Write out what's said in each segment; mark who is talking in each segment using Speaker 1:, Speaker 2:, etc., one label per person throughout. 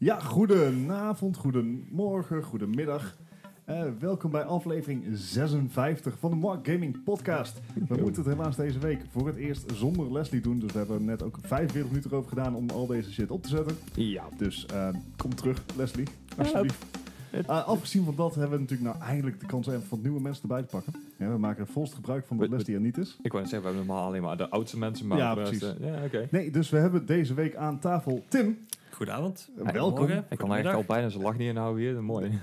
Speaker 1: Ja, goedenavond, goedemorgen, goedemiddag. Eh, welkom bij aflevering 56 van de Mark Gaming Podcast. We moeten het helaas deze week voor het eerst zonder Leslie doen. Dus we hebben er net ook 45 minuten over gedaan om al deze shit op te zetten.
Speaker 2: Ja.
Speaker 1: Dus eh, kom terug, Leslie, alsjeblieft. Eh, afgezien van dat hebben we natuurlijk nou eindelijk de kans om van nieuwe mensen erbij te pakken. Ja, we maken volst gebruik van dat
Speaker 2: We- we-
Speaker 1: Leslie er niet is.
Speaker 2: Ik wou net zeggen, we hebben normaal alleen maar de oudste mensen. Maar
Speaker 1: Ja,
Speaker 2: de rest,
Speaker 1: precies.
Speaker 2: eh, Ja, oké.
Speaker 1: Nee, dus we hebben deze week aan tafel Tim.
Speaker 3: Goedenavond.
Speaker 1: Eh, welkom.
Speaker 3: Morgen.
Speaker 2: Ik kan er echt al bijna zijn lach niet inhouden hier. Mooi.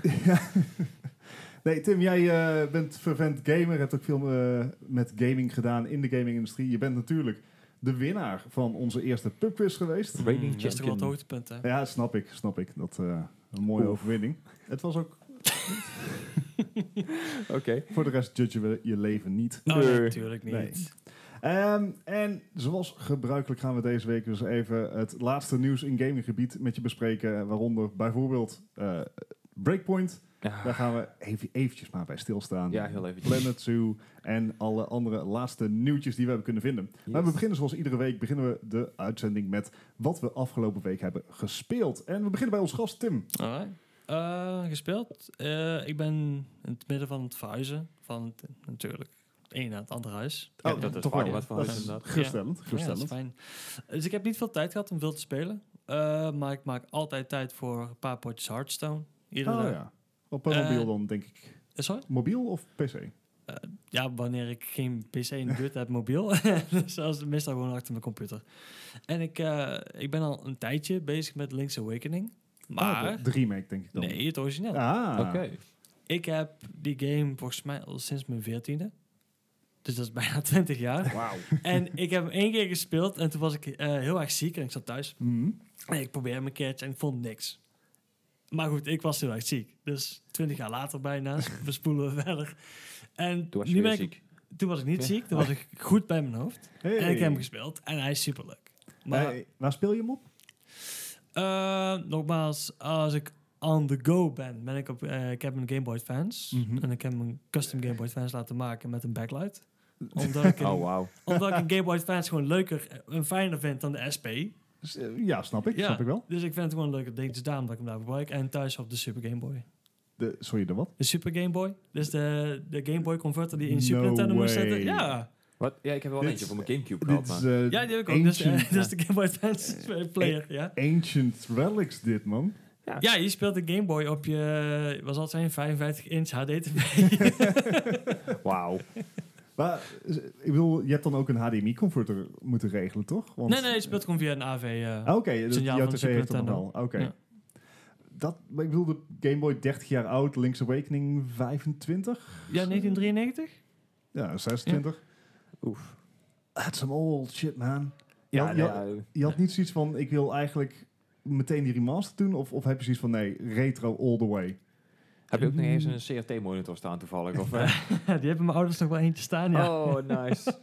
Speaker 1: Nee, Tim, jij eh, bent vervent gamer, hebt ook veel eh, met gaming gedaan in de gaming-industrie. Je bent natuurlijk de winnaar van onze eerste pubquiz geweest.
Speaker 2: Reigning
Speaker 3: Mm, Gisteren wel het
Speaker 2: champion.
Speaker 3: hoogtepunt, hè?
Speaker 1: Ja, snap ik, snap ik. Dat eh, een mooie
Speaker 2: Oef.
Speaker 1: overwinning. Het was ook
Speaker 2: Oké.
Speaker 1: voor de rest judgen we je leven niet.
Speaker 3: Oh, nee,
Speaker 2: Nee.
Speaker 3: natuurlijk niet.
Speaker 1: Nee. Ehm, en zoals gebruikelijk gaan we deze week dus even het laatste nieuws in gaminggebied met je bespreken. Waaronder bijvoorbeeld eh, Breakpoint. Daar gaan we even, eventjes maar bij stilstaan.
Speaker 2: Ja, heel even.
Speaker 1: Planet Zoo en alle andere laatste nieuwtjes die we hebben kunnen vinden. Maar we beginnen zoals iedere week beginnen we de uitzending met wat we afgelopen week hebben gespeeld. En we beginnen bij ons gast Tim.
Speaker 3: Alright. Eh, gespeeld. Eh, ik ben in het midden van het verhuizen. Van het- natuurlijk het een naar het andere huis.
Speaker 2: Ja,
Speaker 1: Oh,
Speaker 2: dat is vaak wat voor
Speaker 1: dat
Speaker 2: huis
Speaker 1: is
Speaker 2: inderdaad.
Speaker 1: geruststellend.
Speaker 3: Ja, dat is
Speaker 1: geruststellend.
Speaker 3: fijn. Dus ik heb niet veel tijd gehad om veel te spelen. Eh, maar ik maak altijd tijd voor een paar potjes Hearthstone. Iedere,
Speaker 1: oh, ja. Op eh,
Speaker 3: Eh,
Speaker 1: mobiel dan, denk ik.
Speaker 3: Eh, Sorry?
Speaker 1: Mobiel of PC?
Speaker 3: Ja, wanneer ik geen PC in de buurt heb, mobiel. dus als meestal gewoon achter mijn computer. En ik, eh, ik ben al een tijdje bezig met Link's Awakening. Maar...
Speaker 1: Ah, de, de remake, denk ik dan.
Speaker 3: nee, het origineel.
Speaker 1: Ah,
Speaker 2: Oké.
Speaker 3: Ik heb die game volgens mij al sinds mijn veertiende. Dus dat is bijna 20 jaar.
Speaker 1: Wauw.
Speaker 3: en ik heb hem één keer gespeeld en toen was ik eh, heel erg ziek en ik zat thuis.
Speaker 1: Mhm.
Speaker 3: En ik probeerde hem een keertje en ik vond niks. Maar goed, ik was heel erg ziek. Dus 20 jaar later bijna, we spoelen we verder. En
Speaker 2: Toen was
Speaker 3: nu
Speaker 2: je weer
Speaker 3: ben ik-
Speaker 2: ziek.
Speaker 3: toen was ik niet
Speaker 2: Ja.
Speaker 3: ziek, toen was ik goed bij mijn hoofd.
Speaker 1: Hey.
Speaker 3: En ik heb hem gespeeld en hij is superleuk. Maar
Speaker 1: Hey, waar speel je hem op?
Speaker 3: eh, nogmaals, als ik on the go ben, ben ik op. eh, ik heb een Game Boy Advance.
Speaker 1: Mhm.
Speaker 3: En ik heb een custom Game Boy Advance laten maken met een backlight. Omdat ik een,
Speaker 2: Oh, wauw.
Speaker 3: omdat ik een Game Boy Advance gewoon leuker en fijner vind dan de SP.
Speaker 1: S- eh, Ja, snap ik.
Speaker 3: Ja.
Speaker 1: Snap ik wel.
Speaker 3: Dus ik vind het gewoon een leuker ding. Dus daarom dat ik hem daar gebruik. En thuis op de Super Game Boy.
Speaker 1: De, sorry, de wat?
Speaker 3: De Super Game Boy. Dus de, de Game Boy converter die je in Super
Speaker 1: No
Speaker 3: Nintendo moest
Speaker 1: way.
Speaker 3: zetten. Ja.
Speaker 2: Wat? Ja, ik heb er wel
Speaker 1: Dit
Speaker 2: eentje
Speaker 1: is-
Speaker 2: van mijn Gamecube
Speaker 1: Dit
Speaker 2: gehad,
Speaker 1: is
Speaker 2: maar...
Speaker 1: eh,
Speaker 3: Ja, die heb ik ook. Dus, eh,
Speaker 1: ancient- Eh,
Speaker 3: dus de Game Boy Advance player. Ja.
Speaker 1: Ancient Relics dit, man.
Speaker 3: Ja, je speelt de Game Boy op je, was dat zijn 55 inch HD TV.
Speaker 2: Wauw.
Speaker 1: Maar, eh, ik bedoel, je hebt dan ook een HDMI-converter moeten regelen, toch? Want-
Speaker 3: Nee, nee, je speelt gewoon via een AV. eh.
Speaker 1: Ah, Oké, dat-
Speaker 3: Signaal
Speaker 1: jouw
Speaker 3: van
Speaker 1: tv
Speaker 3: Super
Speaker 1: heeft dat nog wel.
Speaker 3: Nintendo.
Speaker 1: Oké.
Speaker 3: Ja.
Speaker 1: Dat, maar ik bedoel, de Game Boy 30 jaar oud, Link's Awakening 25?
Speaker 3: Ja, 1993?
Speaker 1: Ja, 26.
Speaker 2: Oef.
Speaker 1: That's some old shit, man.
Speaker 2: Ja,
Speaker 1: ja.
Speaker 2: ja, eh,
Speaker 1: Je had niet zoiets van, ik wil eigenlijk meteen die remaster doen? Of, of heb je zoiets van, nee, retro all the way?
Speaker 2: Heb je ook nog eens een CRT-monitor staan toevallig? Of, eh?
Speaker 3: Die hebben mijn ouders nog wel eentje staan, ja.
Speaker 2: Oh, nice.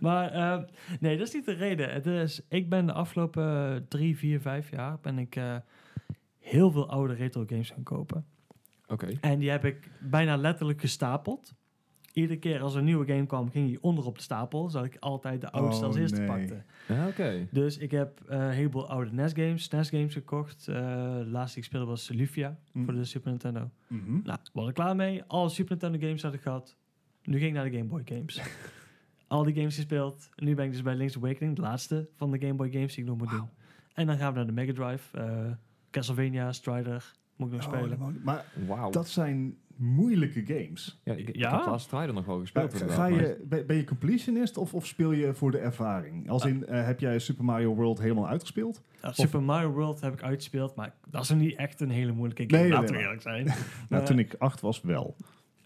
Speaker 3: Maar eh, nee, dat is niet de reden. Het is, ik ben de afgelopen drie, vier, vijf jaar ben ik eh, heel veel oude retro games gaan kopen.
Speaker 2: Oké.
Speaker 3: En die heb ik bijna letterlijk gestapeld. Iedere keer als er een nieuwe game kwam, ging die onder op de stapel. Zodat ik altijd de oudste
Speaker 1: Oh,
Speaker 3: als eerste
Speaker 1: nee.
Speaker 3: pakte.
Speaker 2: Ja, oké.
Speaker 3: Dus ik heb eh, een heleboel oude NES games, NES games gekocht. Eh, de laatste die ik speelde was Lufia
Speaker 1: Mm.
Speaker 3: voor de Super Nintendo.
Speaker 1: Mhm.
Speaker 3: Nou, was ik klaar mee. Alle Super Nintendo games had ik gehad. Nu ging ik naar de Game Boy games. Al die games gespeeld. Nu ben ik dus bij Link's Awakening, de laatste van de Game Boy games die ik nog moet doen. En dan gaan we naar de Mega Drive, eh, Castlevania, Strider. Moet ik nog
Speaker 1: Holy
Speaker 3: spelen.
Speaker 1: moly. Oh, Maar
Speaker 2: Wauw.
Speaker 1: dat zijn moeilijke games.
Speaker 2: Ja, ik, ik
Speaker 3: Ja?
Speaker 2: heb laatst Strider nog wel gespeeld.
Speaker 1: Ga-
Speaker 2: inderdaad,
Speaker 1: ga
Speaker 2: maar-
Speaker 1: je, ben, ben je completionist of, of speel je voor de ervaring? Als in, eh, heb jij Super Mario World helemaal uitgespeeld?
Speaker 3: Ja, Eh, Super Mario World heb ik uitgespeeld, maar dat is nog niet echt een hele moeilijke game.
Speaker 1: Nee, nee,
Speaker 3: laten we
Speaker 1: nee.
Speaker 3: eerlijk zijn.
Speaker 1: Nou,
Speaker 3: Eh,
Speaker 1: toen ik acht was, wel.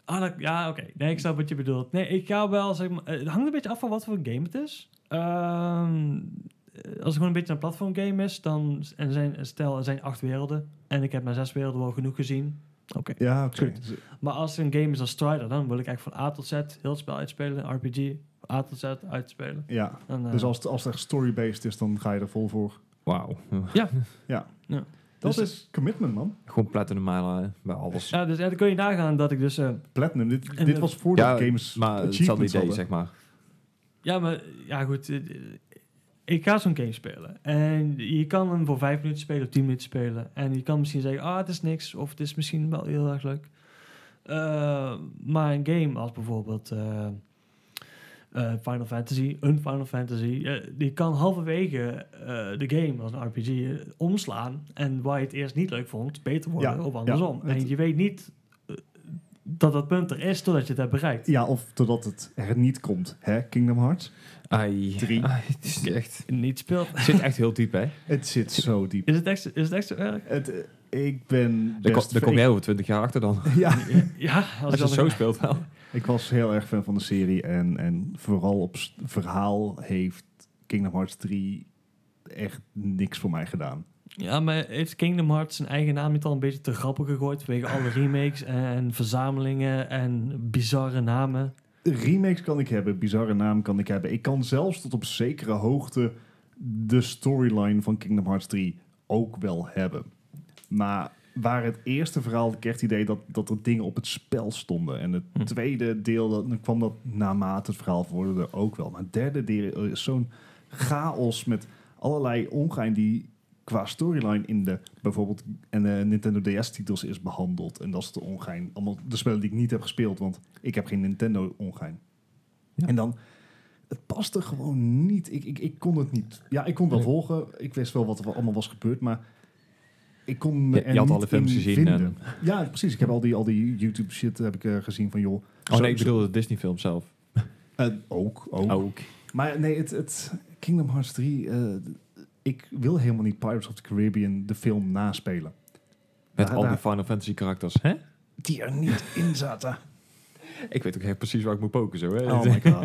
Speaker 3: Ah, dat- ja, oké. Nee, ik snap wat je bedoelt. Nee, ik ga wel, zeg maar, eh, het hangt een beetje af van wat voor game het is. Ehm, eh, als het gewoon een beetje een platform game is, dan en zijn, stel er zijn acht werelden en ik heb mijn zes werelden wel genoeg gezien. Oké.
Speaker 1: Ja, oké.
Speaker 3: Goed. Maar als het een game is als Strider, dan wil ik eigenlijk van A tot Z heel het spel uitspelen, RPG A tot Z uitspelen.
Speaker 1: Ja,
Speaker 3: En, eh,
Speaker 1: dus als het, als het echt story-based is, dan ga je er vol voor.
Speaker 2: Wauw.
Speaker 1: Dat
Speaker 3: Dus-
Speaker 1: is commitment, man.
Speaker 2: Gewoon platinum mijlen bij alles.
Speaker 3: ja, dus eh, dan kun je nagaan dat ik dus eh,
Speaker 1: Platinum, dit,
Speaker 3: En
Speaker 1: dit
Speaker 3: de-
Speaker 1: was voor
Speaker 2: Ja,
Speaker 1: de games
Speaker 2: Maar
Speaker 1: achievements
Speaker 2: hetzelfde idee,
Speaker 1: hadden.
Speaker 2: zeg maar.
Speaker 3: Ja, maar ja, goed. eh, eh, ik ga zo'n game spelen. En je kan hem voor vijf minuten spelen of tien minuten spelen. En je kan misschien zeggen, ah, het is niks. Of het is misschien wel heel erg leuk. Eh, maar een game als bijvoorbeeld eh, eh, Final Fantasy, een Final Fantasy, eh, die kan halverwege eh, de game als een RPG eh, omslaan. En waar je het eerst niet leuk vond, beter worden
Speaker 1: Ja,
Speaker 3: of andersom.
Speaker 1: ja, het-
Speaker 3: en je weet niet eh, dat dat punt er is totdat je het hebt bereikt.
Speaker 1: Ja, of totdat het er niet komt. Hè, Kingdom Hearts?
Speaker 2: Ai.
Speaker 1: Drie.
Speaker 2: Ai, het is echt...
Speaker 3: Niet speelt.
Speaker 2: Het zit echt heel diep, hè?
Speaker 1: Het zit zo diep.
Speaker 3: Is het echt, is het echt zo erg?
Speaker 1: Het, eh, ik ben
Speaker 2: Daar ko-
Speaker 1: best...
Speaker 2: daar kom jij over 20 jaar achter dan.
Speaker 1: ik- Ja,
Speaker 3: Ja,
Speaker 2: Als je
Speaker 3: dat
Speaker 2: het zo speelt wel.
Speaker 1: ik was heel erg fan van de serie. En, en vooral op s- verhaal heeft Kingdom Hearts 3 echt niks voor mij gedaan.
Speaker 3: Ja, maar heeft Kingdom Hearts zijn eigen naam niet al een beetje te grappig gegooid vanwege alle remakes en verzamelingen en bizarre namen?
Speaker 1: Remakes kan ik hebben, bizarre naam kan ik hebben. Ik kan zelfs tot op zekere hoogte de storyline van Kingdom Hearts 3 ook wel hebben. Maar waar het eerste verhaal, ik kreeg het idee dat, dat er dingen op het spel stonden. En het
Speaker 3: Hm.
Speaker 1: tweede deel, dat, dan kwam dat naarmate het verhaal vorderde ook wel. Maar het derde deel is zo'n chaos met allerlei ongein die qua storyline in de bijvoorbeeld en de Nintendo DS-titels is behandeld. En dat is de ongein. Allemaal de spellen die ik niet heb gespeeld, want ik heb geen Nintendo-ongein.
Speaker 2: Ja.
Speaker 1: En dan, het paste gewoon niet. Ik, ik, ik kon het niet. Ja, ik kon wel
Speaker 2: Nee.
Speaker 1: volgen. Ik wist wel wat er allemaal was gebeurd, maar ik kon me
Speaker 2: Je,
Speaker 1: er
Speaker 2: je had
Speaker 1: niet
Speaker 2: alle films
Speaker 1: in
Speaker 2: gezien. eh.
Speaker 1: vinden.
Speaker 2: en-
Speaker 1: Ja, precies. Ik heb al die, al die YouTube-shit heb ik eh, gezien van, joh...
Speaker 2: oh
Speaker 1: zo-
Speaker 2: nee, ik
Speaker 1: zo-
Speaker 2: bedoel Oh, de Disney-film zelf.
Speaker 1: eh, ook, ook.
Speaker 2: Ook.
Speaker 1: Maar nee, het, het Kingdom Hearts 3... eh, ik wil helemaal niet Pirates of the Caribbean, de film, naspelen.
Speaker 2: Met
Speaker 1: Ja,
Speaker 2: al die
Speaker 1: daar-
Speaker 2: Final Fantasy karakters, hè?
Speaker 1: Die er niet in zaten.
Speaker 2: Ik weet ook echt precies waar ik moet poken, zo, hè?
Speaker 1: Oh my god.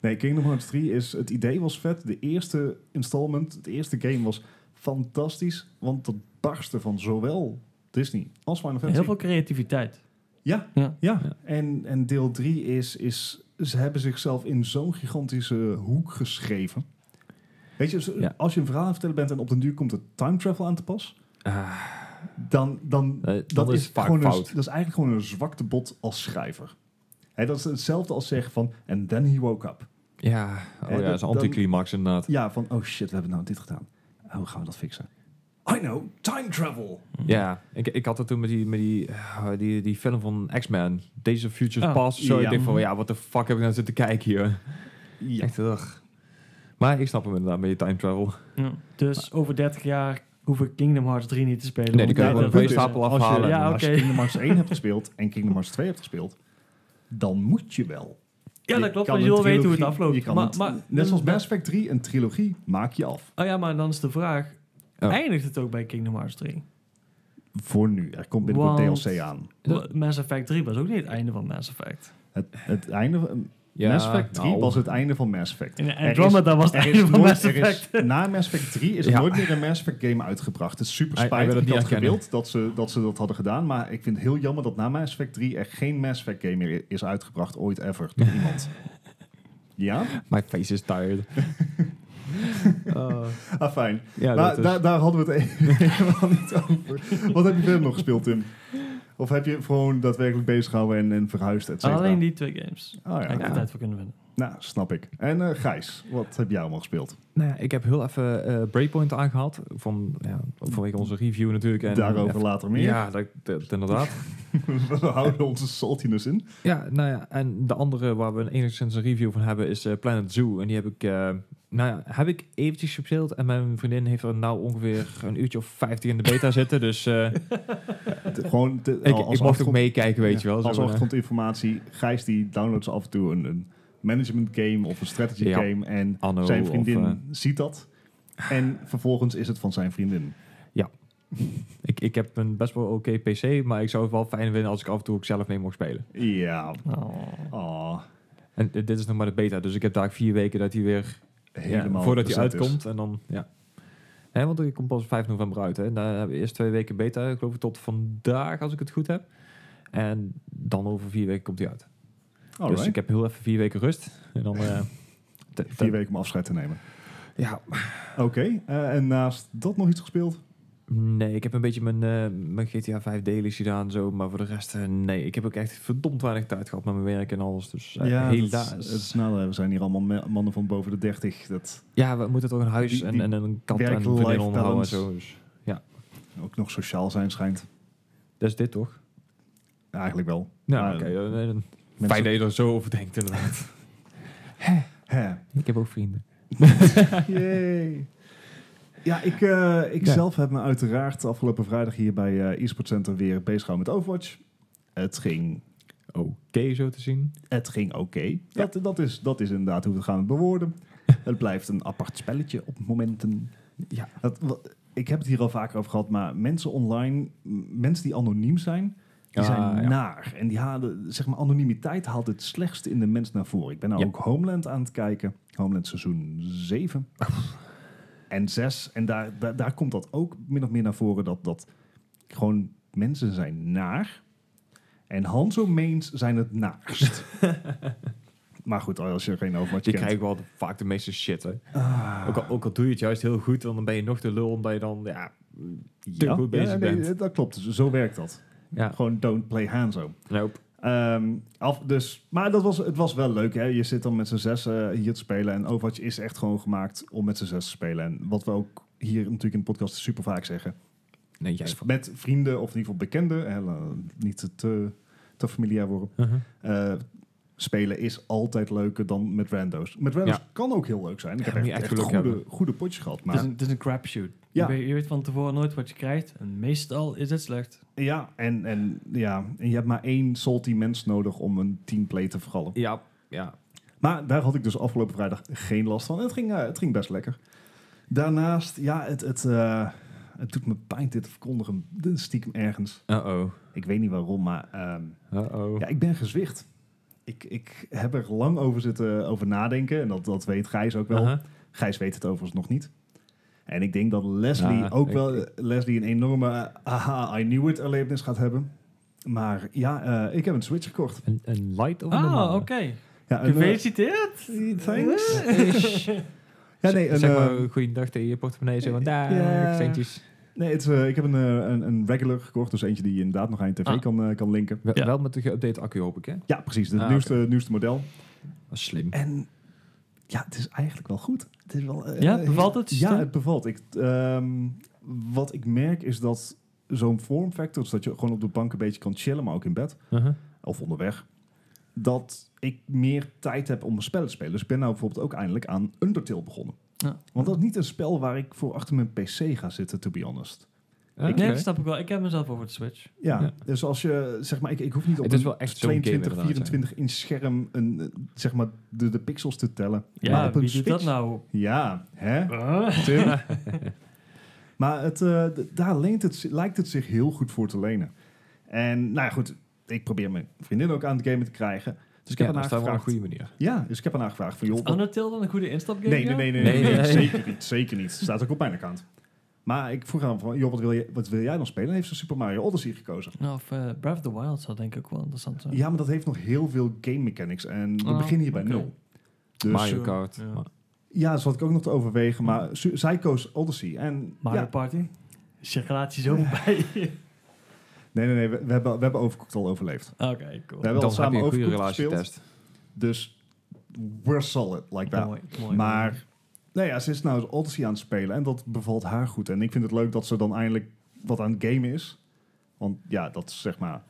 Speaker 1: Nee, Kingdom Hearts 3 is... Het idee was vet. De eerste installment, het eerste game was fantastisch. Want dat barstte van zowel Disney als Final Fantasy.
Speaker 3: Heel veel creativiteit.
Speaker 1: Ja,
Speaker 3: Ja.
Speaker 1: ja.
Speaker 2: Ja.
Speaker 1: En, en deel 3 is, is... Ze hebben zichzelf in zo'n gigantische hoek geschreven. Weet je, zo-
Speaker 2: Ja.
Speaker 1: als je een verhaal aan het vertellen bent... en op den duur komt het time travel aan te pas...
Speaker 2: Ah,
Speaker 1: dan, dan
Speaker 2: eh,
Speaker 1: dat is,
Speaker 2: vaak
Speaker 1: gewoon
Speaker 2: fout.
Speaker 1: Een, dat is eigenlijk gewoon een zwakte bot als schrijver. Hè, dat is hetzelfde als zeggen van... and then he woke up.
Speaker 2: Ja, oh
Speaker 1: Hè,
Speaker 2: ja, dat
Speaker 1: dat-
Speaker 2: is een anticlimax inderdaad.
Speaker 1: Ja, van oh shit, we hebben nou dit gedaan. Oh, Hoe gaan we dat fixen? I know, time travel.
Speaker 2: Ja, ik, ik had dat toen met die, met die, eh, die, die film van X-Men. Days of Future
Speaker 3: Ah,
Speaker 2: Past. Zo,
Speaker 1: Oh, ja.
Speaker 2: ik denk van, ja, wat de fuck heb ik nou zitten kijken hier?
Speaker 1: Ja.
Speaker 2: Echt, ugh. Maar ik snap hem inderdaad met je time travel.
Speaker 3: Ja. Dus over 30 jaar hoef ik Kingdom Hearts 3 niet te spelen.
Speaker 2: Nee, die
Speaker 3: want
Speaker 2: kan je
Speaker 1: ja,
Speaker 2: gewoon
Speaker 1: dat
Speaker 2: van je
Speaker 1: punt is,
Speaker 2: stapel
Speaker 1: als je-
Speaker 2: afhalen.
Speaker 3: ja,
Speaker 1: als je
Speaker 3: oké.
Speaker 1: Kingdom Hearts 1 hebt gespeeld en Kingdom Hearts 2 hebt gespeeld, dan moet je wel.
Speaker 3: Ja, dat klopt,
Speaker 1: kan
Speaker 3: want je wil
Speaker 1: een
Speaker 3: weten hoe het
Speaker 1: trilogie- je
Speaker 3: afloopt.
Speaker 1: kan
Speaker 3: Maar,
Speaker 1: het-
Speaker 3: maar,
Speaker 1: net zoals Mass Effect 3, een trilogie maak je af.
Speaker 3: Oh ja, maar dan is de vraag,
Speaker 2: Ja.
Speaker 3: eindigt het ook bij Kingdom Hearts 3?
Speaker 1: Voor nu. Er komt binnenkort
Speaker 3: Want-
Speaker 1: DLC aan.
Speaker 2: Dat-
Speaker 3: Mass Effect 3 was ook niet het einde van Mass Effect.
Speaker 1: Het, het einde van,
Speaker 2: Ja,
Speaker 1: Mass Effect 3
Speaker 2: nou.
Speaker 1: was het einde van Mass Effect.
Speaker 3: En
Speaker 1: Er is-
Speaker 3: Andromeda was het
Speaker 1: er is
Speaker 3: einde van
Speaker 1: nooit-
Speaker 3: Mass
Speaker 1: er is-
Speaker 3: Effect.
Speaker 1: na Mass Effect 3 is er
Speaker 2: Ja.
Speaker 1: nooit meer een Mass Effect game uitgebracht. Het is super
Speaker 2: Hij- hij
Speaker 1: spijtig.
Speaker 2: wil
Speaker 1: Ik
Speaker 2: het
Speaker 1: had
Speaker 2: niet erkennen.
Speaker 1: gewild dat ze, dat ze dat hadden gedaan. Maar ik vind het heel jammer dat na Mass Effect 3 er geen Mass Effect game meer is uitgebracht. Ooit ever. Door iemand. Ja?
Speaker 2: My face is tired. Eh,
Speaker 1: Ah, fijn.
Speaker 2: ja,
Speaker 1: maar
Speaker 2: dat is-
Speaker 1: daar, daar hadden we het e- helemaal niet over. Wat heb je verder nog gespeeld, Tim? Of heb je gewoon daadwerkelijk bezig gehouden en, en verhuisd, et cetera?
Speaker 3: Alleen die twee games.
Speaker 1: Oh,
Speaker 3: Daar heb
Speaker 1: ja.
Speaker 3: ik de
Speaker 2: Ja.
Speaker 3: tijd voor kunnen vinden.
Speaker 1: Nou, snap ik. En eh, Gijs, wat heb jij allemaal gespeeld?
Speaker 2: Nou ja, ik heb heel even eh Breakpoint aangehad. Van, ja, vanwege onze review natuurlijk. En
Speaker 1: Daarover later meer.
Speaker 2: Ja, dat, dat- inderdaad.
Speaker 1: We houden onze saltiness in.
Speaker 2: Ja, nou ja, en de andere waar we een enigszins een review van hebben is eh, Planet Zoo. En die heb ik, eh, nou ja, heb ik eventjes gespeeld. En mijn vriendin heeft er nou ongeveer een uurtje of 50 in de beta zitten. Dus eh,
Speaker 1: De- gewoon te-
Speaker 2: ik,
Speaker 1: als
Speaker 2: ik mocht ook
Speaker 1: achtergrond-
Speaker 2: meekijken, weet
Speaker 1: Ja,
Speaker 2: je wel. Zo,
Speaker 1: Als
Speaker 2: eh,
Speaker 1: achtergrondinformatie, Gijs die downloads af en toe een, een management game of een strategy
Speaker 2: Ja.
Speaker 1: game. En
Speaker 2: Anno
Speaker 1: zijn
Speaker 2: of,
Speaker 1: vriendin
Speaker 2: eh,
Speaker 1: ziet dat. En vervolgens is het van zijn vriendin.
Speaker 2: ik, ik heb een best wel oké PC, maar ik zou het wel fijn vinden als ik af en toe ook zelf mee mocht spelen.
Speaker 1: Ja,
Speaker 3: Oh.
Speaker 1: ah,
Speaker 2: En eh, dit is nog maar de beta, dus ik heb daar vier weken dat hij weer,
Speaker 1: helemaal.
Speaker 2: ja, voordat hij
Speaker 1: bezet dus. is.
Speaker 2: uitkomt. En dan, ja. Hè, want die komt pas 5 november uit. Hè. En Daar hebben we eerst twee weken beta, geloof ik, tot vandaag, als ik het goed heb. En dan over vier weken komt hij uit.
Speaker 1: Alright.
Speaker 2: Dus ik heb heel even vier weken rust. En dan, eh, te- te-
Speaker 1: Vier weken om afscheid te nemen.
Speaker 2: Ja,
Speaker 1: Oké, eh, en naast dat nog iets gespeeld?
Speaker 2: Nee, ik heb een beetje mijn, eh, mijn GTA 5 dailies gedaan en zo. Maar voor de rest, eh, nee. Ik heb ook echt verdomd weinig tijd gehad met mijn werk en alles. Dus eh,
Speaker 1: ja,
Speaker 2: helaas.
Speaker 1: dat is- het is snel, hè. we zijn hier allemaal me- mannen van boven de 30. Dat
Speaker 2: ja, we moeten toch een huis
Speaker 1: Die-
Speaker 2: en,
Speaker 1: die
Speaker 2: en een kat en een
Speaker 1: werk-life
Speaker 2: vriendin onderhouden en
Speaker 1: balance.
Speaker 2: zo. Dus
Speaker 1: ook nog sociaal zijn schijnt.
Speaker 2: dat is dit toch?
Speaker 1: Ja, eigenlijk wel.
Speaker 2: Nou,
Speaker 1: Maar,
Speaker 2: oké. eh, eh,
Speaker 1: mensen-
Speaker 2: Fijn dat je er zo over denkt, inderdaad.
Speaker 1: Hè.
Speaker 2: ik heb ook vrienden.
Speaker 1: Yay. Ja, ik, eh, ik
Speaker 2: Ja.
Speaker 1: zelf heb me uiteraard afgelopen vrijdag hier bij eh, eSport Center weer bezig gehouden met Overwatch. Het ging,
Speaker 2: Oké, zo te zien.
Speaker 1: het ging oké. Dat, dat, is, dat is inderdaad hoe we het gaan bewoorden. het blijft een apart spelletje op momenten.
Speaker 2: Ja.
Speaker 1: Dat, wa- ik heb het hier al vaker over gehad, maar mensen online, m- mensen die anoniem zijn, die
Speaker 2: Ah,
Speaker 1: zijn
Speaker 2: ja.
Speaker 1: naar. En die halen, zeg maar, anonimiteit haalt het slechtst in de mens naar voren. Ik ben nou
Speaker 2: Ja.
Speaker 1: ook Homeland aan het kijken. Homeland seizoen 7 en 6. En daar, daar, daar komt dat ook min of meer naar voren, dat, dat gewoon mensen zijn naar. En Hanzo Meens zijn het naarst. maar goed, als je er geen over wat je,
Speaker 2: Je
Speaker 1: kent.
Speaker 2: krijgt wel de- vaak de meeste shit, hè.
Speaker 1: Ah.
Speaker 2: Ook, al, ook al doe je het juist heel goed, dan ben je nog de lul omdat je dan, ja... te goed bezig bent.
Speaker 1: Dat klopt, Dus zo werkt dat.
Speaker 2: Ja,
Speaker 1: Gewoon don't play Hanzo.
Speaker 2: nope.
Speaker 1: Ehm, af, dus, maar dat was, het was wel leuk. Hè? Je zit dan met z'n zes eh, hier te spelen. En Overwatch is echt gewoon gemaakt om met z'n zes te spelen. En wat we ook hier natuurlijk in de podcast super vaak zeggen.
Speaker 2: Nee, jij
Speaker 1: is
Speaker 2: van.
Speaker 1: met vrienden of in ieder geval bekenden. Hè, la- niet te- te, te familiair worden.
Speaker 2: Uh-huh.
Speaker 1: Eh, spelen is altijd leuker dan met rando's. Met rando's kan ook heel leuk zijn. Ik
Speaker 2: Ja,
Speaker 1: heb
Speaker 2: moet
Speaker 1: echt,
Speaker 2: je echt
Speaker 1: echt
Speaker 2: geluk
Speaker 1: goede,
Speaker 2: hebben.
Speaker 1: goede potjes gehad.
Speaker 3: Het is
Speaker 1: Maar
Speaker 3: een, het is een crapshoot.
Speaker 1: Ja.
Speaker 3: Je, weet, je weet van tevoren nooit wat je krijgt. En meestal is het slecht.
Speaker 1: ja, en, en, ja, en je hebt maar één salty mens nodig om een teamplay te vergallen.
Speaker 2: Ja, ja.
Speaker 1: Maar daar had ik dus afgelopen vrijdag geen last van. Het ging, eh, het ging best lekker. Daarnaast, ja, het, het, eh, het doet me pijn dit te verkondigen. Dit is Stiekem ergens.
Speaker 2: Uh-oh.
Speaker 1: Ik weet niet waarom, maar ehm,
Speaker 2: Uh-oh.
Speaker 1: ja, ik ben gezwicht. Ik, ik heb er lang over zitten over nadenken. En dat, dat weet Gijs ook wel.
Speaker 2: Uh-huh.
Speaker 1: Gijs weet het overigens nog niet. En ik denk dat Leslie
Speaker 2: Ja,
Speaker 1: ook
Speaker 2: Nou, ik-
Speaker 1: wel Leslie een enorme eh, aha, I knew it erlevenis gaat hebben. Maar ja, eh, ik heb een Switch gekocht.
Speaker 2: Een, een light of een
Speaker 3: Ah,
Speaker 2: normale?
Speaker 3: oké.
Speaker 1: Ja, een, eh,
Speaker 3: Gefeliciteerd.
Speaker 1: thanks. Ja,
Speaker 2: Ja,
Speaker 1: nee,
Speaker 2: nee,
Speaker 1: een,
Speaker 2: zeg maar
Speaker 1: eh,
Speaker 2: een ehm, Eh, goeiedag tegen je portemonnee. Zo van, daar,
Speaker 1: Ja.
Speaker 2: centjes.
Speaker 1: Nee, het is, eh, ik heb een, eh, een, een regular gekocht. Dus eentje die inderdaad nog aan je tv
Speaker 3: Ah.
Speaker 1: kan, eh, kan linken.
Speaker 2: Wel,
Speaker 3: Ja.
Speaker 2: wel met de geüpdate accu hoop ik, hè?
Speaker 1: Ja, precies. Het
Speaker 2: Ah,
Speaker 1: nieuwste, nieuwste model.
Speaker 2: Dat is slim.
Speaker 1: En ja, het is eigenlijk wel goed. Het is wel, eh,
Speaker 3: Ja, bevalt het
Speaker 1: Ja,
Speaker 3: systeem?
Speaker 1: het bevalt. Ik, ehm, wat ik merk is dat zo'n form factor, dus dat je gewoon op de bank een beetje kan chillen, maar ook in bed
Speaker 2: Uh-huh.
Speaker 1: of onderweg, dat ik meer tijd heb om mijn spellen te spelen. Dus ik ben nou bijvoorbeeld ook eindelijk aan Undertale begonnen.
Speaker 3: Ja.
Speaker 1: Want dat is niet een spel waar ik voor achter mijn pc ga zitten, to be honest.
Speaker 2: Oké.
Speaker 1: eh,
Speaker 3: Nee, dat snap dus ik wel. Ik heb mezelf over de Switch.
Speaker 1: Ja,
Speaker 2: Ja.
Speaker 1: dus als je, zeg maar, ik, ik hoef niet op
Speaker 2: Het is
Speaker 1: een
Speaker 2: wel echt zo'n game
Speaker 1: 22,
Speaker 2: inderdaad,
Speaker 1: 24 inch scherm een, eh, zeg maar, de, de pixels te tellen.
Speaker 3: Ja,
Speaker 1: maar op een
Speaker 3: wie doet dat
Speaker 1: Switch-
Speaker 3: nou?
Speaker 1: Ja, hè? Tim? maar het, eh, d- daar leent het, zi- lijkt het zich heel goed voor te lenen. En nou ja, goed, ik probeer mijn vriendin ook aan het gamen te krijgen. Dus ik
Speaker 2: Ja,
Speaker 1: heb
Speaker 2: dat
Speaker 1: haar
Speaker 2: is wel een
Speaker 1: gevraagd.
Speaker 2: goede manier.
Speaker 1: Ja, dus ik heb haar aangevraagd van joh. wat-
Speaker 3: Undertale dan een goede instapgame?
Speaker 1: Nee, nee, nee, nee,
Speaker 2: Nee,
Speaker 1: nee, nee,
Speaker 2: nee.
Speaker 1: zeker niet, zeker niet. Staat ook op mijn account. Maar ik vroeg haar van joh, wat wil, je, wat wil jij dan spelen? En heeft ze Super Mario Odyssey gekozen.
Speaker 3: Nou, of eh, Breath of the Wild zou denk ik ook wel interessant zijn.
Speaker 1: Ja, maar dat heeft nog heel veel game mechanics. En we
Speaker 3: Oh,
Speaker 1: beginnen hier bij
Speaker 3: oké.
Speaker 1: nul. Dus
Speaker 2: Mario Mm.
Speaker 3: eh,
Speaker 2: Kart.
Speaker 3: ja.
Speaker 2: Maar-
Speaker 1: ja, dat zat ik ook nog te overwegen. Maar su- zij koos Odyssey. En
Speaker 3: Mario
Speaker 1: ja,
Speaker 3: Party? Is je relatie zo voorbij?
Speaker 1: nee, nee, nee. We, we hebben, we hebben Overcooked al overleefd.
Speaker 3: Oké, cool.
Speaker 1: We hebben al
Speaker 2: Dan heb je
Speaker 1: samen
Speaker 2: een goede
Speaker 1: Overcooked gespeeld.
Speaker 2: relatietest.
Speaker 1: Dus we're solid like that.
Speaker 3: Mooi, mooi.
Speaker 1: Maar nou ja, ze is nou Odyssey aan het spelen. En dat bevalt haar goed. En ik vind het leuk dat ze dan eindelijk wat aan het gamen is. Want ja, dat is zeg maar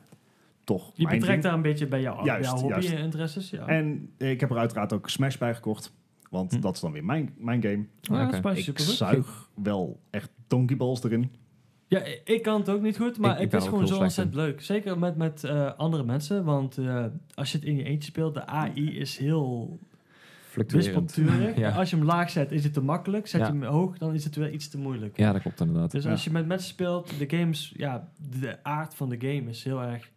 Speaker 1: toch
Speaker 3: Je
Speaker 1: mijn
Speaker 3: betrekt
Speaker 1: ding.
Speaker 3: daar een beetje bij jouw,
Speaker 1: Juist,
Speaker 3: jouw hobby
Speaker 1: juist.
Speaker 3: en interesses. Ja.
Speaker 1: En ik heb er uiteraard ook Smash bij gekocht. Want
Speaker 3: Hm.
Speaker 1: dat is dan weer mijn, mijn game.
Speaker 3: Ah, dat is
Speaker 2: Oké.
Speaker 3: pas
Speaker 1: ik
Speaker 3: supergoed.
Speaker 1: zuig wel echt donkeyballs erin.
Speaker 3: Ja, i- ik kan het ook niet goed, maar
Speaker 2: Ik- ik
Speaker 3: het
Speaker 2: ben
Speaker 3: is
Speaker 2: ook
Speaker 3: gewoon
Speaker 2: heel
Speaker 3: zo
Speaker 2: slecht
Speaker 3: ontzettend leuk. Zeker met, met eh, andere mensen, want eh, als je het in je eentje speelt, de AI is heel
Speaker 2: Fluctuerend.
Speaker 3: wispelturig.
Speaker 2: Ja.
Speaker 3: Als je hem laag zet, is het te makkelijk. Zet
Speaker 2: Ja.
Speaker 3: je hem hoog, dan is het weer iets te moeilijk.
Speaker 2: Ja, dat klopt inderdaad.
Speaker 3: Dus als je met mensen speelt, de games, ja, de aard van de game is heel erg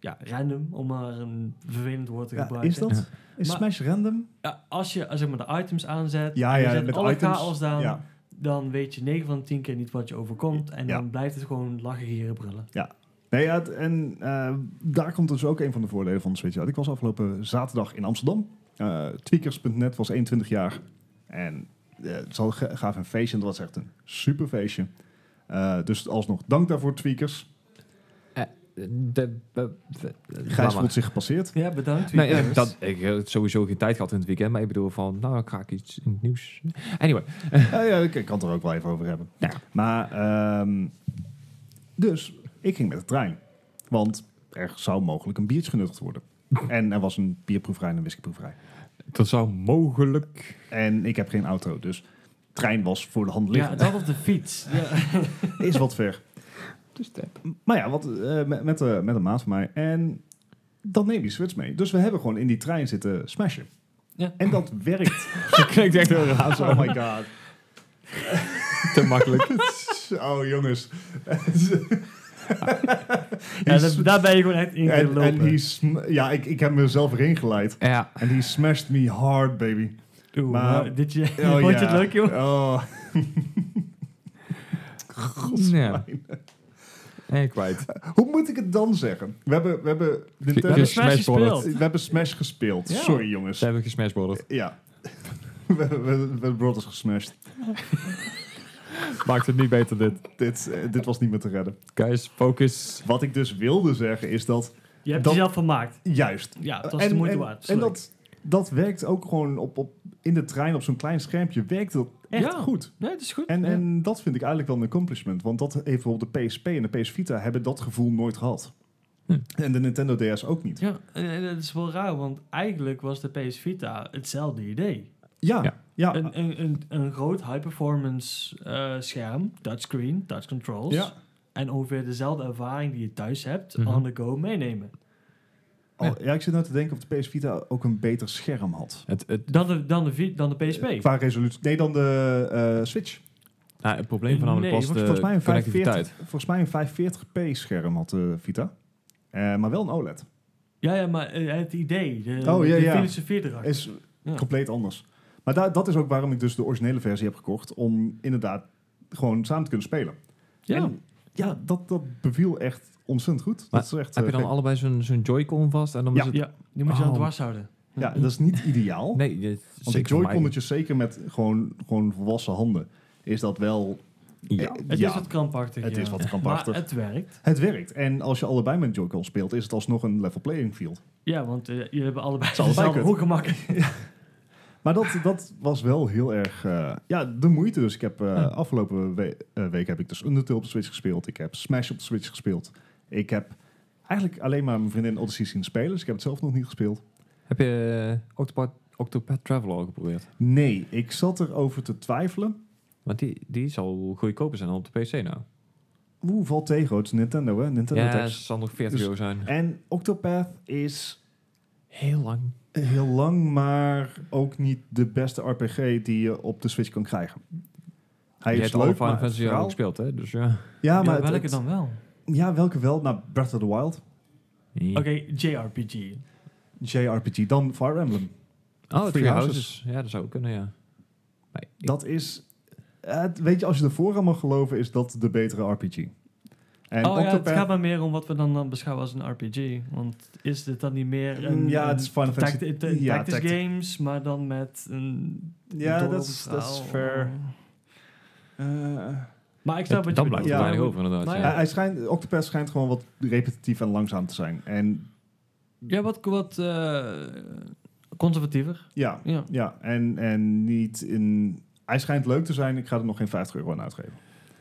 Speaker 3: ja, random, om maar een vervelend woord te
Speaker 1: Ja,
Speaker 3: gebruiken.
Speaker 1: is dat? Is
Speaker 3: Maar-
Speaker 1: Smash random?
Speaker 3: Ja, als je als zeg maar, de items aanzet,
Speaker 1: Ja,
Speaker 3: en je
Speaker 1: ja,
Speaker 3: zet
Speaker 1: met
Speaker 3: alle
Speaker 1: items.
Speaker 3: chaos down,
Speaker 1: Ja.
Speaker 3: dan weet je 9 van de 10 keer niet wat je overkomt. En
Speaker 1: Ja.
Speaker 3: dan blijft het gewoon lachen, gieren, brullen.
Speaker 1: Nee, ja, het- en eh, daar komt dus ook een van de voordelen van de Switch uit. Ik was afgelopen zaterdag in Amsterdam. Eh, Tweakers.net was 21 jaar. En eh, ze hadden- gaven een feestje en dat was echt een super feestje. Eh, dus alsnog dank daarvoor, tweakers.
Speaker 2: Eh, De, de,
Speaker 1: Gijs voelt zich gepasseerd.
Speaker 3: Ja, bedankt.
Speaker 2: Nee,
Speaker 3: Tweakers.
Speaker 2: eh, dat, ik heb sowieso geen tijd gehad in het weekend, maar ik bedoel van, nou, dan ga ik iets in het nieuws. Anyway,
Speaker 1: Ja, ja, ik ik kan het er ook wel even over hebben.
Speaker 2: Ja.
Speaker 1: Maar, ehm, dus, ik ging met de trein. Want er zou mogelijk een biertje genuttigd worden. En er was een bierproeverij en een whiskyproeverij.
Speaker 2: dat zou mogelijk...
Speaker 1: En ik heb geen auto, dus trein was voor de hand
Speaker 3: ja,
Speaker 1: liggend.
Speaker 3: dat op de fiets. Ja.
Speaker 1: Is wat ver.
Speaker 2: Dus dat-
Speaker 1: Maar ja, wat, eh, met, met, de, met een maat van mij. En dan neem je Switch mee. Dus we hebben gewoon in die trein zitten smashen.
Speaker 3: Ja.
Speaker 1: En dat werkt.
Speaker 2: dat klinkt echt heel raar, zo.
Speaker 1: oh my god.
Speaker 2: te makkelijk.
Speaker 1: Oh jongens.
Speaker 3: Ja, dat- daar ben je gewoon echt in
Speaker 1: En, en
Speaker 3: gelopen.
Speaker 1: he sm- ja, ik, ik heb mezelf erin geleid.
Speaker 2: Ja,
Speaker 1: En he smashed me hard, baby.
Speaker 3: Oeh,
Speaker 1: maar-
Speaker 3: maar dit je,
Speaker 1: Oh,
Speaker 3: vond je
Speaker 1: ja.
Speaker 3: het leuk, joh?
Speaker 1: Oh,
Speaker 2: ja. en kwijt.
Speaker 1: hoe moet ik het dan zeggen? We hebben, we hebben, Nintendo-
Speaker 3: hebben Smash gespeeld.
Speaker 1: we hebben Smash gespeeld.
Speaker 2: Ja.
Speaker 1: Sorry jongens.
Speaker 2: Ze hebben gesmashborderd.
Speaker 1: Ja. we, we, we hebben Brothers gesmashed.
Speaker 2: Maakt het niet beter dit.
Speaker 1: Dit, eh, dit was niet meer te redden.
Speaker 2: Guys, focus.
Speaker 1: Wat ik dus wilde zeggen is dat...
Speaker 3: Je hebt
Speaker 1: Dat-
Speaker 3: jezelf vermaakt.
Speaker 1: Juist.
Speaker 3: Ja, het was de moeite
Speaker 1: en,
Speaker 3: waard.
Speaker 1: En
Speaker 3: Sorry.
Speaker 1: dat, dat werkt ook gewoon op, op, in de trein op zo'n klein schermpje. Werkt dat echt
Speaker 3: Ja.
Speaker 1: goed.
Speaker 3: Nee, dat is goed.
Speaker 1: En,
Speaker 3: Ja.
Speaker 1: en dat vind ik eigenlijk wel een accomplishment. Want dat heeft bijvoorbeeld de PSP en de PS Vita hebben dat gevoel nooit gehad.
Speaker 2: Hm.
Speaker 1: En de Nintendo DS ook niet.
Speaker 3: Ja, en, en dat is wel raar, want eigenlijk was de PS Vita hetzelfde idee.
Speaker 1: Ja, ja.
Speaker 2: Ja.
Speaker 1: ja.
Speaker 3: Een, een, een, een groot high-performance eh, scherm, touchscreen, touch controls. En ongeveer dezelfde ervaring die je thuis hebt,
Speaker 2: Mhm.
Speaker 3: on the go meenemen.
Speaker 1: Al- ja, ik zit nou te denken of de PS Vita ook een beter scherm had.
Speaker 2: Het, het,
Speaker 3: Dan de, dan de, vi- dan de PSP.
Speaker 1: Qua resolutie. Nee, dan de eh, Switch.
Speaker 2: nou, het probleem van namelijk
Speaker 3: Nee,
Speaker 2: was
Speaker 1: Volgens-
Speaker 2: de
Speaker 1: volgens, mij een
Speaker 2: connectiviteit.
Speaker 1: 45, volgens mij een 540p scherm had de Vita. Eh, maar wel een OLED.
Speaker 3: Ja, ja, maar eh, het idee, de,
Speaker 1: Oh, ja,
Speaker 3: de
Speaker 1: ja.
Speaker 3: filosofie erachter.
Speaker 1: Is
Speaker 3: Ja.
Speaker 1: compleet anders. Maar da- dat is ook waarom ik dus de originele versie heb gekocht. Om inderdaad gewoon samen te kunnen spelen.
Speaker 3: ja.
Speaker 1: En ja, dat, dat beviel echt ontzettend goed.
Speaker 2: Maar
Speaker 1: dat is echt,
Speaker 2: Heb je
Speaker 1: eh,
Speaker 2: dan allebei zo'n zo'n Joy-Con vast? En dan
Speaker 1: Ja.
Speaker 2: is het...
Speaker 3: ja, die moet je aan
Speaker 2: Oh.
Speaker 3: het dwars houden.
Speaker 1: ja, dat is niet ideaal.
Speaker 2: Nee, dit is
Speaker 1: want die
Speaker 2: zeker voor mij
Speaker 1: joy-connetjes, zeker met gewoon, gewoon volwassen handen, is dat wel...
Speaker 2: niet. Ja.
Speaker 1: eh,
Speaker 3: Het
Speaker 1: ja,
Speaker 3: is wat krampachtig.
Speaker 1: het
Speaker 3: ja.
Speaker 1: is wat
Speaker 3: Maar
Speaker 1: krampachtig. Het...
Speaker 3: het werkt.
Speaker 1: werkt. En als je allebei met Joy-Con speelt, is het alsnog een level playing field.
Speaker 3: Ja, want eh, jullie hebben allebei
Speaker 1: is allebei
Speaker 3: dezelfde
Speaker 1: kut.
Speaker 3: hoekemakken.
Speaker 1: Maar dat, dat was wel heel erg... eh, ja, de moeite dus. Ik heb eh, afgelopen we- eh, week heb ik dus Undertale op de Switch gespeeld. Ik heb Smash op de Switch gespeeld. Ik heb eigenlijk alleen maar mijn vriendin Odyssey zien spelen. Dus ik heb het zelf nog niet gespeeld.
Speaker 2: Heb je eh, Octopath, Octopath Traveler al geprobeerd?
Speaker 1: Nee, ik zat erover te twijfelen.
Speaker 2: Want die, die zal goedkoper zijn dan op de PC nou.
Speaker 1: Oeh, valt tegen. Het is Nintendo, hè? Nintendo
Speaker 2: Ja, het
Speaker 1: tax.
Speaker 2: zal nog 40
Speaker 1: Dus-
Speaker 2: euro zijn.
Speaker 1: En Octopath is
Speaker 2: Heel lang.
Speaker 1: heel lang, maar ook niet de beste RPG die je op de Switch kan krijgen. Hij
Speaker 2: je
Speaker 1: is
Speaker 2: hebt
Speaker 1: leuk,
Speaker 2: alle
Speaker 1: maar
Speaker 2: Final
Speaker 1: het
Speaker 2: Fantasy al
Speaker 1: verhaal-
Speaker 2: gespeeld, hè? Dus ja.
Speaker 1: Ja, maar
Speaker 3: Ja,
Speaker 1: het-
Speaker 3: welke
Speaker 1: het-
Speaker 3: dan wel?
Speaker 1: ja, welke wel? Nou, Breath of the Wild,
Speaker 3: Oké, JRPG.
Speaker 1: JRPG, dan Fire Emblem.
Speaker 2: Oh,
Speaker 1: Free
Speaker 2: het Free
Speaker 1: Houses.
Speaker 2: Houses. Ja, dat zou ook kunnen, ja. Maar ik-
Speaker 1: Dat is... het- weet je, als je de voorraad mag geloven, is dat de betere RPG. En
Speaker 3: oh ja, het
Speaker 1: Octopath...
Speaker 3: gaat maar meer om wat we dan, dan beschouwen als een RPG. Want is dit dan niet meer een...
Speaker 1: Mm, ja, het is Final
Speaker 3: een tact-
Speaker 1: Fantasy-
Speaker 3: een
Speaker 1: ja,
Speaker 3: tactics
Speaker 1: tactic.
Speaker 3: games, maar dan met een...
Speaker 1: ja,
Speaker 3: dorp
Speaker 1: dat is- dat is
Speaker 3: verhaal.
Speaker 1: fair. Eh,
Speaker 3: Maar ik snap
Speaker 2: dat
Speaker 3: wat je
Speaker 2: blijft
Speaker 3: bedoelt.
Speaker 2: er
Speaker 1: Ja.
Speaker 2: weinig over, inderdaad.
Speaker 3: Nou
Speaker 1: hij-
Speaker 2: ja.
Speaker 1: hij schijnt, Octopath schijnt gewoon wat repetitief en langzaam te zijn. En
Speaker 3: Ja, wat, wat eh, conservatiever.
Speaker 1: ja,
Speaker 3: Ja.
Speaker 1: Ja, en, en niet in... Hij schijnt leuk te zijn, ik ga er nog geen 50 euro aan uitgeven.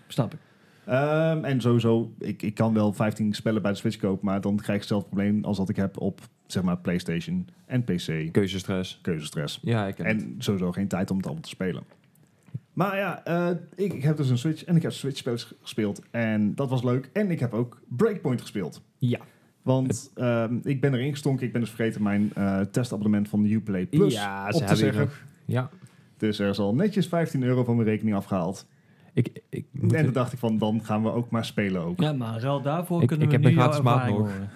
Speaker 3: Snap ik.
Speaker 1: Ehm, en sowieso, ik, ik kan wel 15 spellen bij de Switch kopen, maar dan krijg ik hetzelfde probleem als dat ik heb op, zeg maar, PlayStation en PC.
Speaker 2: Keuzestress.
Speaker 1: Keuzestress.
Speaker 2: Ja, ik ken het.
Speaker 1: En sowieso geen tijd om het allemaal te spelen. Maar ja, eh, ik, ik heb dus een Switch en ik heb Switch spelers gespeeld en dat was leuk. En ik heb ook Breakpoint gespeeld.
Speaker 2: Ja.
Speaker 1: Want ehm, ik ben erin gestonken, ik ben dus vergeten mijn eh, testabonnement van de Uplay Plus
Speaker 2: ja,
Speaker 1: op te
Speaker 2: hebben hier
Speaker 1: zeggen.
Speaker 2: nog- Ja.
Speaker 1: Dus er is al netjes 15 euro van mijn rekening afgehaald.
Speaker 2: Ik, ik, moet-
Speaker 1: En toen dacht ik van, dan gaan we ook maar spelen ook.
Speaker 3: Ja, maar ruil daarvoor
Speaker 2: Ik-
Speaker 3: kunnen
Speaker 2: ik
Speaker 3: we
Speaker 2: heb
Speaker 3: nu
Speaker 2: een
Speaker 3: jouw
Speaker 2: gratis maand
Speaker 3: ervaring
Speaker 2: nog.
Speaker 3: horen.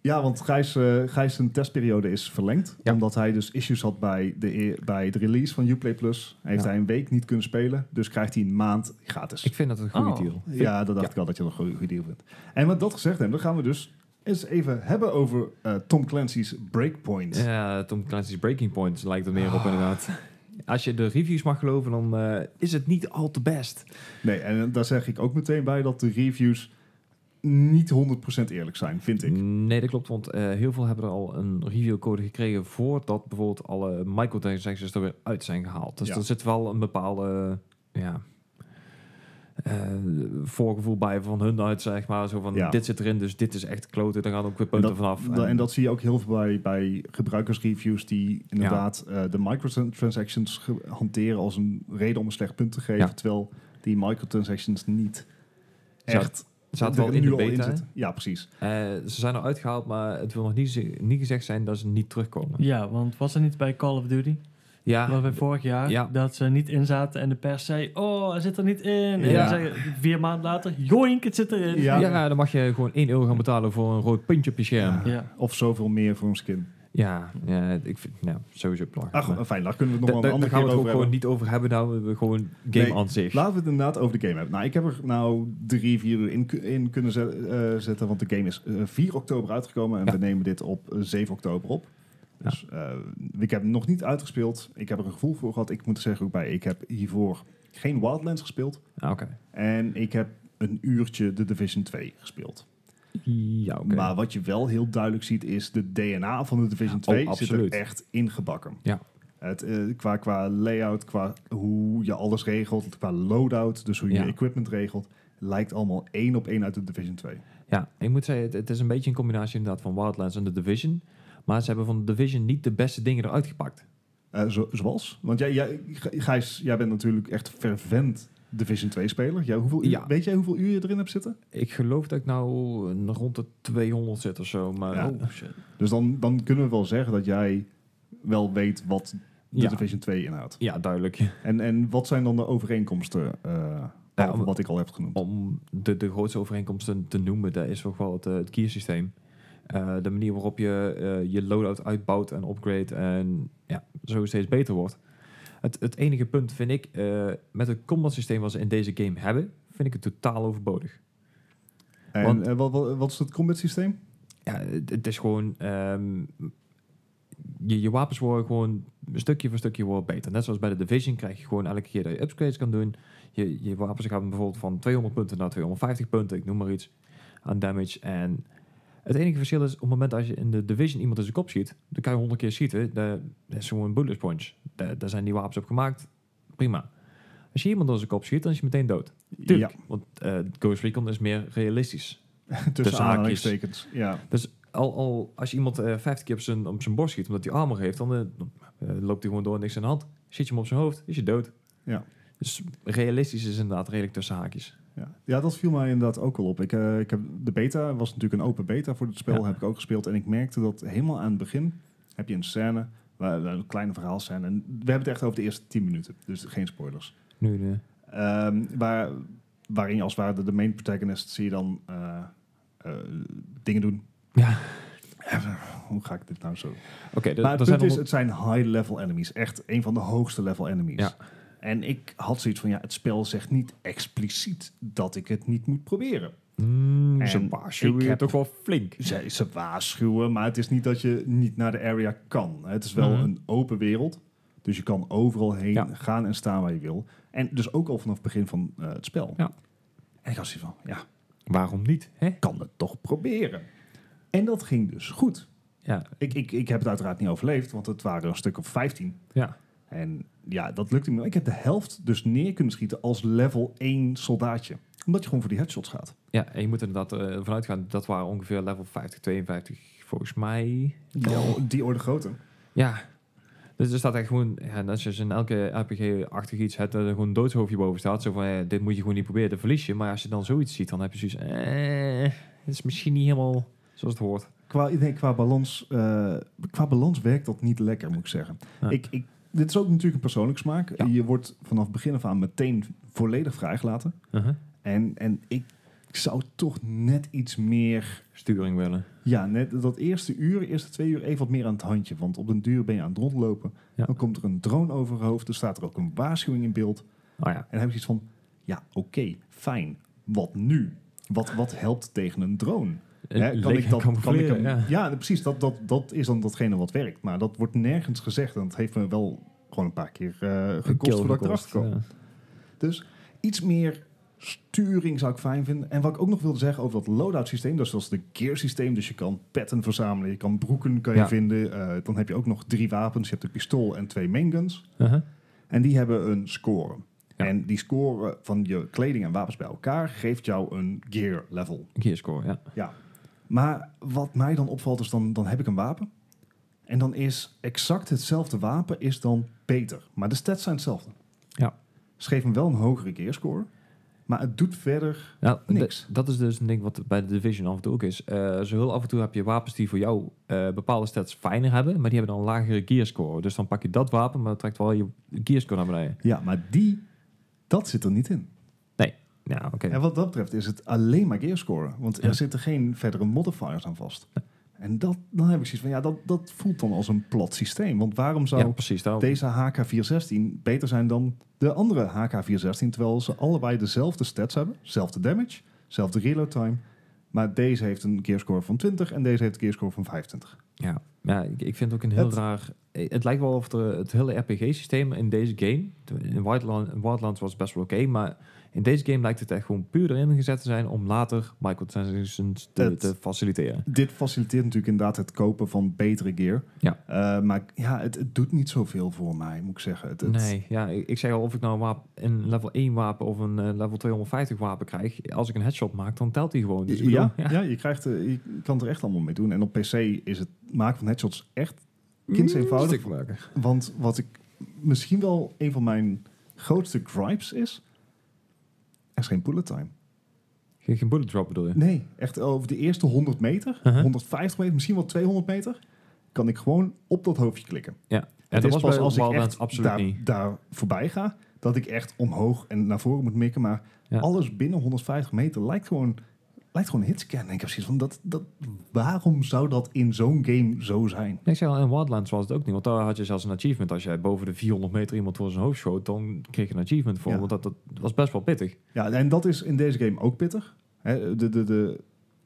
Speaker 1: Ja, want Gijs, eh, Gijs zijn testperiode is verlengd.
Speaker 2: Ja.
Speaker 1: Omdat hij dus issues had bij de, e- bij de release van Uplay Plus. Heeft
Speaker 2: Ja.
Speaker 1: hij een week niet kunnen spelen. Dus krijgt hij een maand gratis.
Speaker 2: ik vind dat een goede
Speaker 3: Oh.
Speaker 2: deal.
Speaker 1: ja, dat dacht ik al dat je dat een goede goede deal vindt. En met dat gezegd hebben, gaan we dus eens even hebben over eh, Tom Clancy's Breakpoint. Ah.
Speaker 2: Ja, Tom Clancy's Breaking Point lijkt er meer op, inderdaad. Als je de reviews mag geloven, dan eh, is het niet al te best.
Speaker 1: Nee, en eh, daar zeg ik ook meteen bij dat de reviews niet 100% eerlijk zijn, vind ik.
Speaker 2: Nee, dat klopt, want eh, heel veel hebben er al een reviewcode gekregen voordat bijvoorbeeld alle microtransactions er weer uit zijn gehaald. Dus
Speaker 1: Ja.
Speaker 2: er zit wel een bepaalde ja, eh, voorgevoel bij van hun uit, zeg maar. Zo van,
Speaker 1: Ja.
Speaker 2: dit zit erin, dus dit is echt kloten, dan gaan ook weer punten vanaf.
Speaker 1: Da- En dat zie je ook heel veel bij, bij gebruikersreviews die inderdaad eh, de microtransactions ge- hanteren als een reden om een slecht punt te geven,
Speaker 2: Ja.
Speaker 1: terwijl die microtransactions niet
Speaker 2: Zou-
Speaker 1: echt
Speaker 2: het zaten
Speaker 1: er
Speaker 2: wel in de
Speaker 1: al
Speaker 2: beta. hè?
Speaker 1: zitten. Ja, precies.
Speaker 2: Eh, ze zijn eruit gehaald, maar het wil nog niet, ze- niet gezegd zijn dat ze niet terugkomen.
Speaker 3: Ja, want was er niet bij Call of Duty?
Speaker 2: Ja,
Speaker 3: Waar we vorig jaar
Speaker 2: Ja.
Speaker 3: dat ze niet in zaten en de pers zei: Oh, hij zit er niet in. En
Speaker 2: Ja.
Speaker 3: dan zei je vier maanden later: Joink, het zit erin.
Speaker 1: Ja.
Speaker 2: ja. dan mag je gewoon 1 euro gaan betalen voor een rood puntje op je scherm.
Speaker 1: Ja.
Speaker 3: Ja.
Speaker 1: Of zoveel meer voor een skin.
Speaker 2: Ja, ja ik vind nou, sowieso belangrijk.
Speaker 1: Ach,
Speaker 2: Maar
Speaker 1: fijn, daar kunnen we het
Speaker 2: da-
Speaker 1: nog
Speaker 2: da-
Speaker 1: wel een andere
Speaker 2: daar gaan we
Speaker 1: keer
Speaker 2: het ook
Speaker 1: over
Speaker 2: gewoon
Speaker 1: hebben.
Speaker 2: niet over hebben. Nou, we hebben gewoon game
Speaker 1: Nee,
Speaker 2: aan zich.
Speaker 1: Laten we het inderdaad over de game hebben. Nou, ik heb er nou drie, vier uur in, ku- in kunnen zet- eh, zetten, want de game is eh, 4 oktober uitgekomen en
Speaker 2: Ja.
Speaker 1: we nemen dit op eh, 7 oktober op. Dus eh, ik heb hem nog niet uitgespeeld. Ik heb er een gevoel voor gehad. Ik moet er zeggen ook bij, ik heb hiervoor geen Wildlands gespeeld
Speaker 2: Ah, Oké.
Speaker 1: en ik heb een uurtje de Division 2 gespeeld.
Speaker 2: Ja, oké.
Speaker 1: Maar wat je wel heel duidelijk ziet is de DNA van de Division 2 zit er
Speaker 2: Oh, absoluut.
Speaker 1: echt ingebakken.
Speaker 2: Ja.
Speaker 1: Het, eh, qua, qua layout, qua hoe je alles regelt, qua loadout, dus hoe je
Speaker 2: Ja.
Speaker 1: equipment regelt, lijkt allemaal één op één uit de Division 2.
Speaker 2: Ja, ik moet zeggen, het, het is een beetje een combinatie inderdaad van Wildlands en The Division. Maar ze hebben van The Division niet de beste dingen eruit gepakt.
Speaker 1: Eh, zo- zoals? Want jij, jij, Gijs, jij bent natuurlijk echt fervent Division 2-speler. Jij, hoeveel uur-
Speaker 2: Ja.
Speaker 1: Weet jij hoeveel uur je erin hebt zitten?
Speaker 2: Ik geloof dat ik nou een- rond de 200 zit of zo. Maar
Speaker 1: Ja.
Speaker 2: Oh, shit.
Speaker 1: Dus dan, dan kunnen we wel zeggen dat jij wel weet wat de
Speaker 2: Ja.
Speaker 1: Division 2 inhoudt.
Speaker 2: ja, duidelijk.
Speaker 1: En, en wat zijn dan de overeenkomsten eh
Speaker 2: Ja,
Speaker 1: over
Speaker 2: om-
Speaker 1: wat ik al heb genoemd?
Speaker 2: om de, de grootste overeenkomsten te noemen, dat is toch wel het, eh, het kiersysteem. Eh, de manier waarop je eh, je loadout uitbouwt en upgrade en ja, zo steeds beter wordt. Het, het enige punt vind ik, eh, met het combat systeem wat ze in deze game hebben, vind ik het totaal overbodig.
Speaker 1: En
Speaker 2: Want-
Speaker 1: eh, wat, wat, wat is het combat systeem?
Speaker 2: Ja, het, het is gewoon, ehm, je, je wapens worden gewoon stukje voor stukje worden beter. Net zoals bij de Division krijg je gewoon elke keer dat je upgrades kan doen. Je, je wapens gaan bijvoorbeeld van 200 punten naar 250 punten, ik noem maar iets, aan damage. En het enige verschil is, op het moment dat je in de Division iemand in zijn kop schiet, dan kan je 100 keer schieten. Dat dat is gewoon een bullet sponge. Daar, daar zijn die wapens op gemaakt. Prima. Als je iemand in zijn kop schiet, dan is je meteen dood. Tuurlijk. Want eh, Ghost Recon is meer realistisch.
Speaker 1: Ja, tussen
Speaker 2: Tussen
Speaker 1: aanhalingstekens. Ja.
Speaker 2: Al, al als je iemand eh 50 keer op zijn, op zijn borst schiet omdat hij armor heeft, dan eh, dan, eh, loopt hij gewoon door niks aan de hand. Schiet je hem op zijn hoofd, is je dood.
Speaker 1: Ja.
Speaker 2: Dus realistisch is inderdaad redelijk tussen haakjes.
Speaker 1: Ja. ja, dat viel mij inderdaad ook wel op. Ik, eh, ik heb, de beta was natuurlijk een open beta voor het spel,
Speaker 2: Ja.
Speaker 1: heb ik ook gespeeld. En ik merkte dat helemaal aan het begin heb je een scène, waar, waar een kleine verhaalscène. En we hebben het echt over de eerste 10 minuten, dus geen spoilers.
Speaker 2: Nu de,
Speaker 1: Ehm, waar, waarin je als het ware de, de main protagonist zie je dan eh, eh, dingen doen.
Speaker 2: Ja.
Speaker 1: Hoe ga ik dit nou zo
Speaker 2: Oké, dat
Speaker 1: Maar het
Speaker 2: dat zijn
Speaker 1: punt is,
Speaker 2: allemaal-
Speaker 1: het zijn high-level enemies. Echt een van de hoogste level enemies.
Speaker 2: Ja.
Speaker 1: En ik had zoiets van, ja, het spel zegt niet expliciet dat ik het niet moet proberen.
Speaker 2: Mm,
Speaker 1: En
Speaker 2: ze waarschuwen
Speaker 1: ik
Speaker 2: je
Speaker 1: heb-
Speaker 2: toch wel flink.
Speaker 1: Ze, ze waarschuwen, maar het is niet dat je niet naar de area kan. Het is wel
Speaker 2: Mhm.
Speaker 1: een open wereld, dus je kan overal heen
Speaker 2: Ja.
Speaker 1: gaan en staan waar je wil. En dus ook al vanaf het begin van eh, het spel.
Speaker 2: Ja.
Speaker 1: En ik had zoiets van, ja,
Speaker 2: Waarom niet? Hè?
Speaker 1: kan het toch proberen. En dat ging dus goed.
Speaker 2: Ja,
Speaker 1: Ik, ik, ik heb het uiteraard niet overleefd, want het waren een stuk of 15.
Speaker 2: ja.
Speaker 1: En ja, dat lukte me. Ik heb de helft dus neer kunnen schieten als level 1 soldaatje. Omdat je gewoon voor die headshots gaat.
Speaker 2: ja, en je moet inderdaad eh vanuit gaan, dat waren ongeveer level 50, 52 volgens mij.
Speaker 1: Ja, die orde grote.
Speaker 2: Ja. Dus er staat echt gewoon, ja, en als je dus in elke RPG-achtig iets hebt, dat er gewoon een doodshoofdje boven staat. Zo van, eh, dit moet je gewoon niet proberen, dan verlies je. Maar als je dan zoiets ziet, dan heb je zoiets, eh, het is misschien niet helemaal zoals het hoort.
Speaker 1: Qua, ik denk, qua, balans, eh, qua balans werkt dat niet lekker, moet ik zeggen.
Speaker 2: Ja.
Speaker 1: Ik, ik, dit is ook natuurlijk een persoonlijk smaak.
Speaker 2: Ja.
Speaker 1: Je wordt vanaf begin af aan meteen volledig vrijgelaten. En, en ik zou toch net iets meer...
Speaker 2: Sturing willen.
Speaker 1: Ja, net dat eerste uur, eerste twee uur even wat meer aan het handje. Want op den duur ben je aan het rondlopen.
Speaker 2: Ja.
Speaker 1: Dan komt er een drone over je hoofd. Er staat er ook een waarschuwing in beeld.
Speaker 2: Nou ja,
Speaker 1: En dan heb ik zoiets van, ja, oké, fijn. Wat nu? Wat, wat helpt tegen een drone? Hè,
Speaker 2: leek en
Speaker 1: kan ik
Speaker 2: camoufleren,
Speaker 1: hem,
Speaker 2: ja.
Speaker 1: ja. precies. Dat, dat, dat is dan datgene wat werkt. Maar dat wordt nergens gezegd. En dat heeft me wel gewoon een paar keer eh, gekost voordat ik erachter kwam. Dus iets meer sturing zou ik fijn vinden. En wat ik ook nog wilde zeggen over dat loadout systeem, Dus dat is zoals de gear systeem. Dus je kan petten verzamelen, je kan broeken kan je
Speaker 2: Ja.
Speaker 1: vinden. Eh, dan heb je ook nog drie wapens. Je hebt een pistool en twee mainguns.
Speaker 2: Uh-huh.
Speaker 1: En die hebben een score.
Speaker 2: Ja.
Speaker 1: En die score van je kleding en wapens bij elkaar geeft jou een gear level.
Speaker 2: Gearscore, ja.
Speaker 1: Maar wat mij dan opvalt is dan, dan heb ik een wapen. En dan is exact hetzelfde wapen is dan beter. Maar de stats zijn hetzelfde.
Speaker 2: Ja.
Speaker 1: Ze geven hem wel een hogere gearscore. Maar het doet verder...
Speaker 2: Ja, d-
Speaker 1: Niks.
Speaker 2: dat is dus een ding wat bij de Division af en toe ook is. Eh, zo heel af en toe heb je wapens die voor jou eh, bepaalde stats fijner hebben, maar die hebben dan een lagere gearscore. Dus dan pak je dat wapen, maar dat trekt wel je gearscore naar beneden.
Speaker 1: Ja, maar die... Dat zit er niet in.
Speaker 2: Ja, oké.
Speaker 1: En wat dat betreft is het alleen maar gearscore. Want
Speaker 2: Ja.
Speaker 1: er zitten geen verdere modifiers aan vast. En dat, dan heb ik zoiets van... Ja, dat, dat voelt dan als een plat systeem. Want waarom zou...
Speaker 2: Ja, precies. Daarom,
Speaker 1: deze HK416 beter zijn dan de andere HK416. Terwijl ze allebei dezelfde stats hebben. Zelfde damage, zelfde reload time. Maar deze heeft een gearscore van 20 en deze heeft een gearscore van 25.
Speaker 2: Ja, ja ik, ik vind het ook een heel
Speaker 1: Het-
Speaker 2: raar... eh, Het lijkt wel of de, het hele RPG-systeem in deze game... In Wildland, in Wildlands was het best wel oké, maar... In deze game lijkt het echt gewoon puur erin gezet te zijn... om later microtransactions te,
Speaker 1: Het-
Speaker 2: te faciliteren.
Speaker 1: Dit faciliteert natuurlijk inderdaad het kopen van betere gear.
Speaker 2: Ja.
Speaker 1: Eh, maar ja, het, het doet niet zoveel voor mij, moet ik zeggen. Het, het-
Speaker 2: Nee, ja, ik, ik zeg al of ik nou een, wapen, een level 1 wapen of een eh, level 250 wapen krijg... als ik een headshot maak, dan telt die gewoon. Dus ik bedoel,
Speaker 1: ja, ja. je, krijgt, eh, je kan er echt allemaal mee doen. En op PC is het maken van headshots echt kind is
Speaker 2: Mm,
Speaker 1: eenvoudig.
Speaker 2: stuk maken.
Speaker 1: Want wat ik misschien wel een van mijn grootste gripes is, er is geen bullet time.
Speaker 2: Geen, geen bullet drop bedoel je?
Speaker 1: Nee, echt over de eerste 100 meter,
Speaker 2: Uh-huh.
Speaker 1: 150 meter, misschien wel 200 meter, kan ik gewoon op dat hoofdje klikken.
Speaker 2: En dat
Speaker 1: is
Speaker 2: was
Speaker 1: pas
Speaker 2: bij
Speaker 1: als ik
Speaker 2: Wildlands
Speaker 1: echt
Speaker 2: absoluut
Speaker 1: daar,
Speaker 2: niet.
Speaker 1: daar voorbij ga, dat ik echt omhoog en naar voren moet mikken. Maar
Speaker 2: Ja.
Speaker 1: alles binnen 150 meter lijkt gewoon, lijkt gewoon een hitscan. En ik heb zoiets van, dat, dat, waarom zou dat in zo'n game zo zijn?
Speaker 2: Nee, ik zei al, in Wildlands was het ook niet. Want daar had je zelfs een achievement. Als jij boven de 400 meter iemand voor zijn hoofd schoot, dan kreeg je een achievement voor.
Speaker 1: Ja.
Speaker 2: Want dat, dat was best wel pittig.
Speaker 1: Ja, en dat is in deze game ook pittig. Hè, de, de, de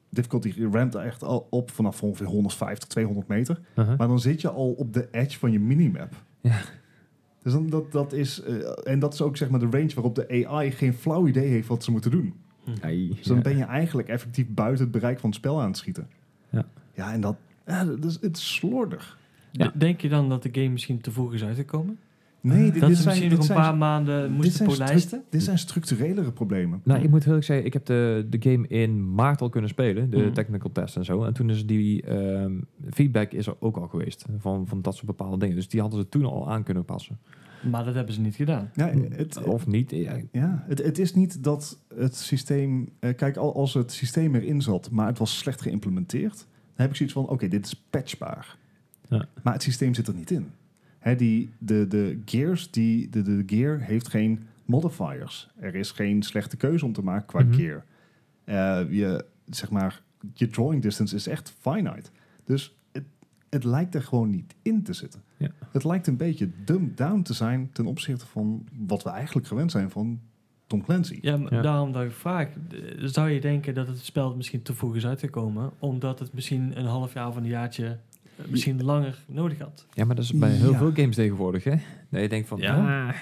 Speaker 1: difficulty ramt daar echt al op vanaf ongeveer 150, 200 meter.
Speaker 3: Uh-huh.
Speaker 1: Maar dan zit je al op de edge van je minimap.
Speaker 2: Ja.
Speaker 1: Dus dan, dat, dat is, eh, en dat is ook zeg maar de range waarop de AI geen flauw idee heeft wat ze moeten doen.
Speaker 2: Nee,
Speaker 1: Dus dan
Speaker 2: ja.
Speaker 1: ben je eigenlijk effectief buiten het bereik van het spel aan het schieten.
Speaker 2: Ja.
Speaker 1: Ja, en dat, ja, dat is, het is slordig.
Speaker 2: Ja.
Speaker 3: D- Denk je dan dat de game misschien te vroeg is uitgekomen?
Speaker 1: Nee, dit,
Speaker 3: dat
Speaker 1: dit
Speaker 3: ze
Speaker 1: zijn,
Speaker 3: misschien
Speaker 1: dit,
Speaker 3: nog een
Speaker 1: zijn,
Speaker 3: paar maanden moesten
Speaker 1: zijn stru-
Speaker 3: polijsten?
Speaker 1: dit zijn structurelere problemen.
Speaker 2: Nou, ik moet heel eerlijk zeggen, ik heb de, de game in maart al kunnen spelen. De
Speaker 3: Mhm.
Speaker 2: technical test en zo. En toen is die ehm, feedback is er ook al geweest. Van, van dat soort bepaalde dingen. Dus die hadden ze toen al aan kunnen passen.
Speaker 3: Maar dat hebben ze niet gedaan.
Speaker 1: Ja, het,
Speaker 2: of niet. Ja,
Speaker 1: ja, het, het is niet dat het systeem... eh, kijk, al- als het systeem erin zat, maar het was slecht geïmplementeerd... dan heb ik zoiets van, oké, dit is patchbaar.
Speaker 2: Ja.
Speaker 1: Maar het systeem zit er niet in. Hè, die, de, de gears, die, de, de gear heeft geen modifiers. Er is geen slechte keuze om te maken qua
Speaker 2: Mhm.
Speaker 1: gear. Eh, je, zeg maar, je drawing distance is echt finite. Dus het, het lijkt er gewoon niet in te zitten.
Speaker 2: Ja.
Speaker 1: Het lijkt een beetje dumbed down te zijn ten opzichte van wat we eigenlijk gewend zijn van Tom Clancy.
Speaker 3: Ja, maar
Speaker 2: Ja.
Speaker 3: daarom dat ik vraag. eh, Zou je denken dat het spel misschien te vroeg is uitgekomen? Omdat het misschien een half jaar of een jaartje eh, misschien langer nodig had.
Speaker 2: ja, maar dat is bij heel
Speaker 1: Ja.
Speaker 2: veel games tegenwoordig, hè? Dat je denkt van...
Speaker 3: Ja.
Speaker 2: ah.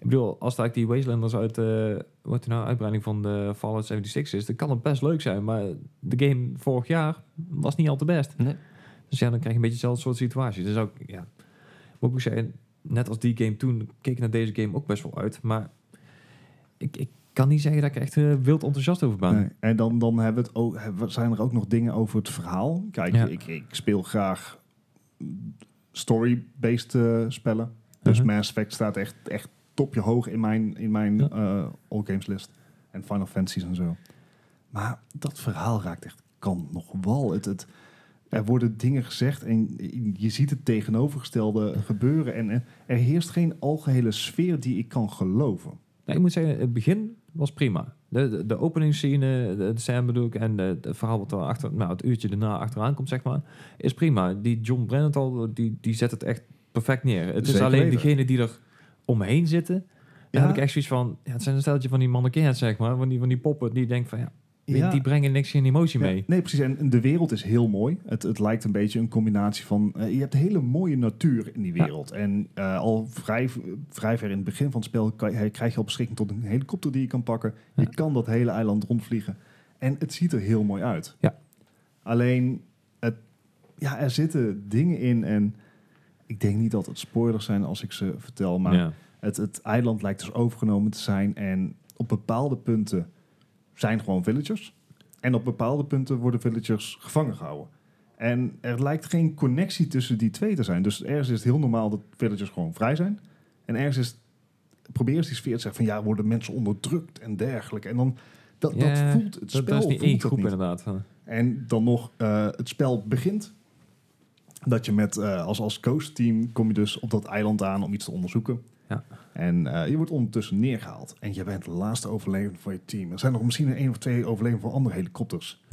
Speaker 2: Ik bedoel, als daar die Wastelanders uit... eh wat nou, uitbreiding van de Fallout 76 is... dan kan het best leuk zijn. Maar de game vorig jaar was niet al te best.
Speaker 3: Nee.
Speaker 2: Dus ja, dan krijg je een beetje hetzelfde soort situatie. Dus ook, ja, moet ik ook zeggen, net als die game toen, keek ik naar deze game ook best wel uit. Maar ik, ik kan niet zeggen dat ik echt eh, wild enthousiast over ben.
Speaker 1: Nee, En dan, dan hebben we het ook, hebben we- zijn er ook nog dingen over het verhaal. Kijk,
Speaker 2: Ja.
Speaker 1: ik, ik speel graag story-based eh, spellen. Dus
Speaker 2: Mhm.
Speaker 1: Mass Effect staat echt, echt topje hoog in mijn, in mijn
Speaker 2: Ja.
Speaker 1: eh, all games list. En Final Fantasies en zo. Maar dat verhaal raakt echt kan nog wel. Het, het, er worden dingen gezegd en je ziet het tegenovergestelde gebeuren. En eh, er heerst geen algehele sfeer die ik kan geloven.
Speaker 2: Nou, ik moet zeggen, het begin was prima. De, de, de openingsscene, de, de scène bedoel ik, en de, het verhaal wat er achter, nou, het uurtje daarna achteraan komt, zeg maar, is prima. Die John Brennantal, die, die zet het echt perfect neer. Het is
Speaker 1: Zeker
Speaker 2: alleen
Speaker 1: weten.
Speaker 2: degene die er omheen zitten. Daar
Speaker 1: Ja.
Speaker 2: heb ik echt zoiets van, ja, het zijn een steltje van die mannequins, zeg maar, van die, van die poppen, die denken van, ja, Die- Die brengen niks in emotie mee.
Speaker 1: Ja, nee, precies. En en de wereld is heel mooi. Het, het lijkt een beetje een combinatie van... eh, je hebt hele mooie natuur in die
Speaker 2: Ja.
Speaker 1: wereld. En eh, al vrij, vrij ver in het begin van het spel... kan je- krijg je al beschikking tot een helikopter die je kan pakken.
Speaker 2: Ja.
Speaker 1: Je kan dat hele eiland rondvliegen. En het ziet er heel mooi uit.
Speaker 2: Ja.
Speaker 1: Alleen, het, ja, er zitten dingen in en... Ik denk niet dat het spoilers zijn als ik ze vertel, maar...
Speaker 2: Ja.
Speaker 1: Het, het eiland lijkt dus overgenomen te zijn. En op bepaalde punten zijn gewoon villagers. En op bepaalde punten worden villagers gevangen gehouden. En er lijkt geen connectie tussen die twee te zijn. Dus ergens is het heel normaal dat villagers gewoon vrij zijn. En ergens is proberen ze die sfeer te zeggen van ja, worden mensen onderdrukt en dergelijke. En dan dat,
Speaker 2: Ja,
Speaker 1: dat voelt het spel.
Speaker 2: Dat, dat is niet
Speaker 1: voelt
Speaker 2: één
Speaker 1: dat
Speaker 2: groep
Speaker 1: niet.
Speaker 2: inderdaad. Ja.
Speaker 1: En dan nog, eh, het spel begint. Dat je met, eh, als, als coast team kom je dus op dat eiland aan om iets te onderzoeken.
Speaker 2: Ja.
Speaker 1: En eh, je wordt ondertussen neergehaald. En je bent de laatste overlevende van je team. Er zijn nog misschien één of twee overlevenden van andere helikopters.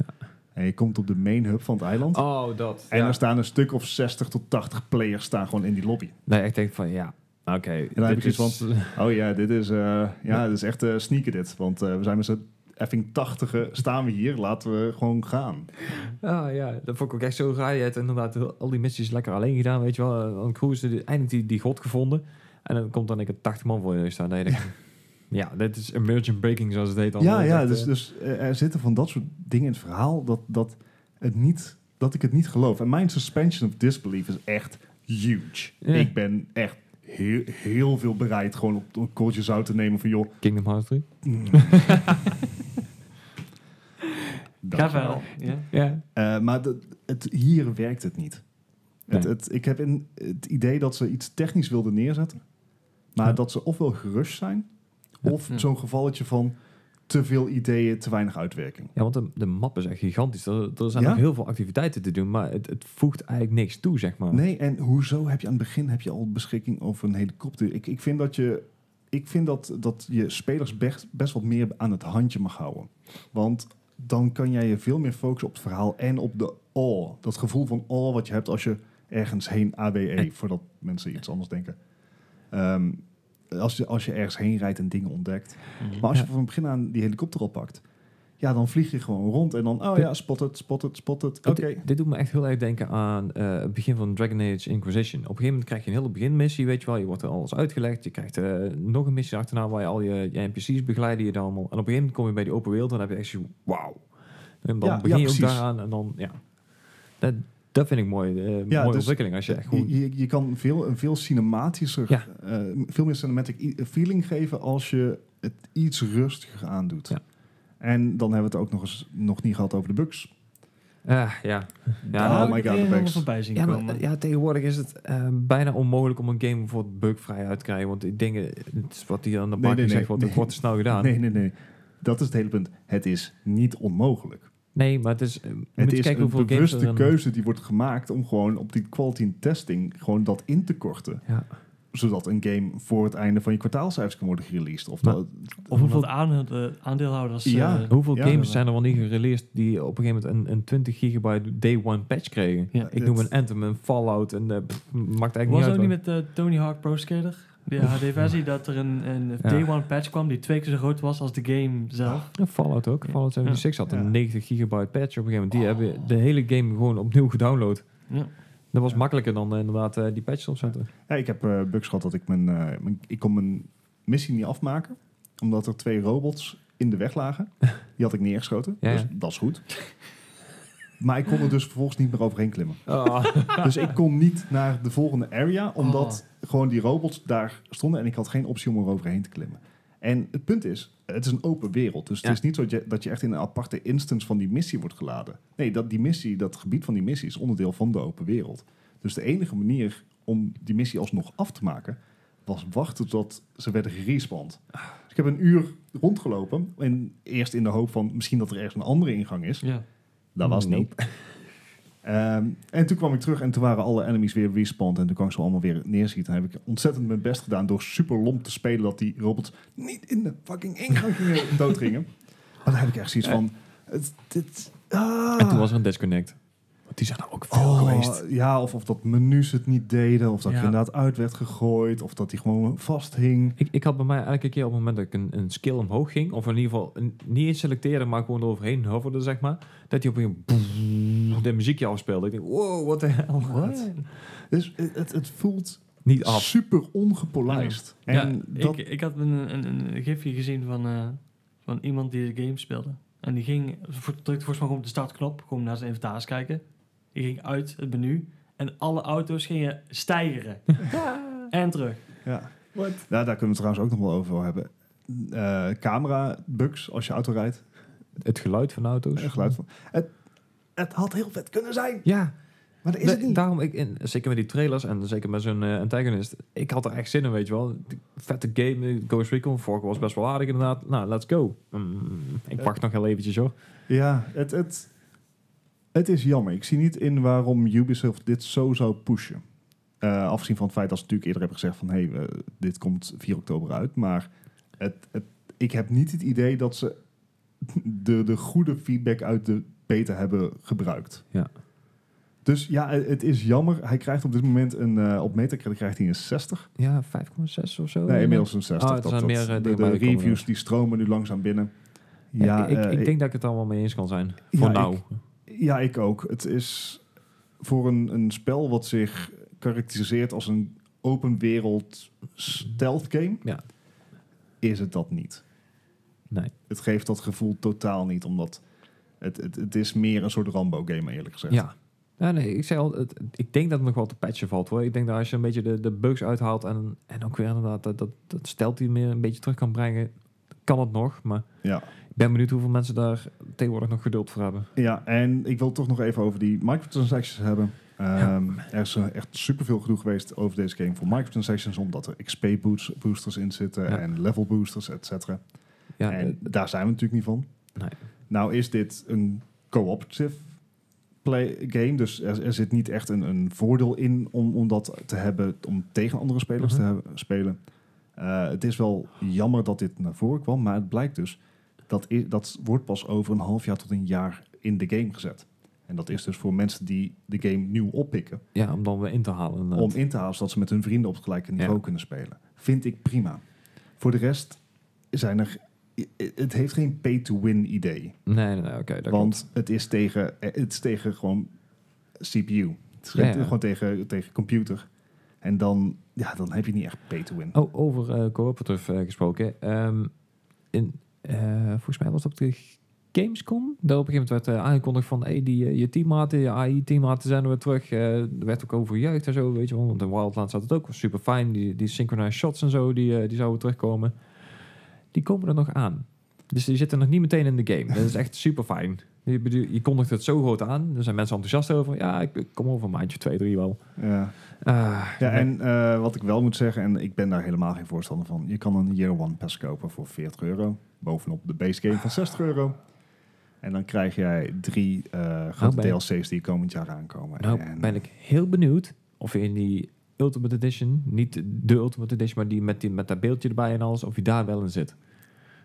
Speaker 1: En je komt op de main hub van het eiland.
Speaker 2: Oh, dat.
Speaker 1: En daar staan een stuk of 60 tot 80 players staan gewoon in die lobby.
Speaker 2: Nee, ik denk van ja, oké.
Speaker 1: dan heb
Speaker 2: dit
Speaker 1: ik zoiets
Speaker 2: is-
Speaker 1: Oh ja, dit is, eh, ja, dit is echt eh, sneaken dit. Want eh, we zijn met z'n effing tachtigen staan we hier. Laten we gewoon gaan.
Speaker 2: Ah ja, dat vond ik ook echt zo raar. Je hebt inderdaad heel- al die missies lekker alleen gedaan, weet je wel. Eh, Dan cruise die- eindelijk die, die god gevonden. En dan komt dan ik een 80 man voor je staan. Nee, ja. ja, dit is emergent breaking zoals het heet. dan.
Speaker 1: Ja,
Speaker 2: Eh,
Speaker 1: ja
Speaker 2: dat,
Speaker 1: dus,
Speaker 2: eh,
Speaker 1: dus eh, er zitten van dat soort dingen in het verhaal dat, dat, het niet, dat ik het niet geloof. En mijn suspension of disbelief is echt huge.
Speaker 2: Ja.
Speaker 1: Ik ben echt heel, heel veel bereid gewoon op een korreltje zout te nemen van joh.
Speaker 2: Kingdom Hearts 3.
Speaker 1: mm.
Speaker 3: Ga
Speaker 1: Dankjewel.
Speaker 3: verder. Ja.
Speaker 2: Ja.
Speaker 1: Eh, maar dat- het, hier werkt het niet. Het,
Speaker 2: Nee.
Speaker 1: het, ik heb in, het idee dat ze iets technisch wilden neerzetten. Maar
Speaker 2: Ja.
Speaker 1: dat ze ofwel gerust zijn,
Speaker 2: Ja.
Speaker 1: of
Speaker 3: Ja.
Speaker 1: zo'n gevalletje van te veel ideeën, te weinig uitwerking.
Speaker 2: ja, want de, de map is echt gigantisch. Er, er zijn
Speaker 1: Ja?
Speaker 2: ook heel veel activiteiten te doen, maar het, het voegt eigenlijk niks toe, zeg maar.
Speaker 1: Nee, en hoezo heb je aan het begin heb je al beschikking over een helikopter? Ik, ik vind dat je, ik vind dat, dat je spelers best, best wat meer aan het handje mag houden. Want dan kan jij je veel meer focussen op het verhaal en op de awe. Dat gevoel van awe wat je hebt als je ergens heen AWE, voordat mensen iets anders denken. Ehm, als, je, als je ergens heen rijdt en dingen ontdekt. Maar als je
Speaker 2: Mhm. Ja.
Speaker 1: van het begin aan die helikopter oppakt, ja, dan vlieg je gewoon rond en dan, oh
Speaker 2: Dit-
Speaker 1: ja, spot het, spot het, spot het. Oké.
Speaker 2: Dit, dit doet me echt heel erg denken aan eh, het begin van Dragon Age Inquisition. Op een gegeven moment krijg je een hele beginmissie, weet je wel. Je wordt er alles uitgelegd. Je krijgt eh, nog een missie achterna waar je al je, je NPC's begeleiden je dan allemaal. En op een gegeven moment kom je bij die open wereld en dan heb je echt zo, wauw. En dan
Speaker 1: Ja,
Speaker 2: begin
Speaker 1: ja,
Speaker 2: je ook
Speaker 1: precies.
Speaker 2: daaraan en dan, ja. Dat, dat vind ik mooi, eh,
Speaker 1: dus-
Speaker 2: mooie ontwikkeling. Als je echt gewoon,
Speaker 1: Je, je, je kan veel, een veel cinematischer,
Speaker 2: Ja.
Speaker 1: eh, veel meer cinematic i- feeling geven als je het iets rustiger aandoet.
Speaker 2: Ja.
Speaker 1: En dan hebben we het ook nog eens nog niet gehad over de bugs.
Speaker 2: Ah, ja. nou,
Speaker 3: Daar
Speaker 2: Ja,
Speaker 1: Oh
Speaker 3: heb
Speaker 1: my
Speaker 3: ik
Speaker 1: god,
Speaker 3: helemaal
Speaker 1: thanks.
Speaker 3: voorbij zien
Speaker 2: Ja, maar,
Speaker 3: komen.
Speaker 2: eh, ja, tegenwoordig is het eh, bijna onmogelijk om een game bijvoorbeeld bugvrij uit te krijgen. Want die dingen, het is wat hier aan de
Speaker 1: Nee,
Speaker 2: bak
Speaker 1: nee, nee,
Speaker 2: zegt, wat
Speaker 1: nee.
Speaker 2: het wordt snel gedaan.
Speaker 1: Nee, nee, nee. Dat is het hele punt. Het is niet onmogelijk.
Speaker 2: Nee, maar het is. eh, moet
Speaker 1: Het
Speaker 2: je
Speaker 1: is
Speaker 2: kijken
Speaker 1: een
Speaker 2: hoeveel games er
Speaker 1: bewuste
Speaker 2: een-
Speaker 1: keuze die wordt gemaakt om gewoon op die quality and testing gewoon dat in te korten.
Speaker 2: Ja.
Speaker 1: Zodat een game voor het einde van je kwartaalcijfers kan worden gereleased. Of
Speaker 2: Maar-
Speaker 1: dat,
Speaker 3: Of hoeveel aande- aandeelhouders...
Speaker 1: Ja.
Speaker 3: eh,
Speaker 2: Hoeveel
Speaker 1: Ja.
Speaker 2: games zijn er wel niet gereleased die op een gegeven moment een, een 20 gigabyte day one patch kregen?
Speaker 3: ja.
Speaker 2: Ik
Speaker 1: Het-
Speaker 2: noem een Anthem, een Fallout, en eh, maakt eigenlijk niet
Speaker 3: Was het
Speaker 2: uit.
Speaker 3: ook niet
Speaker 2: hoor.
Speaker 3: met eh, Tony Hawk Pro Skater? De HD-versie, dat er een, een day one patch kwam die twee keer zo groot was als de game zelf.
Speaker 2: Ja, Fallout ook. Fallout 76 had een
Speaker 1: Ja.
Speaker 2: 90 gigabyte patch op een gegeven moment. Die hebben de hele game gewoon opnieuw gedownload.
Speaker 3: Ja.
Speaker 2: Dat was
Speaker 1: Ja.
Speaker 2: makkelijker dan eh, inderdaad eh, die patch opzetten.
Speaker 1: Ja, ik heb eh bugs gehad dat ik mijn, eh, mijn- ik kon mijn missie niet afmaken. Omdat er twee robots in de weg lagen. Die had ik neergeschoten.
Speaker 2: Ja,
Speaker 1: Dus
Speaker 2: ja.
Speaker 1: dat is goed. Maar ik kon er dus vervolgens niet meer overheen klimmen.
Speaker 2: Ah,
Speaker 1: Dus ik kon niet naar de volgende area. Omdat gewoon die robots daar stonden. En ik had geen optie om er overheen te klimmen. En het punt is, het is een open wereld. Dus
Speaker 2: Ja.
Speaker 1: het is niet zo dat je, dat je echt in een aparte instance van die missie wordt geladen. Nee, dat, die missie, dat gebied van die missie is onderdeel van de open wereld. Dus de enige manier om die missie alsnog af te maken... was wachten tot ze werden gerespawnd. Dus ik heb een uur rondgelopen. En eerst in de hoop van misschien dat er ergens een andere ingang is.
Speaker 3: Ja.
Speaker 1: Dat was het niet. Ehm, en toen kwam ik terug en toen waren alle enemies weer respawned. En toen kwam ik ze allemaal weer neerschieten. En heb ik ontzettend mijn best gedaan door super lomp te spelen... dat die robots niet in de fucking ingang gingen, doodgingen. Maar daar heb ik echt zoiets van... Het, dit, ah.
Speaker 2: En toen was er een disconnect. die zijn er ook veel geweest.
Speaker 1: Oh, ja, of, of dat menus het niet deden, of dat
Speaker 2: Ja.
Speaker 1: je inderdaad uit werd gegooid, of dat die gewoon vasthing.
Speaker 2: Ik, ik had bij mij elke keer op het moment dat ik een, een skill omhoog ging, of in ieder geval een- niet eens selecteren, maar gewoon eroverheen hoverde, zeg maar, dat hij op een boem, de muziekje afspeelde. Ik denk, wow, what the hell.
Speaker 1: What? Dus het, het, het voelt
Speaker 2: Niet af.
Speaker 1: super ongepolijst. En
Speaker 3: ja,
Speaker 1: dat,
Speaker 3: ik, ik had een, een, een een gifje gezien van, eh, van iemand die de game speelde. En die ging, vo- drukte volgens mij gewoon op de startknop, gewoon naar zijn inventaris kijken. Die ging uit het menu en alle auto's gingen stijgeren. en terug.
Speaker 1: ja. Nou, daar kunnen we het trouwens ook nog wel over hebben. Eh, camera, bugs als je auto rijdt.
Speaker 2: Het geluid van auto's.
Speaker 1: eh, geluid van. Het, het had heel vet kunnen zijn,
Speaker 2: Ja,
Speaker 1: maar dat is
Speaker 2: da-
Speaker 1: het niet.
Speaker 2: daarom, ik, en zeker met die trailers en zeker met zo'n eh, antagonist, ik had er echt zin in, weet je wel. Die vette game, eh, Ghost Recon, vorige was best wel aardig inderdaad. Nou, let's go. Mm, ik wacht nog heel eventjes hoor.
Speaker 1: Ja, het, het, het is jammer. Ik zie niet in waarom Ubisoft dit zo zou pushen. Eh, afgezien van het feit dat ze natuurlijk eerder hebben gezegd van... hé, hey, eh, dit komt 4 oktober uit. Maar het, het, ik heb niet het idee dat ze de, de goede feedback uit de beta hebben gebruikt.
Speaker 2: Ja.
Speaker 1: Dus ja, eh, het is jammer. Hij krijgt op dit moment een... eh, op Metacritic krijgt hij een 60.
Speaker 2: Ja, 5,6 of zo.
Speaker 1: Nee, inmiddels een 60.
Speaker 2: Oh, het
Speaker 1: Dat-
Speaker 2: zijn
Speaker 1: dat-
Speaker 2: meer, eh,
Speaker 1: de-
Speaker 2: dingen
Speaker 1: de
Speaker 2: bij die komen
Speaker 1: reviews die stromen nu langzaam binnen.
Speaker 2: Ja, ik,
Speaker 1: eh,
Speaker 2: ik denk dat ik het allemaal mee eens kan zijn. Voor
Speaker 1: Ja,
Speaker 2: nou.
Speaker 1: Ja, ik ook. Het is voor een, een spel wat zich karakteriseert als een open wereld stealth game,
Speaker 2: Ja.
Speaker 1: is het dat niet.
Speaker 2: Nee.
Speaker 1: Het geeft dat gevoel totaal niet, omdat het, het, het is meer een soort Rambo game, eerlijk gezegd.
Speaker 2: Ja. Ja, nee, ik, zei al, het- ik denk dat het nog wel te patchen valt hoor. Ik denk dat als je een beetje de, de bugs uithaalt en, en ook weer inderdaad dat, dat, dat stelt die meer een beetje terug kan brengen, kan het nog. Maar
Speaker 1: Ja.
Speaker 2: ik ben benieuwd hoeveel mensen daar tegenwoordig nog geduld voor hebben.
Speaker 1: Ja, en ik wil toch nog even over die microtransactions hebben. Ehm, Er is eh, echt superveel gedoe geweest over deze game voor microtransactions, omdat er XP boots- boosters in zitten
Speaker 2: Ja.
Speaker 1: en level boosters, et cetera.
Speaker 2: Ja,
Speaker 1: en
Speaker 2: eh,
Speaker 1: daar zijn we natuurlijk niet van.
Speaker 2: Nee.
Speaker 1: Nou is dit een cooperative play game, dus er, er zit niet echt een, een voordeel in om, om dat te hebben, om tegen andere spelers
Speaker 2: Mhm.
Speaker 1: te hebben- spelen. Eh, het is wel jammer dat dit naar voren kwam, maar het blijkt dus dat, i- dat wordt pas over een half jaar tot een jaar in de game gezet. En dat is dus voor mensen die de game nieuw oppikken,
Speaker 2: ja, om dan weer in te halen.
Speaker 1: om
Speaker 2: inderdaad.
Speaker 1: in te halen zodat ze met hun vrienden op het gelijke niveau
Speaker 2: Ja.
Speaker 1: kunnen spelen. Vind ik prima. Voor de rest zijn er. i- i- Het heeft geen pay-to-win idee.
Speaker 2: Nee, nee, nee, oké. dat
Speaker 1: Want
Speaker 2: klopt.
Speaker 1: het is tegen, eh, het is tegen gewoon CPU. Het is
Speaker 2: Ja, ja.
Speaker 1: gewoon tegen, tegen computer. En dan, ja, dan heb je niet echt pay to win.
Speaker 2: Oh, over eh cooperative eh, gesproken. Ehm, in, eh, volgens mij was dat op de G- Gamescom. Daar op een gegeven moment werd eh, aangekondigd van... Hey, die, eh, je teammaten, je AI-teammaten zijn er weer terug. Eh, er werd ook over gejuicht en zo, weet je wel. Want in Wildlands had het ook super fijn. Die, die synchronized shots en zo, die, eh, die zouden terugkomen. Die komen er nog aan. Dus die zitten nog niet meteen in de game. Dat is echt super fijn. Je, bedoel- je kondigt het zo groot aan. Er zijn mensen enthousiast over. Ja, ik, ik kom over een maandje, twee, drie wel.
Speaker 1: Ja,
Speaker 2: Ah,
Speaker 1: ja en eh, wat ik wel moet zeggen, en ik ben daar helemaal geen voorstander van. Je kan een Year One Pass kopen voor 40 euro. Bovenop de base game van 60 euro. En dan krijg jij drie eh grote
Speaker 2: ben-
Speaker 1: DLC's die komend jaar aankomen.
Speaker 2: Nou,
Speaker 1: en,
Speaker 2: ben ik heel benieuwd of je in die Ultimate Edition, niet de Ultimate Edition, maar die met, die, met dat beeldje erbij en alles, of je daar wel in zit.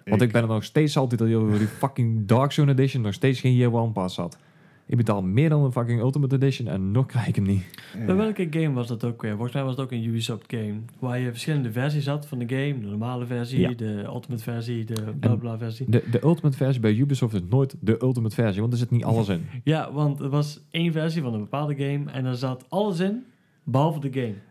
Speaker 2: Want ik, ben er nog steeds altijd al over die fucking Dark Zone Edition nog steeds geen Year One Pass had. Ik betaal meer dan een fucking Ultimate Edition en nog krijg ik hem niet.
Speaker 1: eh,
Speaker 3: Bij welke game was dat ook weer? Volgens mij was het ook een Ubisoft game. Waar je verschillende versies had van de game. De normale versie,
Speaker 2: Ja.
Speaker 3: de ultimate versie, de bla bla versie.
Speaker 2: De, de Ultimate versie bij Ubisoft is nooit de Ultimate versie, want er zit niet alles in.
Speaker 3: Ja, want er was één versie van een bepaalde game. En daar zat alles in, behalve de game.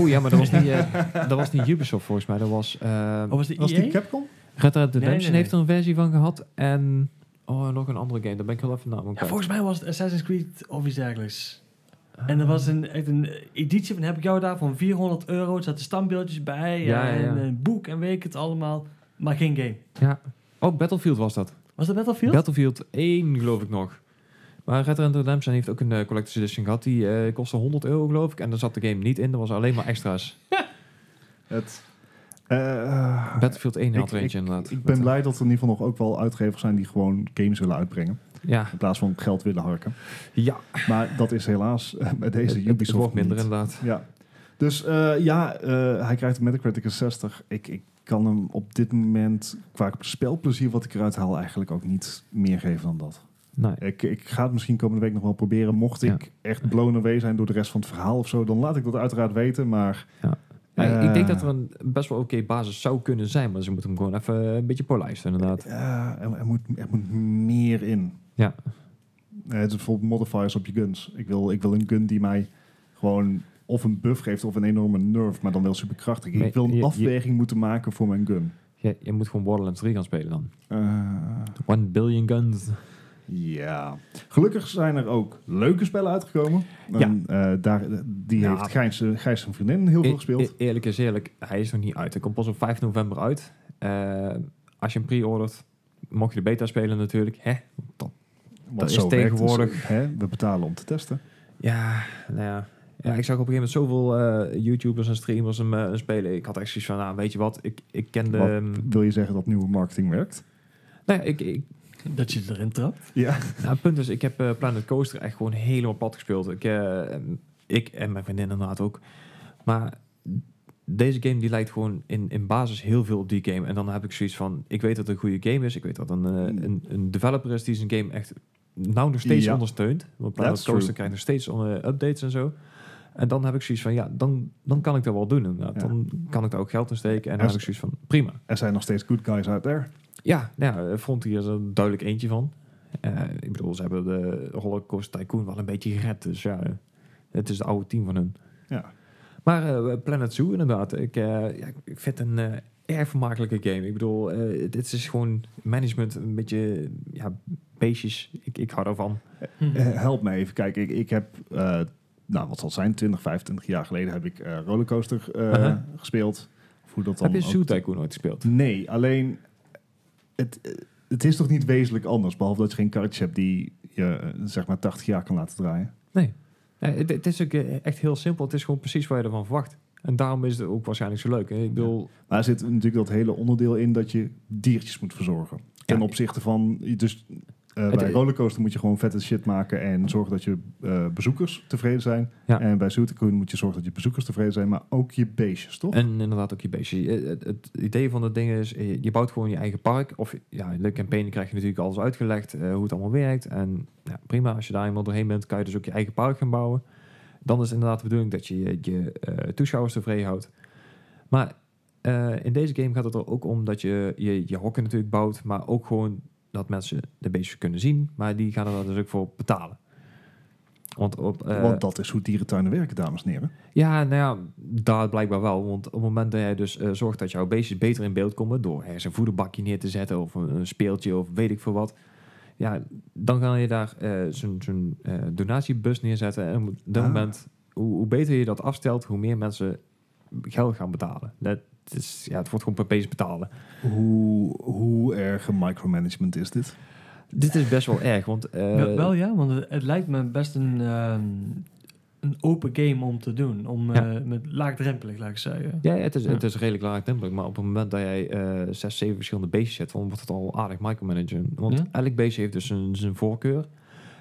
Speaker 2: Oh ja, maar dat was niet, eh, dat was niet Ubisoft volgens mij. Dat was eh,
Speaker 3: Of was het E
Speaker 1: was
Speaker 3: EA?
Speaker 1: die Capcom?
Speaker 2: Red Dead Redemption
Speaker 3: nee, nee.
Speaker 2: heeft er een versie van gehad en oh, nog een andere game. Daar ben ik heel even naar.
Speaker 3: Ja, volgens mij was het Assassin's Creed of iets dergelijks. En er was een, echt een editie van heb ik jou daar van 400 euro. Er zaten standbeeldjes bij
Speaker 2: Ja, ja,
Speaker 3: en
Speaker 2: ja.
Speaker 3: een boek en weet ik het allemaal. Maar geen game.
Speaker 2: Oh, Battlefield was dat.
Speaker 3: Was dat Battlefield?
Speaker 2: Battlefield 1, geloof ik nog. Maar Red Dead Redemption heeft ook een eh, Collector's Edition gehad. Die eh, kostte 100 euro, geloof ik. En daar zat de game niet in. Er was alleen maar
Speaker 1: Ah,
Speaker 2: extra's.
Speaker 1: Het, eh,
Speaker 2: Battlefield 1 had
Speaker 1: Ik-
Speaker 2: er eentje, inderdaad.
Speaker 1: Ik
Speaker 2: Met,
Speaker 1: ben
Speaker 2: eh,
Speaker 1: blij dat er in ieder geval nog ook wel uitgevers zijn die gewoon games willen uitbrengen.
Speaker 2: Ja,
Speaker 1: In plaats van op geld willen harken.
Speaker 2: ja
Speaker 1: Maar dat is helaas eh, bij
Speaker 2: het,
Speaker 1: deze
Speaker 2: het- het
Speaker 1: Ubisoft
Speaker 2: wordt minder,
Speaker 1: niet.
Speaker 2: inderdaad.
Speaker 1: Ja. Dus eh, ja, eh, hij krijgt een Metacritic een 60. Ik, ik kan hem op dit moment, qua spelplezier wat ik eruit haal, eigenlijk ook niet meer geven dan dat.
Speaker 2: Nee.
Speaker 1: Ik, ik ga het misschien komende week nog wel proberen. Mocht
Speaker 2: Ja.
Speaker 1: ik echt blown away zijn door de rest van het verhaal of zo, dan laat ik dat uiteraard weten. Maar
Speaker 2: Ja, ik- ik denk
Speaker 1: Eh.
Speaker 2: dat er een best wel oké basis zou kunnen zijn, maar ze moeten hem gewoon even eh, een beetje polijsten, inderdaad.
Speaker 1: ja, er, er moet, er moet meer in.
Speaker 2: Ja.
Speaker 1: Eh, het is bijvoorbeeld modifiers op je guns. Ik wil, ik wil een gun die mij gewoon of een buff geeft of een enorme nerf, maar dan wel superkrachtig.
Speaker 2: Nee,
Speaker 1: ik wil een
Speaker 2: je- je-
Speaker 1: afweging moeten maken voor mijn gun.
Speaker 2: Je, je moet gewoon Borderlands 3 gaan spelen dan.
Speaker 1: Eh,
Speaker 2: One billion guns.
Speaker 1: Ja. Gelukkig zijn er ook leuke spellen uitgekomen. En, eh, daar, die
Speaker 2: Ja.
Speaker 1: heeft Gijs, eh, Gijs zijn vriendin heel veel
Speaker 2: E-
Speaker 1: gespeeld.
Speaker 2: e- eerlijk is eerlijk, hij is nog niet uit. Hij komt pas op 5 november uit. Eh, als je hem pre-ordert, mocht je de beta spelen natuurlijk. Hè?
Speaker 1: Want
Speaker 2: dat is
Speaker 1: zo werkt het.
Speaker 2: tegenwoordig-
Speaker 1: hè, we betalen om te testen.
Speaker 2: Ja, nou ja. Ja, ik zag op een gegeven moment zoveel eh, YouTubers en streamers hem eh, spelen. Ik had echt zoiets van, nou, weet je wat, ik, ik ken de...
Speaker 1: Wat?
Speaker 2: ehm,
Speaker 1: Wil je zeggen dat nieuwe marketing werkt?
Speaker 2: nou, ja, ik, ik,
Speaker 3: Dat je erin trapt.
Speaker 1: Ja.
Speaker 2: nou, het punt is, ik heb eh, Planet Coaster echt gewoon helemaal plat gespeeld. Ik, eh, ik en mijn vriendin inderdaad ook. Maar deze game die lijkt gewoon in, in basis heel veel op die game. En dan heb ik zoiets van, ik weet dat het een goede game is. Ik weet dat een,
Speaker 1: Hmm.
Speaker 2: eh, een, een developer is die zijn game echt nou nog steeds
Speaker 1: Ja.
Speaker 2: ondersteunt. Want Planet
Speaker 1: That's
Speaker 2: Coaster
Speaker 1: true.
Speaker 2: krijgt nog steeds eh, updates en zo. En dan heb ik zoiets van, ja, dan, dan kan ik dat wel doen. inderdaad.
Speaker 1: Ja.
Speaker 2: Dan kan ik daar ook geld in steken. En dan
Speaker 1: Als-
Speaker 2: heb ik zoiets van, prima.
Speaker 1: Er zijn nog steeds good guys out there.
Speaker 2: Ja, nou ja, Frontier is er duidelijk eentje van. Eh, ik bedoel, ze hebben de Holocaust Tycoon wel een beetje gered. Dus ja, eh, het is de oude team van hun.
Speaker 1: Ja.
Speaker 2: Maar eh, Planet Zoo inderdaad. Ik, eh, ja, ik vind het een eh, erg vermakelijke game. Ik bedoel, eh, dit is gewoon management een beetje ja, beestjes. Ik, ik hou daarvan.
Speaker 1: Eh, help me even. Kijk, ik, ik heb, eh, nou wat zal het zijn, 20, 25 jaar geleden heb ik eh, Rollercoaster eh,
Speaker 2: Uh-huh.
Speaker 1: gespeeld. Of hoe dat dan
Speaker 2: Heb je
Speaker 1: ook-
Speaker 2: Zoo Tycoon ooit gespeeld?
Speaker 1: Nee, alleen het, eh, het is toch niet wezenlijk anders, behalve dat je geen karretjes hebt die je eh, zeg maar 80 jaar kan laten draaien.
Speaker 2: Nee, het, het is ook eh, echt heel simpel. Het is gewoon precies wat je ervan verwacht. En daarom is het ook waarschijnlijk zo leuk. hè. Ik bedoel,
Speaker 1: Maar er zit natuurlijk dat hele onderdeel in dat je diertjes moet verzorgen. Ten
Speaker 2: Ja.
Speaker 1: opzichte van, dus eh,
Speaker 2: Het- e-
Speaker 1: bij Rollercoaster moet je gewoon vette shit maken en zorgen dat je eh, bezoekers tevreden zijn.
Speaker 2: Ja.
Speaker 1: En bij Zoetekoen moet je zorgen dat je bezoekers tevreden zijn, maar ook je beestjes, toch?
Speaker 2: En inderdaad ook je beestje. Eh, Het, het idee van dat ding is, eh, je, bouwt gewoon je eigen park. Of ja, in de campaign krijg je natuurlijk alles uitgelegd, eh, hoe het allemaal werkt. En ja, prima, als je daar eenmaal doorheen bent, kan je dus ook je eigen park gaan bouwen. Dan is het inderdaad de bedoeling dat je je, je, eh, toeschouwers tevreden houdt. Maar eh, in deze game gaat het er ook om dat je, je je hokken natuurlijk bouwt, maar ook gewoon dat mensen de beestjes kunnen zien. Maar die gaan er dan dus ook voor betalen. Want op, eh,
Speaker 1: Want dat is hoe dierentuinen werken, dames en heren.
Speaker 2: ja, nou ja, daar blijkbaar wel. Want op het moment dat jij dus eh, zorgt dat jouw beestjes beter in beeld komen... door ergens een voederbakje neer te zetten of een, een speeltje of weet ik veel wat... ja, dan ga je daar eh, zo'n zo'n, eh, donatiebus neerzetten. En op dat
Speaker 1: Ah.
Speaker 2: moment, hoe, hoe beter je dat afstelt... hoe meer mensen geld gaan betalen. Dat is, ja, het wordt gewoon per beest betalen.
Speaker 1: Hoe, hoe erg een micromanagement is dit?
Speaker 2: Dit is best wel erg, want... eh,
Speaker 3: wel, wel ja, want het, het lijkt me best een, ehm, een open game om te doen. Om
Speaker 2: Ja.
Speaker 3: eh, met laagdrempelig, laat ik zeggen.
Speaker 2: Ja, ja, het is,
Speaker 3: Ja.
Speaker 2: Het is redelijk laagdrempelig. Maar op het moment dat jij eh, zes, zeven verschillende beestjes hebt, dan wordt het al aardig micromanagen. Want
Speaker 3: Ja.
Speaker 2: elk beestje heeft dus zijn, zijn voorkeur.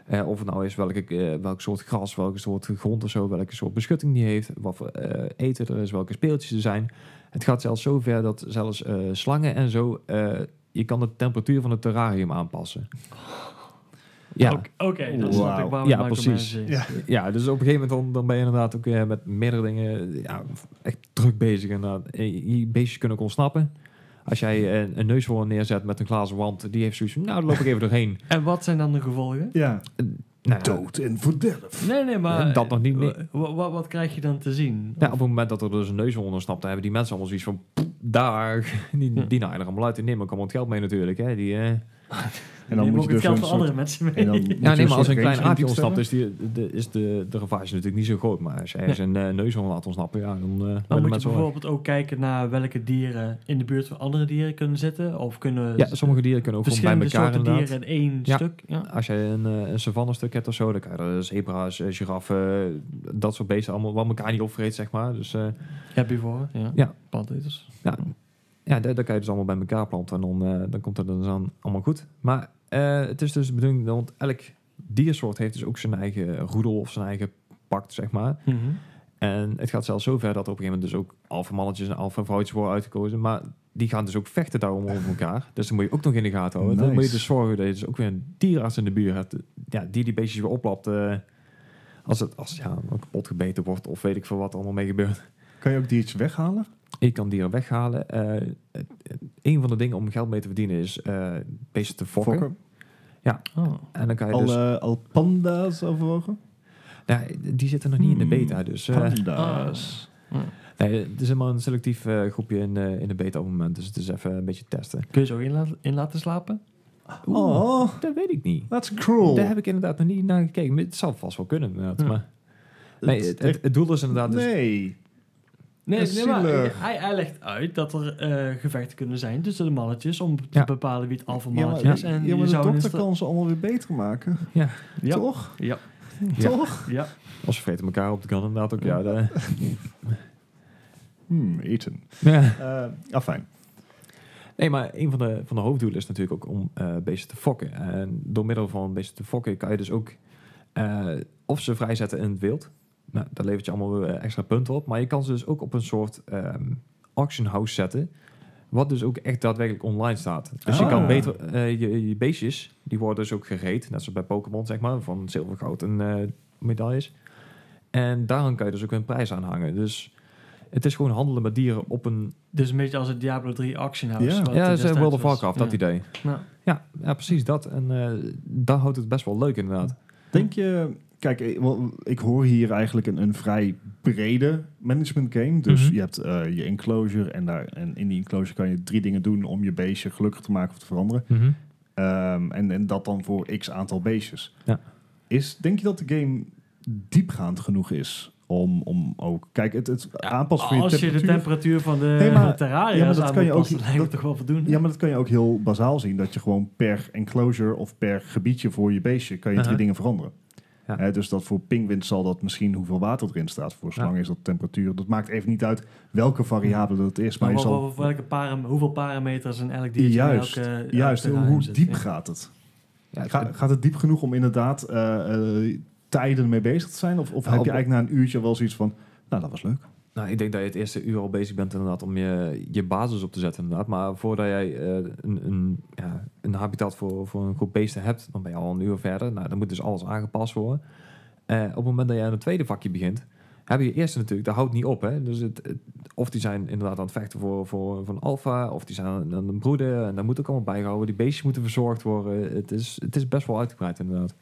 Speaker 2: Eh, of het nou is welke, eh, welk soort gras, welke soort grond of zo, welke soort beschutting die heeft, wat voor eh, eten er is, welke speeltjes er zijn. Het gaat zelfs zover dat zelfs eh, slangen en zo, eh, je kan de temperatuur van het terrarium aanpassen. Ja,
Speaker 3: Oké, oké, dat snap
Speaker 1: Wauw.
Speaker 3: ik waarom
Speaker 2: Ja,
Speaker 3: Michael
Speaker 2: precies.
Speaker 3: Mann is.
Speaker 1: Ja.
Speaker 2: ja, dus op een gegeven moment dan, dan ben je inderdaad ook eh, met meerdere dingen eh, ja, echt druk bezig. Inderdaad. Eh, Je beestjes kunnen ook ontsnappen. Als jij eh, een, een neushoorn neerzet met een glazen wand, die heeft zoiets van, nou, dan loop ik even doorheen.
Speaker 3: En wat zijn dan de gevolgen?
Speaker 1: Ja.
Speaker 2: Nou, ja,
Speaker 1: Dood en verderf.
Speaker 3: Nee, nee, maar... eh,
Speaker 2: Dat nog niet meer.
Speaker 3: Wa- wa- wat krijg je dan te zien?
Speaker 2: nou, op het moment dat er dus een neushoorn ontsnapt, dan hebben die mensen allemaal zoiets van, "Pff, daar, die, die naaien er allemaal uit. Die nemen ook allemaal het geld mee natuurlijk. Hè. Die, eh,
Speaker 1: En dan moet je
Speaker 3: het
Speaker 1: dus
Speaker 3: geld
Speaker 1: een
Speaker 3: voor
Speaker 1: soort...
Speaker 3: andere mensen mee.
Speaker 1: En dan moet je
Speaker 2: Ja, nee, maar als
Speaker 1: soort
Speaker 2: een klein
Speaker 1: range
Speaker 2: aapje
Speaker 1: index
Speaker 2: ontsnapt,
Speaker 1: hebben.
Speaker 2: is, die, de, is de, de ravage natuurlijk niet zo groot. Maar als jij
Speaker 3: Nee.
Speaker 2: zijn eh, neushoorn laat ontsnappen, ja, dan eh worden
Speaker 3: Dan moet je
Speaker 2: mensen wel-
Speaker 3: bijvoorbeeld ook kijken naar welke dieren in de buurt van andere dieren kunnen zitten. Of kunnen
Speaker 2: Ja, sommige dieren kunnen ook gewoon bij
Speaker 3: dus, eh, verschillende
Speaker 2: elkaar
Speaker 3: soorten
Speaker 2: inderdaad.
Speaker 3: dieren in één
Speaker 2: Ja.
Speaker 3: stuk. Ja.
Speaker 2: Als je een, eh, een savannenstuk hebt of zo, dan kan je er zebra's, eh, giraffen, eh, dat soort beesten allemaal wat elkaar niet opvreet, zeg maar. Dus eh,
Speaker 3: Heb je voor, ja.
Speaker 2: Ja.
Speaker 3: Pandeters.
Speaker 2: ja, ja daar, daar kan je dus allemaal bij elkaar planten en dan, eh, dan komt het dus aan, allemaal goed. Maar eh, het is dus de bedoeling,
Speaker 3: Mhm.
Speaker 2: want elk diersoort heeft dus ook zijn eigen roedel of zijn eigen pact, zeg maar. En het gaat zelfs zo ver dat er op een gegeven moment dus ook alpha mannetjes en alpha vrouwtjes worden uitgekozen. Maar die gaan dus ook vechten daarom over elkaar. Dus dan moet je ook nog in de gaten houden. Dan
Speaker 1: Nice.
Speaker 2: moet je dus zorgen dat je dus ook weer een dierenarts in de buurt hebt. Ja, die die beestjes weer oplapt. eh, als het als, ja, kapot gebeten wordt of weet ik veel wat er allemaal mee gebeurt.
Speaker 1: Kan je ook diertjes weghalen?
Speaker 2: Ik kan dieren weghalen. Eh, eh, een van de dingen om geld mee te verdienen is eh beesten te fokken.
Speaker 3: Oh.
Speaker 2: En dan kan je
Speaker 1: Al,
Speaker 2: dus...
Speaker 1: eh, al panda's overwogen?
Speaker 2: Ja, die zitten nog niet in de
Speaker 1: Hmm.
Speaker 2: beta, dus... eh,
Speaker 1: Panda's.
Speaker 2: nee, het is helemaal een selectief eh, groepje in, eh, in de beta op het moment. Dus het is even een beetje testen.
Speaker 3: Kun je ze ook in, la- in laten slapen?
Speaker 2: Oeh,
Speaker 1: Oh,
Speaker 2: Dat weet ik niet.
Speaker 1: that's cruel.
Speaker 2: Daar heb ik inderdaad nog niet naar gekeken. Maar Het zou vast wel kunnen, inderdaad.
Speaker 3: Ja.
Speaker 2: Maar, nee, Hm. het, het, het doel is inderdaad... Dus,
Speaker 1: nee.
Speaker 3: Nee,
Speaker 1: Dat is
Speaker 3: nee maar
Speaker 1: zielig.
Speaker 3: Eh, hij, hij legt uit dat er eh, gevechten kunnen zijn tussen de mannetjes om te
Speaker 2: Ja.
Speaker 3: bepalen wie het alpha
Speaker 1: Ja,
Speaker 3: mannetje
Speaker 1: maar,
Speaker 3: is. En
Speaker 1: ja, maar
Speaker 3: je
Speaker 1: de
Speaker 3: zou een
Speaker 1: dokter
Speaker 3: insta-
Speaker 1: kan ze allemaal weer beter maken.
Speaker 3: Ja.
Speaker 1: Toch?
Speaker 3: Ja.
Speaker 2: Ja.
Speaker 1: Toch?
Speaker 3: Ja.
Speaker 2: Als we vergeten elkaar op te kan, inderdaad ook. Ja, de,
Speaker 1: Hmm, eten.
Speaker 2: ja.
Speaker 1: Eh ah, fijn.
Speaker 2: Nee, maar een van de, van de hoofddoelen is natuurlijk ook om eh, beesten te fokken. En door middel van beesten te fokken kan je dus ook eh, of ze vrijzetten in het wild. Nou, daar levert je allemaal weer, eh, extra punten op. Maar je kan ze dus ook op een soort ehm, auction house zetten. Wat dus ook echt daadwerkelijk online staat. Dus je
Speaker 1: Ah.
Speaker 2: kan beter eh, je, je beestjes, die worden dus ook gereed. Net zoals bij Pokémon, zeg maar. Van zilver, goud en eh, medailles. En daaraan kan je dus ook een prijs aan hangen. Dus het is gewoon handelen met dieren op een
Speaker 3: Dus een beetje als het Diablo 3 Auction House.
Speaker 1: Ja.
Speaker 2: ja,
Speaker 3: wat er
Speaker 2: dat is eh,
Speaker 3: destijds
Speaker 2: World of
Speaker 3: was.
Speaker 2: Warcraft, dat
Speaker 3: Ja.
Speaker 2: idee.
Speaker 3: Ja. Nou,
Speaker 2: Ja, ja, precies dat. En eh, daar houdt het best wel leuk inderdaad.
Speaker 1: Denk je, kijk, eh, wel, ik hoor hier eigenlijk een, een vrij brede management game. Dus
Speaker 2: Mhm.
Speaker 1: je hebt eh, je enclosure en, daar, en in die enclosure kan je drie dingen doen om je beestje gelukkig te maken of te veranderen. Ehm, en, en dat dan voor x aantal beestjes.
Speaker 2: Ja.
Speaker 1: Is, denk je dat de game diepgaand genoeg is om, om ook, kijk, het, het aanpassen van je
Speaker 3: Als je de
Speaker 1: temperatuur.
Speaker 3: temperatuur van de
Speaker 1: Nee, maar- ja,
Speaker 3: terraria
Speaker 1: maar dat
Speaker 3: zou
Speaker 1: kan je
Speaker 3: moeten
Speaker 1: ook-
Speaker 3: passen, lijkt me
Speaker 1: dat-
Speaker 3: toch wel voldoende.
Speaker 1: ja, maar dat kan je ook heel bazaal zien. Dat je gewoon per enclosure of per gebiedje voor je beestje kan je drie
Speaker 2: Aha.
Speaker 1: dingen veranderen.
Speaker 2: Ja.
Speaker 1: Hè, dus dat voor pinguïns zal dat misschien hoeveel water erin staat. Voor slang is dat temperatuur. Dat maakt even niet uit welke variabele dat is. Maar
Speaker 3: Maar
Speaker 1: je
Speaker 3: wel-
Speaker 1: zal,
Speaker 3: wel- welke param- hoeveel parameters in elk diertje in
Speaker 1: Juist,
Speaker 3: elke, elk
Speaker 1: juist, hoe,
Speaker 3: terrarium
Speaker 1: hoe
Speaker 3: zit.
Speaker 1: diep
Speaker 3: Ja.
Speaker 1: gaat het?
Speaker 2: Ja, het-
Speaker 1: Ga- gaat het diep genoeg om inderdaad eh, eh, tijden mee bezig te zijn? Of, of
Speaker 2: Ja,
Speaker 1: heb
Speaker 2: op-
Speaker 1: je eigenlijk na een uurtje wel zoiets van... Nou, dat was leuk.
Speaker 2: nou, ik denk dat je het eerste uur al bezig bent inderdaad om je, je basis op te zetten inderdaad. Maar voordat jij eh, een, een, ja, een habitat voor, voor een groep beesten hebt, dan ben je al een uur verder. Nou, dan moet dus alles aangepast worden. Eh, op het moment dat jij aan het tweede vakje begint, heb je je eerste natuurlijk, dat houdt niet op. Hè? Dus het, het- of die zijn inderdaad aan het vechten voor, voor van alfa, of die zijn aan, aan het broeden. En daar moet ook allemaal bijgehouden. Die beestjes moeten verzorgd worden. Het is, het is best wel uitgebreid inderdaad.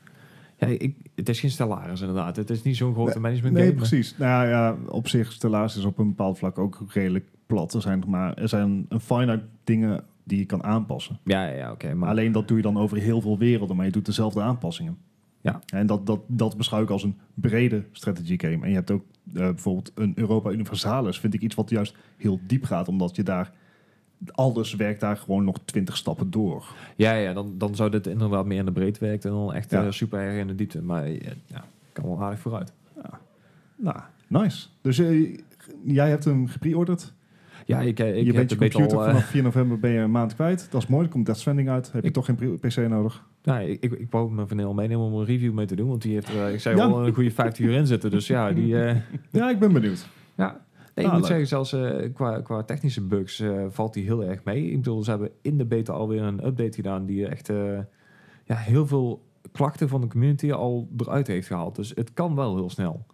Speaker 2: Ja, ik, het is geen stellaris inderdaad. Het is niet zo'n grote management
Speaker 1: Nee,
Speaker 2: game, maar-
Speaker 1: precies. Nou ja, op zich, Stellaris is op een bepaald vlak ook redelijk plat. Er zijn, maar, er zijn een finite dingen die je kan aanpassen.
Speaker 2: Ja, ja, ja, oké. maar
Speaker 1: Maar alleen dat doe je dan over heel veel werelden, maar je doet dezelfde aanpassingen.
Speaker 2: Ja.
Speaker 1: En dat, dat, dat beschouw ik als een brede strategy game. En je hebt ook eh, bijvoorbeeld een Europa Universalis, vind ik iets wat juist heel diep gaat, omdat je daar alles werkt daar gewoon nog twintig stappen door.
Speaker 2: Ja, ja dan, dan zou dit inderdaad meer in de breedte werken en dan echt
Speaker 1: Ja.
Speaker 2: eh, super erg in de diepte. Maar eh, ja, kan wel aardig vooruit.
Speaker 1: Nou, nice. Dus eh, jij hebt hem gepreorderd.
Speaker 2: Ja, ik, eh, ik
Speaker 1: Je
Speaker 2: heb
Speaker 1: bent
Speaker 2: de
Speaker 1: je
Speaker 2: beta
Speaker 1: computer
Speaker 2: al, eh,
Speaker 1: vanaf 4 november ben je een maand kwijt. Dat is mooi, dan komt Death Stranding uit. Heb je
Speaker 2: Ik-
Speaker 1: toch geen pre- PC nodig?
Speaker 2: nou, ik, ik, ik wou mijn vriendin al meenemen om een review mee te doen. Want die heeft, eh, ik zei
Speaker 1: Ja.
Speaker 2: al, een goede 50 uur in zitten. Dus ja, die... eh,
Speaker 1: Ja, ik ben benieuwd.
Speaker 2: ja. Nee, ik
Speaker 1: Ah,
Speaker 2: moet
Speaker 1: leuk.
Speaker 2: zeggen, zelfs eh, qua, qua technische bugs eh, valt die heel erg mee. Ik bedoel, ze hebben in de beta alweer een update gedaan die echt eh, ja, heel veel klachten van de community al eruit heeft gehaald. Dus het kan wel heel snel.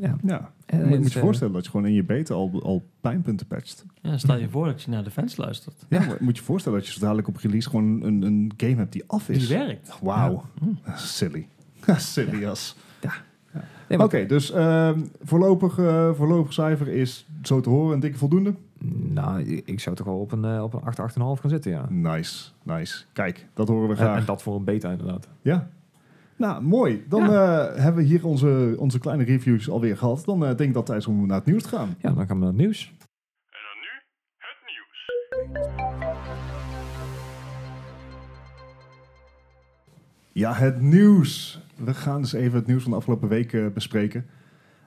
Speaker 2: Ja,
Speaker 1: Ja.
Speaker 2: eh,
Speaker 1: moet je
Speaker 2: het,
Speaker 1: moet je
Speaker 2: eh,
Speaker 1: voorstellen dat je gewoon in je beta al, al pijnpunten patcht.
Speaker 3: Ja, stel je voor dat je naar de fans luistert.
Speaker 1: Ja, maar moet je voorstellen dat je zo dadelijk op release gewoon een, een game hebt die af
Speaker 3: Die
Speaker 1: is.
Speaker 3: werkt.
Speaker 1: Wauw.
Speaker 2: Hm.
Speaker 1: Silly. Silly as.
Speaker 2: nee,
Speaker 1: Oké,
Speaker 2: maar-
Speaker 1: dus ehm, voorlopig, eh, voorlopig cijfer is zo te horen een dikke voldoende.
Speaker 2: Nou, i- ik zou toch wel op een, eh, op een 8, 8,5 gaan zitten, ja.
Speaker 1: Nice, nice. Kijk, dat horen we
Speaker 2: En,
Speaker 1: graag.
Speaker 2: en dat voor een beta inderdaad.
Speaker 1: Ja. Nou, mooi. Dan eh, hebben we hier onze, onze kleine reviews alweer gehad. Dan eh, denk ik dat het tijd is om naar het nieuws te gaan.
Speaker 2: Ja, dan gaan we naar het nieuws.
Speaker 4: En dan nu het nieuws.
Speaker 1: Ja, het nieuws. We gaan dus even het nieuws van de afgelopen week eh, bespreken.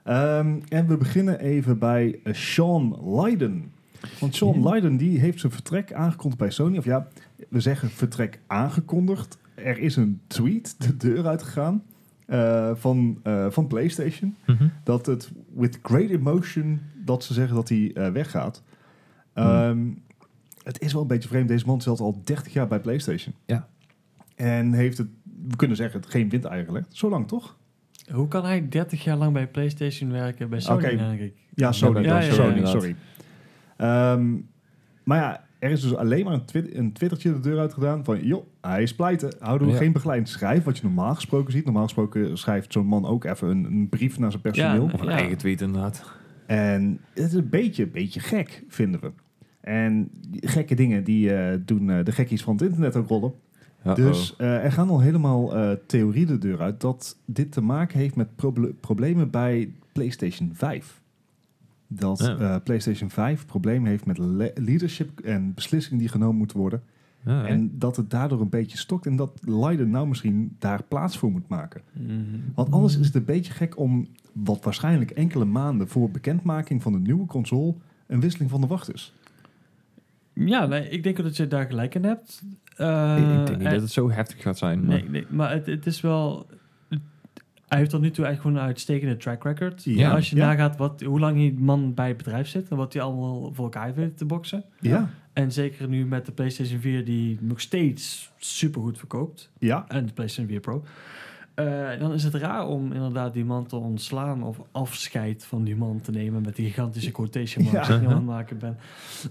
Speaker 1: Ehm, en we beginnen even bij eh, Sean Leiden. Want Sean
Speaker 2: Ja.
Speaker 1: Leiden die heeft zijn vertrek aangekondigd bij Sony. Of ja, we zeggen vertrek aangekondigd. Er is een tweet de deur uitgegaan eh, van, eh, van PlayStation. Dat het with great emotion dat ze zeggen dat hij eh, weggaat.
Speaker 2: Hmm.
Speaker 1: Ehm, Het is wel een beetje vreemd. Deze man zat al 30 jaar bij PlayStation.
Speaker 2: Ja.
Speaker 1: En heeft het, we kunnen zeggen, het geen windeieren gelegd. Zo lang toch?
Speaker 3: Hoe kan hij 30 jaar lang bij PlayStation werken? Bij Sony,
Speaker 1: Oké.
Speaker 3: denk ik.
Speaker 1: Ja, Sony.
Speaker 2: Ja,
Speaker 1: dan.
Speaker 3: ja, ja,
Speaker 1: Sony,
Speaker 2: inderdaad.
Speaker 1: sorry. Ehm, maar ja, er is dus alleen maar een, twit- een twittertje de deur uit gedaan van... joh, hij is pleiten. Houden we
Speaker 2: Ja.
Speaker 1: geen begeleid schrijf, wat je normaal gesproken ziet. Normaal gesproken schrijft zo'n man ook even een, een brief naar zijn personeel.
Speaker 3: Ja,
Speaker 2: Of een
Speaker 3: ja.
Speaker 2: eigen tweet inderdaad.
Speaker 1: En het is een beetje, beetje gek, vinden we. En die gekke dingen, die eh, doen eh, de gekkies van het internet ook rollen.
Speaker 2: Uh-oh.
Speaker 1: Dus eh, er gaan al helemaal eh theorie de deur uit dat dit te maken heeft met proble- problemen bij PlayStation 5. Dat
Speaker 2: Ja.
Speaker 1: eh, PlayStation 5 problemen heeft met le- leadership en beslissingen die genomen moeten worden.
Speaker 2: Ja, hè?
Speaker 1: En dat het daardoor een beetje stokt en dat Leiden nou misschien daar plaats voor moet maken.
Speaker 3: Mhm.
Speaker 1: Want anders is het een beetje gek om, wat waarschijnlijk enkele maanden voor bekendmaking van de nieuwe console, een wisseling van de wacht is.
Speaker 3: Ja, nee, ik denk dat je daar gelijk in hebt. Eh,
Speaker 2: Ik- ik denk niet
Speaker 3: en-
Speaker 2: dat het zo heftig gaat zijn. maar-
Speaker 3: Nee, nee, maar het, het is wel... het- hij heeft tot nu toe echt gewoon een uitstekende track record.
Speaker 1: Ja.
Speaker 3: Als je
Speaker 1: Ja.
Speaker 3: nagaat wat, hoe lang die man bij het bedrijf zit... en wat hij allemaal voor elkaar weet te boksen.
Speaker 1: Ja,
Speaker 3: En zeker nu met de PlayStation 4 die nog steeds supergoed verkoopt.
Speaker 1: ja.
Speaker 3: En de PlayStation 4 Pro. Eh, dan is het raar om inderdaad die man te ontslaan of afscheid van die man te nemen met die gigantische quotation marks
Speaker 1: Ja.
Speaker 3: die je aan het maken bent.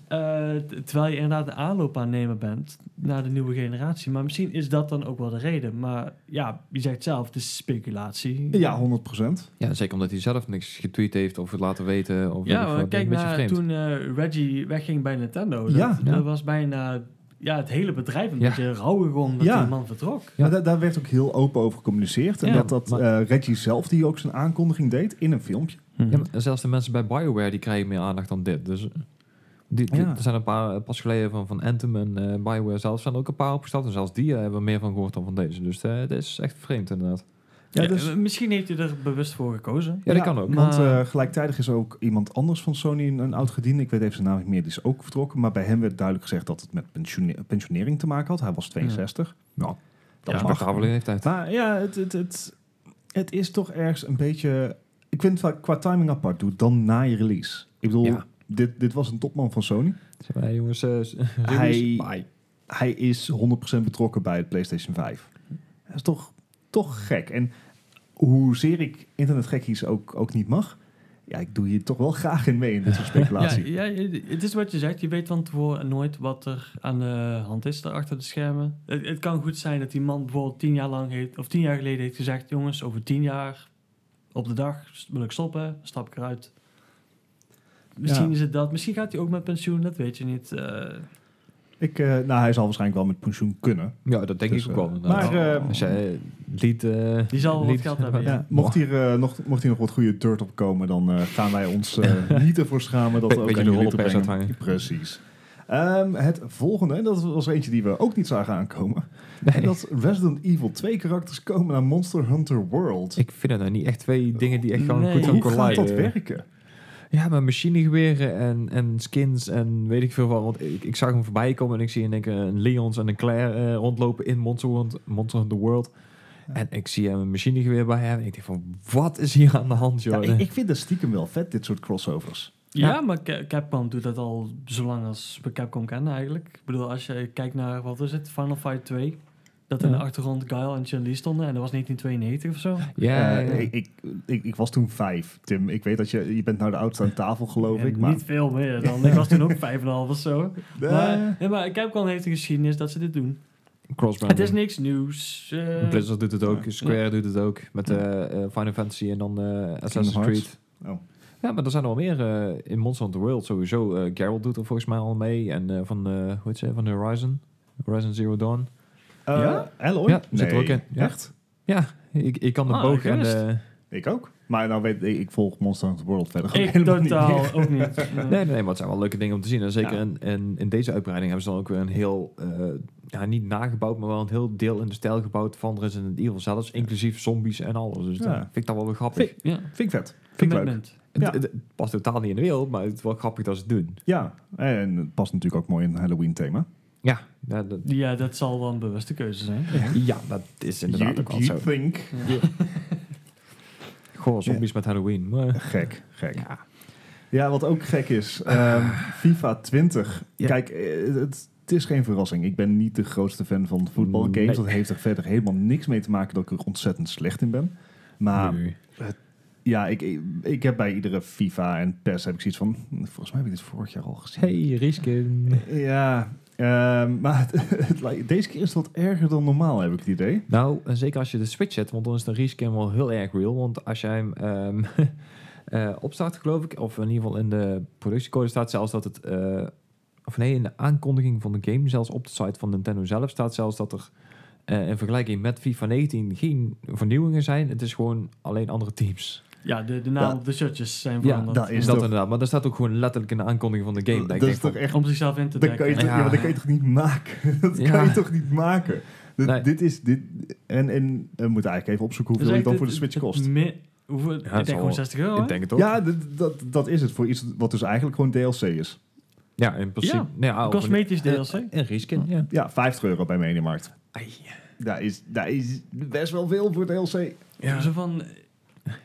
Speaker 3: Eh, t- terwijl je inderdaad de aanloop aan het nemen bent naar de nieuwe generatie. Maar misschien is dat dan ook wel de reden. Maar ja, je zegt zelf, het is speculatie.
Speaker 1: ja 100%.
Speaker 2: Ja, zeker omdat hij zelf niks getweet heeft of het laten weten. Of weet ik
Speaker 3: Ja,
Speaker 2: veel,
Speaker 3: maar
Speaker 2: dat is
Speaker 3: kijk
Speaker 2: een beetje
Speaker 3: naar
Speaker 2: vreemd.
Speaker 3: toen eh, Reggie wegging bij Nintendo. Dat,
Speaker 1: Ja.
Speaker 2: Ja.
Speaker 3: dat was bijna ja, het hele bedrijf een
Speaker 2: Ja.
Speaker 3: beetje rauwig om dat
Speaker 1: Ja.
Speaker 3: die man vertrok.
Speaker 2: Ja.
Speaker 1: Maar da- daar werd ook heel open over gecommuniceerd. En
Speaker 3: Ja,
Speaker 1: dat, dat
Speaker 2: maar-
Speaker 1: eh, Reggie zelf die ook zijn aankondiging deed in een filmpje.
Speaker 2: Ja, maar zelfs de mensen bij BioWare die krijgen meer aandacht dan dit. Dus eh, die, die-
Speaker 1: Ja.
Speaker 2: er zijn een paar eh, pas geleden van, van Anthem en eh, BioWare zelf zijn er ook een paar opgestapt. En zelfs die eh, hebben er meer van gehoord dan van deze. Dus eh dat is echt vreemd inderdaad.
Speaker 1: Ja,
Speaker 3: Ja,
Speaker 1: dus-
Speaker 3: eh, Misschien heeft hij er bewust voor gekozen.
Speaker 2: Ja, dat kan ook.
Speaker 1: Want
Speaker 3: Maar-
Speaker 1: eh, gelijktijdig is er ook iemand anders van Sony, een, een oud gediende, ik weet even zijn naam niet meer, die is ook vertrokken. Maar bij hem werd duidelijk gezegd dat het met pensioene- pensionering te maken had. Hij was 62.
Speaker 2: Ja.
Speaker 1: dat
Speaker 2: ja,
Speaker 1: mag.
Speaker 2: respectabele leeftijd.
Speaker 1: Maar ja, het, het, het, het is toch ergens een beetje... Ik vind het wel qua timing apart, doe het dan na je release. Ik bedoel,
Speaker 2: Ja.
Speaker 1: dit, dit was een topman van Sony.
Speaker 2: Zeg maar, hey, jongens, eh, s-
Speaker 1: Hij-
Speaker 2: bye.
Speaker 1: hij is 100% betrokken bij het PlayStation 5. Dat is toch, toch gek. En hoezeer ik internetgekkies ook, ook niet mag, ja, ik doe hier toch wel graag in mee in dit soort
Speaker 3: Ja,
Speaker 1: speculatie.
Speaker 3: ja, je- het is wat je zegt. Je weet van tevoren nooit wat er aan de hand is daar achter de schermen. Het, het kan goed zijn dat die man bijvoorbeeld tien jaar lang heeft, of tien jaar geleden heeft gezegd: jongens, over tien jaar op de dag s- wil ik stoppen, stap ik eruit. Misschien
Speaker 1: Ja.
Speaker 3: is het dat. Misschien gaat hij ook met pensioen, dat weet je niet. Eh,
Speaker 1: Ik, eh, nou, hij zal waarschijnlijk wel met pensioen kunnen.
Speaker 2: Ja, dat denk
Speaker 1: Dus,
Speaker 2: ik ook wel.
Speaker 1: eh,
Speaker 2: inderdaad.
Speaker 1: maar eh,
Speaker 2: Als jij eh, lied... eh,
Speaker 3: Die zal wat
Speaker 2: lied-
Speaker 3: geld hebben,
Speaker 1: ja, mocht, hier, eh, nog, mocht hier nog wat goede dirt op komen, dan eh, gaan wij ons eh, niet ervoor schamen dat we
Speaker 2: Be-
Speaker 1: ook
Speaker 2: beetje
Speaker 1: aan
Speaker 2: de
Speaker 1: jullie te
Speaker 2: rollenpers
Speaker 1: brengen.
Speaker 2: uithangen.
Speaker 1: Precies. Ehm, het volgende, en dat was eentje die we ook niet zagen aankomen. En dat Resident Evil 2 karakters komen naar Monster Hunter World.
Speaker 2: Ik vind dat nou niet echt twee dingen die echt gewoon
Speaker 3: Nee.
Speaker 2: goed
Speaker 1: Hoe
Speaker 2: gaan
Speaker 1: gaat
Speaker 2: colliden.
Speaker 1: dat werken?
Speaker 2: eh, Ja, maar machinegeweren en, en skins en weet ik veel wat. Want ik, ik zag hem voorbij komen en ik zie in één keer een Leons en een Claire eh, rondlopen in Monster, Hunt- Monster Hunter World. En ik zie hem een machinegeweer bij hem. En ik denk van, wat is hier aan de hand,
Speaker 1: Ja,
Speaker 2: joh?
Speaker 1: ik, ik vind dat stiekem wel vet, dit soort crossovers.
Speaker 3: Ja,
Speaker 2: Ja.
Speaker 3: maar Ca- Capcom doet dat al zo lang als we Capcom kennen eigenlijk. Ik bedoel, als je kijkt naar, wat is het, Final Fight 2... Dat in
Speaker 2: Ja.
Speaker 3: de achtergrond Guile en Chun-Li stonden. En dat was 1992 of zo.
Speaker 2: ja,
Speaker 1: Eh,
Speaker 2: ja.
Speaker 1: ik, ik, ik, ik was toen vijf, Tim. Ik weet dat je... Je bent nou de oudste aan tafel, geloof
Speaker 3: En
Speaker 1: ik. Maar,
Speaker 3: Niet veel meer dan. Ik was toen ook 5,5 of zo.
Speaker 1: Eh,
Speaker 3: Maar, nee, maar Capcom heeft een geschiedenis dat ze dit doen.
Speaker 2: Crossband.
Speaker 3: Het is niks nieuws. eh,
Speaker 2: Blizzard doet het ook.
Speaker 1: Ja.
Speaker 2: Square doet het ook. Met eh, eh, Final Fantasy en dan eh, Assassin's
Speaker 1: Hearts.
Speaker 2: Creed.
Speaker 1: Oh.
Speaker 2: Ja, maar er zijn er wel meer eh, in Monster Hunter World sowieso. eh Geralt doet er volgens mij al mee. En eh, van, eh, hoe heet ze? Van Horizon. Horizon Zero Dawn.
Speaker 1: eh,
Speaker 3: Ja?
Speaker 1: Alloy?
Speaker 2: Ja, zit er ook in. Ja.
Speaker 1: Echt?
Speaker 2: Ja, ik, ik kan de
Speaker 3: Ah,
Speaker 2: boog en
Speaker 3: gerust.
Speaker 2: de...
Speaker 1: Ik ook. Maar nou weet ik, ik volg Monster Hunter World verder ook
Speaker 3: Ik
Speaker 1: helemaal niet
Speaker 3: totaal
Speaker 1: meer.
Speaker 3: ook niet. Nee.
Speaker 2: Nee, nee, nee, maar het zijn wel leuke dingen om te zien. En zeker
Speaker 1: Ja.
Speaker 2: in, in, in deze uitbreiding hebben ze dan ook weer een heel, eh, ja, niet nagebouwd, maar wel een heel deel in de stijl gebouwd van Resident Evil zelfs, inclusief zombies en alles. Dus
Speaker 1: Ja.
Speaker 2: dat vind ik dan wel weer grappig.
Speaker 1: Vind-
Speaker 3: Ja,
Speaker 1: Vind ik vet. Vind ik leuk.
Speaker 3: commitment.
Speaker 2: Het,
Speaker 1: ja.
Speaker 2: het- het past totaal niet in de wereld, maar het is wel grappig dat ze het doen.
Speaker 1: Ja, en het past natuurlijk ook mooi in het Halloween thema.
Speaker 2: Ja, ja, dat,
Speaker 3: Ja, dat zal wel een bewuste keuze zijn.
Speaker 2: ja, dat is inderdaad
Speaker 1: You-
Speaker 2: ook wel
Speaker 1: you
Speaker 2: zo.
Speaker 1: think?
Speaker 2: Goh, zombies met Halloween. Maar,
Speaker 1: Gek, gek.
Speaker 2: ja.
Speaker 1: Ja, wat ook gek is, ehm, FIFA 20.
Speaker 2: Ah. Ja.
Speaker 1: Kijk, eh, het, het is geen verrassing. Ik ben niet de grootste fan van voetbalgames.
Speaker 2: Nee.
Speaker 1: Dat heeft er verder helemaal niks mee te maken dat ik er ontzettend slecht in ben. Maar
Speaker 2: Nee.
Speaker 1: ja, ik, ik, ik heb bij iedere FIFA en PES heb ik zoiets van... Volgens mij heb ik dit vorig jaar al gezien.
Speaker 2: Hey, Rieskin.
Speaker 1: Ja, ehm, maar het, het lijkt- deze keer is het wat erger dan normaal, heb ik het idee.
Speaker 2: Nou, en zeker als je de Switch zet, want dan is de rescan wel heel erg real. Want als jij hem ehm, eh, opstaat, geloof ik, of in ieder geval in de productiecode staat zelfs dat het... eh, of nee, in de aankondiging van de game, zelfs op de site van Nintendo zelf, staat zelfs dat er eh, in vergelijking met FIFA 19 geen vernieuwingen zijn. Het is gewoon alleen andere teams.
Speaker 3: Ja, de, de naam
Speaker 1: Dat-
Speaker 3: op de shirtjes zijn
Speaker 2: Ja,
Speaker 3: veranderd.
Speaker 1: dat
Speaker 2: Is
Speaker 1: Is
Speaker 2: dat
Speaker 1: toch-
Speaker 2: inderdaad. Maar daar staat ook gewoon letterlijk in de aankondiging van de game. ik
Speaker 1: dat
Speaker 2: denk
Speaker 1: is
Speaker 2: van,
Speaker 1: toch echt...
Speaker 3: Om zichzelf in te
Speaker 1: Dat
Speaker 3: dekken.
Speaker 1: kan, je toch,
Speaker 2: Ja.
Speaker 1: ja. maar dat kan je toch niet maken? Dat
Speaker 2: Ja.
Speaker 1: kan je toch niet maken? Dit,
Speaker 2: Nee.
Speaker 1: dit is... Dit, en, en we moeten eigenlijk even opzoeken
Speaker 3: Dus
Speaker 1: hoeveel het dan voor de Switch kost.
Speaker 3: hoeveel, ik
Speaker 2: zal
Speaker 3: denk gewoon
Speaker 2: wel-
Speaker 3: 60 euro. hè?
Speaker 2: Ik denk het ook. Ja,
Speaker 1: Ja, dit- dat, dat is het. Voor iets wat dus eigenlijk gewoon DLC is.
Speaker 2: in principe.
Speaker 3: Ja,
Speaker 2: Nee, ja, of een-
Speaker 3: Cosmetisch DLC.
Speaker 2: Een reskin, ja.
Speaker 1: Ja, 50 euro bij Mediamarkt.
Speaker 2: Ai.
Speaker 1: Daar is, daar is best wel veel voor DLC.
Speaker 2: Ja.
Speaker 3: Zo van,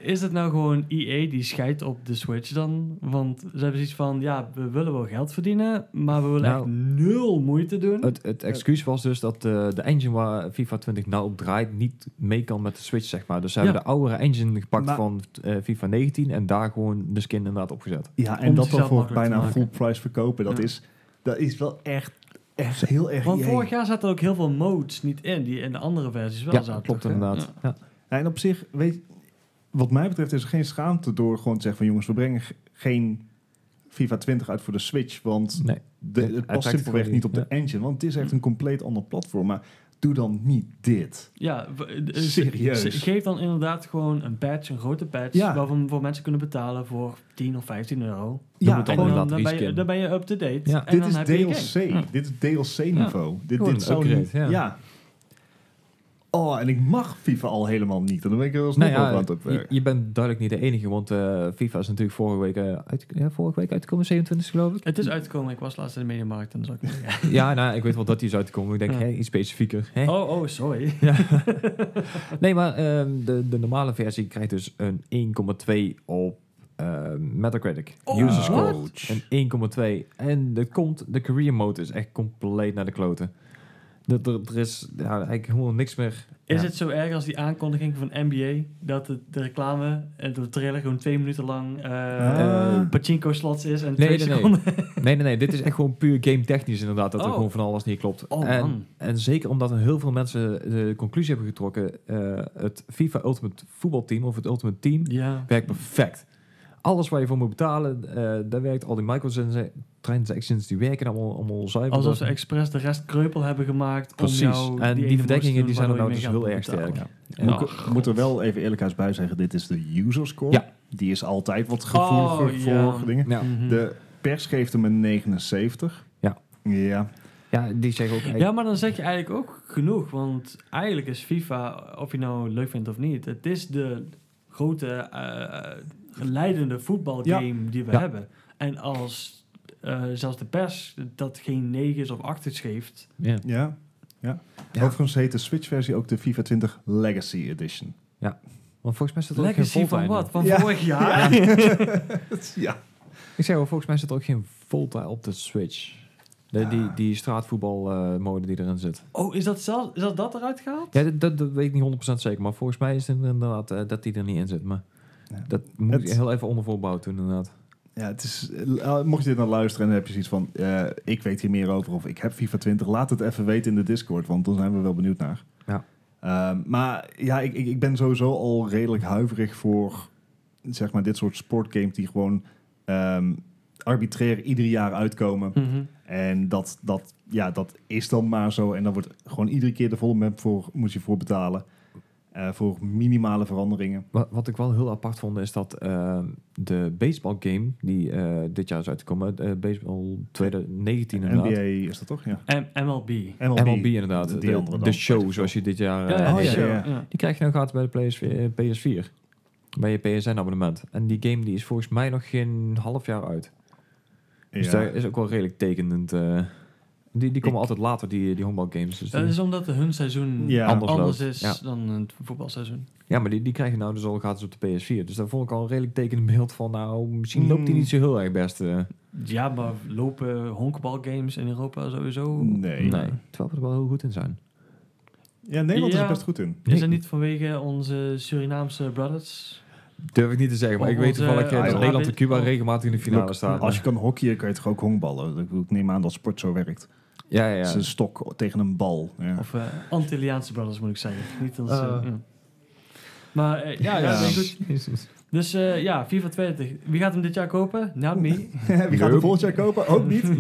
Speaker 3: is het nou gewoon EA die scheidt op de Switch dan? Want ze hebben zoiets van, ja, we willen wel geld verdienen, maar we willen
Speaker 2: Nou. Oh,
Speaker 3: echt nul moeite doen.
Speaker 2: Het, het excuus was dus dat eh, de engine waar FIFA 20 nou op draait niet mee kan met de Switch, zeg maar. Dus ze hebben
Speaker 3: Ja.
Speaker 2: de oudere engine gepakt
Speaker 1: Maar-
Speaker 2: van eh, FIFA 19 en daar gewoon de skin inderdaad opgezet.
Speaker 1: Ja,
Speaker 3: Om
Speaker 1: en dat dan
Speaker 3: zichzelf
Speaker 1: voor
Speaker 3: makkelijk te
Speaker 1: bijna
Speaker 3: maken.
Speaker 1: full price verkopen. Dat,
Speaker 3: Ja.
Speaker 1: is, dat is wel echt, echt heel erg
Speaker 2: E
Speaker 3: Want
Speaker 1: EA.
Speaker 3: vorig jaar zaten er ook heel veel modes niet in, die in de andere versies wel
Speaker 2: ja,
Speaker 3: zaten.
Speaker 2: klopt
Speaker 3: toch, hè?
Speaker 2: inderdaad.
Speaker 3: Ja.
Speaker 2: Ja.
Speaker 1: Ja, en op zich, weet, wat mij betreft is er geen schaamte door gewoon te zeggen van jongens, we brengen ge- geen FIFA 20 uit voor de Switch, want
Speaker 2: Nee.
Speaker 1: de,
Speaker 2: Het-
Speaker 1: het
Speaker 2: het
Speaker 1: past
Speaker 2: trekt
Speaker 1: simpelweg
Speaker 2: gewoon
Speaker 1: niet op de
Speaker 2: niet,
Speaker 1: engine, want het is echt een compleet ander platform. Maar doe dan niet dit.
Speaker 3: Ja, w- eh, eh,
Speaker 1: Serieus?
Speaker 3: ze- Geef dan inderdaad gewoon een patch, een grote patch,
Speaker 1: Ja.
Speaker 3: waarvan voor mensen kunnen betalen voor 10 of 15 euro.
Speaker 2: Ja, moet dan
Speaker 3: En
Speaker 2: gewoon
Speaker 3: dan,
Speaker 2: laten
Speaker 3: dan, ben, je,
Speaker 2: rescannen.
Speaker 3: dan eh, ben je up-to-date.
Speaker 2: Ja.
Speaker 3: En
Speaker 1: dit is
Speaker 3: dan heb je je
Speaker 1: DLC.
Speaker 3: game. Ja.
Speaker 1: Dit is DLC-niveau. Dit,
Speaker 2: Gewoon een
Speaker 1: dit zou
Speaker 2: upgrade,
Speaker 1: niet-
Speaker 2: ja.
Speaker 1: ja. Oh, en ik mag FIFA al helemaal niet. En dan ben ik er alsnog
Speaker 2: Nou
Speaker 1: over aan
Speaker 2: ja,
Speaker 1: het
Speaker 2: je,
Speaker 1: opwerken.
Speaker 2: je bent duidelijk niet de enige, want eh, FIFA is natuurlijk vorige week, eh, uit, ja, vorige week uitgekomen, 27 geloof ik.
Speaker 3: Het is uitgekomen, ik was laatst in de mediamarkt en dat is ook
Speaker 2: ja, nou, ik weet wel dat die is uitgekomen. Ik denk,
Speaker 3: Ja.
Speaker 2: hè, iets specifieker. Hè?
Speaker 3: Oh, oh, sorry.
Speaker 2: Nee, maar ehm, de, de normale versie krijgt dus een 1,2 op ehm, Metacritic.
Speaker 3: Oh,
Speaker 2: user
Speaker 3: wat?
Speaker 2: score. Een 1,2. En dat komt, de career mode is echt compleet naar de kloten. Dat er, er is ja, eigenlijk helemaal niks meer.
Speaker 3: Is
Speaker 2: Ja.
Speaker 3: het zo erg als die aankondiging van NBA dat het- de reclame en de trailer gewoon twee minuten lang eh
Speaker 1: Ah.
Speaker 3: pachinko slots is en
Speaker 2: Nee, nee,
Speaker 3: twee
Speaker 2: nee.
Speaker 3: seconden?
Speaker 2: Nee, nee, nee. Dit is echt gewoon puur game technisch inderdaad. Dat er
Speaker 3: Oh.
Speaker 2: gewoon van alles niet klopt.
Speaker 3: Oh,
Speaker 2: en,
Speaker 3: man.
Speaker 2: en zeker omdat er heel veel mensen de conclusie hebben getrokken. eh, het FIFA Ultimate voetbalteam of het Ultimate Team
Speaker 3: Ja.
Speaker 2: werkt perfect. Alles waar je voor moet betalen, eh daar werkt. Al die microtransactions, die werken allemaal, allemaal zuiver.
Speaker 3: Alsof
Speaker 2: Dat-
Speaker 3: ze expres de rest kreupel hebben gemaakt
Speaker 2: Precies.
Speaker 3: om jou
Speaker 2: en die,
Speaker 3: ene
Speaker 2: verdekkingen
Speaker 3: mos
Speaker 2: die
Speaker 3: te
Speaker 2: zijn er
Speaker 3: doen
Speaker 2: nou
Speaker 3: waardoor
Speaker 2: dus
Speaker 3: je
Speaker 2: heel
Speaker 3: meer
Speaker 2: erg
Speaker 3: gaat
Speaker 2: sterk.
Speaker 3: betalen.
Speaker 2: Ja.
Speaker 1: Moet, ik- moet er wel even eerlijkheids bij zeggen, dit is de user score.
Speaker 2: Ja.
Speaker 1: Die is altijd wat gevoeliger
Speaker 3: Oh, ja.
Speaker 1: voor dingen.
Speaker 2: Ja.
Speaker 3: Mhm.
Speaker 1: De pers geeft hem een 79.
Speaker 2: Hmm. Ja.
Speaker 1: Ja.
Speaker 2: ja, die zeggen ook...
Speaker 3: Ja, maar dan zeg je eigenlijk ook genoeg, want eigenlijk is FIFA, of je nou leuk vindt of niet, het is de grote eh, leidende voetbalgame die we
Speaker 2: Ja.
Speaker 3: hebben. En als eh, zelfs de pers dat geen negens of 8 geeft,
Speaker 2: Ja.
Speaker 1: Ja. ja.
Speaker 2: Ja.
Speaker 1: Overigens heet de Switch-versie ook de FIFA 20 Legacy Edition.
Speaker 2: Want volgens mij is dat ook geen
Speaker 3: Legacy
Speaker 2: volt
Speaker 3: van
Speaker 2: einde.
Speaker 3: wat? Van
Speaker 1: Ja.
Speaker 3: vorig jaar? Ja.
Speaker 1: Ja.
Speaker 2: Ik zeg wel, volgens mij zit er ook geen volta op de Switch. De, Die, die straatvoetbalmode mode die erin zit.
Speaker 3: Oh, is dat, zelf, is dat dat eruit gehaald?
Speaker 2: Ja, dat, dat, dat weet ik niet 100% zeker. Maar volgens mij is het inderdaad eh, dat die er niet in zit. Maar
Speaker 1: Ja.
Speaker 2: dat moet ik
Speaker 1: Het-
Speaker 2: heel even onder voorbouw doen inderdaad.
Speaker 1: ja het is, eh, mocht je dit nou luisteren en heb je zoiets van... eh, ik weet hier meer over of ik heb FIFA 20... laat het even weten in de Discord, want dan zijn we wel benieuwd naar.
Speaker 2: Ja.
Speaker 1: Ehm, maar ja, ik, ik, ik ben sowieso al redelijk huiverig voor... zeg maar dit soort sportgames die gewoon... ehm, arbitrair ieder jaar uitkomen.
Speaker 3: Mhm.
Speaker 1: En dat, dat, ja, dat is dan maar zo. En dan wordt gewoon iedere keer de volle map voor, moet je voor betalen. Eh, voor minimale veranderingen.
Speaker 2: Wat, wat ik wel heel apart vond is dat eh, de baseball game die eh, dit jaar is uitgekomen, eh, baseball 2019 inderdaad.
Speaker 1: NBA is dat toch? Ja.
Speaker 3: M- MLB.
Speaker 1: MLB.
Speaker 2: MLB inderdaad.
Speaker 1: Die
Speaker 2: de,
Speaker 1: andere
Speaker 2: de
Speaker 1: dan.
Speaker 2: show zoals je dit jaar... eh,
Speaker 3: Ja,
Speaker 1: oh
Speaker 2: heet.
Speaker 1: ja,
Speaker 3: zo,
Speaker 1: ja.
Speaker 3: ja.
Speaker 2: Die krijg je nou gratis bij de PS, eh, PS4. Bij je PSN-abonnement. En die game die is volgens mij nog geen half jaar uit. Dus
Speaker 1: Ja.
Speaker 2: daar is ook wel redelijk tekenend. eh. Die, die komen altijd later, die, die honkbal games. Dus die-
Speaker 3: Dat is omdat hun seizoen
Speaker 1: Ja.
Speaker 3: anders,
Speaker 2: Anders
Speaker 3: is
Speaker 2: loopt,
Speaker 3: dan het voetbalseizoen.
Speaker 2: Ja, maar die, die krijgen nou dus al gratis op de PS4. Dus daar vond ik al een redelijk tekenend beeld van. Nou, misschien loopt die
Speaker 1: Mm.
Speaker 2: niet zo heel erg best. eh.
Speaker 3: Ja, maar lopen honkbalgames in Europa sowieso?
Speaker 1: Nee.
Speaker 2: Nee, terwijl we er wel heel goed in zijn.
Speaker 1: Ja, Nederland is
Speaker 3: Ja.
Speaker 1: er best goed in.
Speaker 3: Is dat niet vanwege onze Surinaamse brothers?
Speaker 2: Durf ik niet te zeggen, maar ik weet
Speaker 3: Onze-
Speaker 2: toevallig eh, dat
Speaker 1: onze
Speaker 2: Nederland en
Speaker 3: arbeid-
Speaker 2: Cuba regelmatig in de finale
Speaker 1: Look,
Speaker 2: staan.
Speaker 1: Als je kan hockeyen, kan je toch ook honkballen? Ik bedoel, Ik neem aan dat sport zo werkt.
Speaker 2: Ja, ja,
Speaker 1: Het is
Speaker 2: ja.
Speaker 1: een stok tegen een bal. Ja.
Speaker 3: Of eh Antilliaanse brothers moet ik zeggen. Niet als, eh,
Speaker 2: Eh.
Speaker 3: ja. Maar eh, ja, ja.
Speaker 1: Ja.
Speaker 3: nee, goed. Dus eh, ja, FIFA 20. Wie gaat hem dit jaar kopen? Not me.
Speaker 1: Wie gaat
Speaker 2: Nope.
Speaker 1: hem volgend jaar kopen? Ook niet.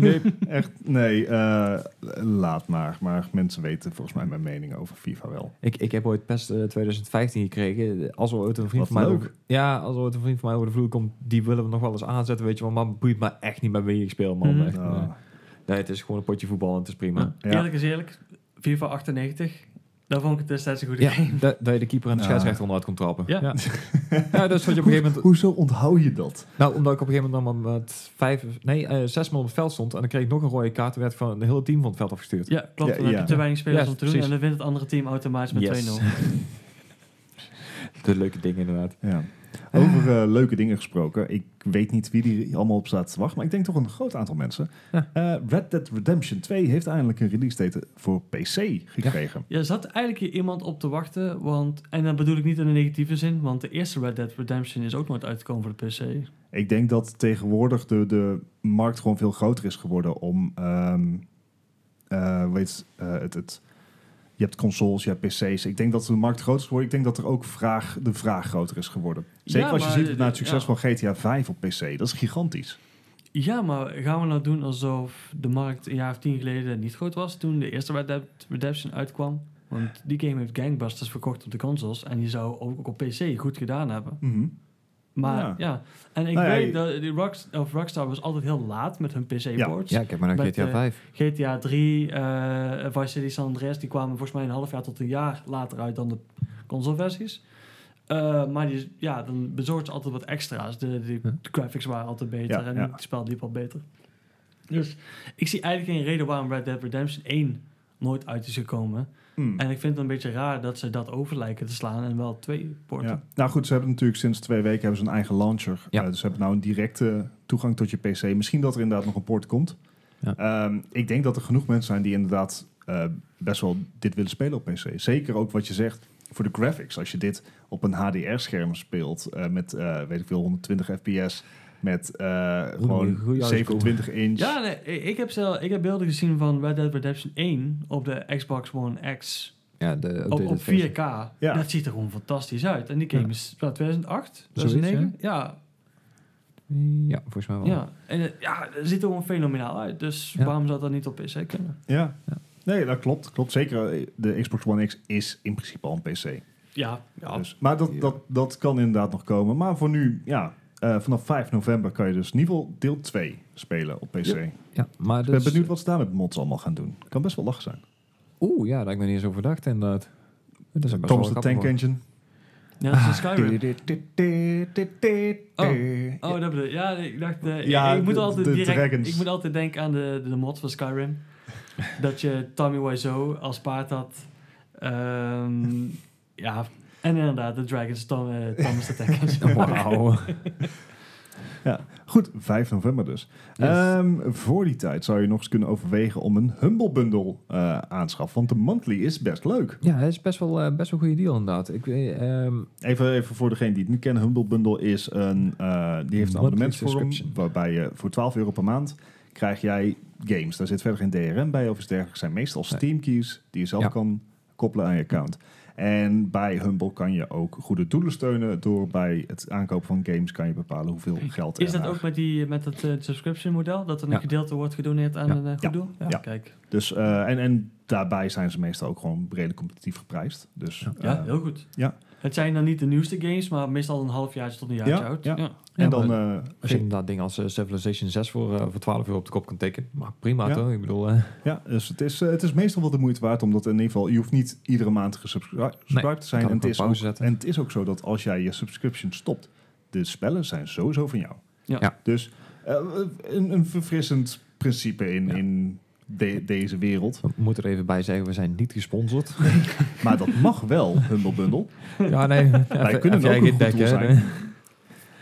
Speaker 1: Echt, nee, eh, laat maar. Maar mensen weten volgens mij mijn mening over FIFA wel.
Speaker 2: Ik, ik heb ooit PES eh, 2015 gekregen. Als er ooit een vriend
Speaker 1: Wat
Speaker 2: van mij...
Speaker 1: leuk.
Speaker 2: over- ja, als er ooit een vriend van mij over de vloer komt, die willen we nog wel eens aanzetten, weet je wel. Maar boeit me echt niet met wie ik speel, man.
Speaker 3: Mhm.
Speaker 2: Echt,
Speaker 1: Nou,
Speaker 2: eh. Nee, het is gewoon een potje voetbal en het is prima.
Speaker 1: Ja.
Speaker 3: Eerlijk is eerlijk. FIFA 98. Daar vond ik het destijds een goede
Speaker 2: Ja,
Speaker 3: game.
Speaker 2: dat, dat je de keeper en de
Speaker 1: Ja.
Speaker 2: scheidsrechter onderuit komt trappen.
Speaker 3: Ja.
Speaker 2: ja. Ja, dat is wat je op een gegeven moment...
Speaker 1: Hoezo onthoud je dat?
Speaker 2: Nou, omdat ik op een gegeven moment dan maar met vijf, nee, eh, zes man op het veld stond. En dan kreeg ik nog een rode kaart. En werd ik van het hele team van het veld afgestuurd.
Speaker 3: Ja, klopt.
Speaker 1: Ja,
Speaker 3: Dan heb
Speaker 1: ja.
Speaker 3: je te weinig spelers
Speaker 2: Ja,
Speaker 3: om te doen.
Speaker 2: precies.
Speaker 3: En dan wint het andere team automatisch met
Speaker 2: Yes.
Speaker 3: 2-0.
Speaker 2: De leuke dingen inderdaad.
Speaker 1: Ja. Over eh, leuke dingen gesproken. Ik weet niet wie er allemaal op staat te wachten, maar ik denk toch een groot aantal mensen.
Speaker 2: Ja.
Speaker 1: Eh, Red Dead Redemption 2 heeft eindelijk een release date voor PC gekregen.
Speaker 3: Ja, er zat eigenlijk hier iemand op te wachten, want... En dat bedoel ik niet in een negatieve zin, want de eerste Red Dead Redemption is ook nooit uitgekomen voor de PC.
Speaker 1: Ik denk dat tegenwoordig de, de markt gewoon veel groter is geworden om. ehm, eh, weet, eh, het, het, je hebt consoles, je hebt PC's. Ik denk dat de markt groter is geworden. Ik denk dat er ook vraag, de vraag groter is geworden. Zeker
Speaker 3: Ja,
Speaker 1: als je
Speaker 3: maar-
Speaker 1: ziet naar het succes
Speaker 3: ja.
Speaker 1: van GTA 5 op PC. Dat is gigantisch.
Speaker 3: Ja, maar gaan we nou doen alsof de markt een jaar of tien geleden niet groot was toen de eerste Red Dead Redemption uitkwam? Want die game heeft gangbusters verkocht op de consoles en die zou ook op PC goed gedaan hebben.
Speaker 1: Mhm.
Speaker 3: Maar
Speaker 1: Ja.
Speaker 3: ja, en ik
Speaker 1: Nou ja, je-
Speaker 3: weet dat die Rocks- of Rockstar was altijd heel laat met hun PC-ports.
Speaker 2: Ja, ik heb maar naar
Speaker 3: Met,
Speaker 2: GTA
Speaker 3: eh,
Speaker 2: 5.
Speaker 3: GTA 3, eh Vice City San Andreas, die kwamen volgens mij een half jaar tot een jaar later uit dan de consoleversies. Eh, maar die, ja, dan bezorgd ze altijd wat extra's. De, de,
Speaker 2: Ja.
Speaker 3: de graphics waren altijd beter
Speaker 1: Ja,
Speaker 3: en
Speaker 1: ja.
Speaker 3: het spel liep al beter. Dus ik zie eigenlijk geen reden waarom Red Dead Redemption 1 nooit uit is gekomen.
Speaker 1: Hmm.
Speaker 3: En ik vind het een beetje raar dat ze dat over lijken te slaan en wel twee porten.
Speaker 1: Ja. Nou goed, ze hebben natuurlijk sinds twee weken hebben ze een eigen launcher.
Speaker 2: Ja.
Speaker 1: Eh, dus ze hebben nou een directe toegang tot je PC. Misschien dat er inderdaad nog een port komt.
Speaker 2: Ja.
Speaker 1: Ehm, ik denk dat er genoeg mensen zijn die inderdaad eh, best wel dit willen spelen op PC. Zeker ook wat je zegt voor de graphics. Als je dit op een HDR-scherm speelt eh, met, eh, weet ik veel, 120 fps. Met eh, gewoon
Speaker 2: goeie uitkomen.
Speaker 1: 27 inch.
Speaker 3: Ja, nee, ik- ik heb, zelf, ik heb beelden gezien van Red Dead Redemption 1 op de Xbox One X.
Speaker 2: Ja, de
Speaker 3: op,
Speaker 2: updated
Speaker 3: op 4K.
Speaker 2: versie.
Speaker 1: Ja.
Speaker 3: Dat ziet er gewoon fantastisch uit. En die game
Speaker 2: Ja.
Speaker 3: is wat, 2008,
Speaker 2: Zoiets,
Speaker 3: 2009. Ja,
Speaker 2: Ja, volgens mij wel.
Speaker 3: ja. En eh, ja, dat ziet er gewoon fenomenaal uit. Dus
Speaker 2: Ja.
Speaker 3: waarom zou dat niet op PC kunnen?
Speaker 1: Ja.
Speaker 2: Ja.
Speaker 1: Nee, dat klopt. klopt. Zeker eh, de Xbox One X is in principe al een PC.
Speaker 3: Ja, ja.
Speaker 1: Dus, maar dat,
Speaker 2: Ja.
Speaker 1: dat, dat kan inderdaad nog komen. Maar voor nu, ja, eh, vanaf 5 november kan je dus Nivel deel 2 spelen op PC.
Speaker 2: Ja, Ja, maar
Speaker 1: Ik
Speaker 2: dus...
Speaker 1: ben benieuwd wat ze daar met mods allemaal gaan doen. Kan best wel lach zijn.
Speaker 2: Oeh, ja, daar heb ik nog niet eens over gedacht inderdaad. Dat is best
Speaker 1: Thomas
Speaker 2: wel
Speaker 1: de
Speaker 2: grappig,
Speaker 1: Tank
Speaker 2: hoor.
Speaker 1: Engine.
Speaker 3: Net als in Skyrim.
Speaker 1: Oh.
Speaker 3: Oh, dat bedoel ik. Ja, ik dacht... eh,
Speaker 1: Ja,
Speaker 3: ik, ik moet
Speaker 1: de-
Speaker 3: altijd
Speaker 1: de
Speaker 3: direct...
Speaker 1: dragons.
Speaker 3: Ik moet altijd denken aan de, de mod van Skyrim. dat je Tommy Wiseau als paard had. Ehm, ja... En inderdaad, de Dragons, Tom, eh, Thomas de Tank Engine.
Speaker 2: Wauw.
Speaker 1: Goed, 5 november dus.
Speaker 2: Yes.
Speaker 1: Ehm, voor die tijd zou je nog eens kunnen overwegen om een Humble Bundle eh aanschaf. Want de monthly is best leuk.
Speaker 2: Ja, dat is best wel, eh, best wel een goede deal inderdaad. Ik, weet, ehm,
Speaker 1: Even, even voor degene die het niet kennen, Humble Bundle is een, eh, die heeft een
Speaker 2: Monthly
Speaker 1: abonnementsvorm
Speaker 2: subscription.
Speaker 1: waarbij je voor 12 euro per maand krijg jij games. Daar zit verder geen DRM bij of iets dergelijks. zijn meestal
Speaker 2: Nee.
Speaker 1: Steam keys die je zelf
Speaker 2: Ja.
Speaker 1: kan koppelen aan je account. En bij Humble kan je ook goede doelen steunen door bij het aankopen van games kan je bepalen hoeveel geld er
Speaker 3: Is dat ook met, die, met dat eh, subscription model? Dat er een
Speaker 2: Ja.
Speaker 3: gedeelte wordt gedoneerd aan
Speaker 2: Ja.
Speaker 3: een eh, goed
Speaker 1: Ja.
Speaker 3: doel?
Speaker 1: Ja.
Speaker 3: Kijk,
Speaker 1: Dus, eh, en, en daarbij zijn ze meestal ook gewoon redelijk competitief geprijsd. Dus,
Speaker 3: ja,
Speaker 1: eh,
Speaker 3: heel goed.
Speaker 1: ja.
Speaker 3: Het zijn dan niet de nieuwste games, maar meestal een halfjaartje tot een jaartje
Speaker 1: Ja,
Speaker 3: oud.
Speaker 1: ja.
Speaker 2: ja,
Speaker 1: en dan
Speaker 2: maar
Speaker 1: eh,
Speaker 2: als je inderdaad dingen als eh, Civilization 6 voor, eh, voor 12 euro op de kop kan tikken. Maar prima
Speaker 1: Ja.
Speaker 2: toch? Ik bedoel... eh,
Speaker 1: Ja, dus het is, eh, het is meestal wel de moeite waard, omdat in ieder geval, je hoeft niet iedere maand gesubscribed
Speaker 2: Nee,
Speaker 1: te zijn.
Speaker 2: kan
Speaker 1: En het,
Speaker 2: ook
Speaker 1: is
Speaker 2: pauze
Speaker 1: ook,
Speaker 2: zetten.
Speaker 1: en het is ook zo dat als jij je subscription stopt, de spellen zijn sowieso van jou.
Speaker 3: Ja.
Speaker 2: Ja.
Speaker 1: Dus eh, een, een verfrissend principe in,
Speaker 2: Ja.
Speaker 1: in de- deze wereld.
Speaker 2: Ik moet er even bij zeggen, we zijn niet gesponsord.
Speaker 1: Maar dat mag wel, Humble Bundle.
Speaker 2: ja, nee.
Speaker 1: Wij kunnen ook een goed doel zijn.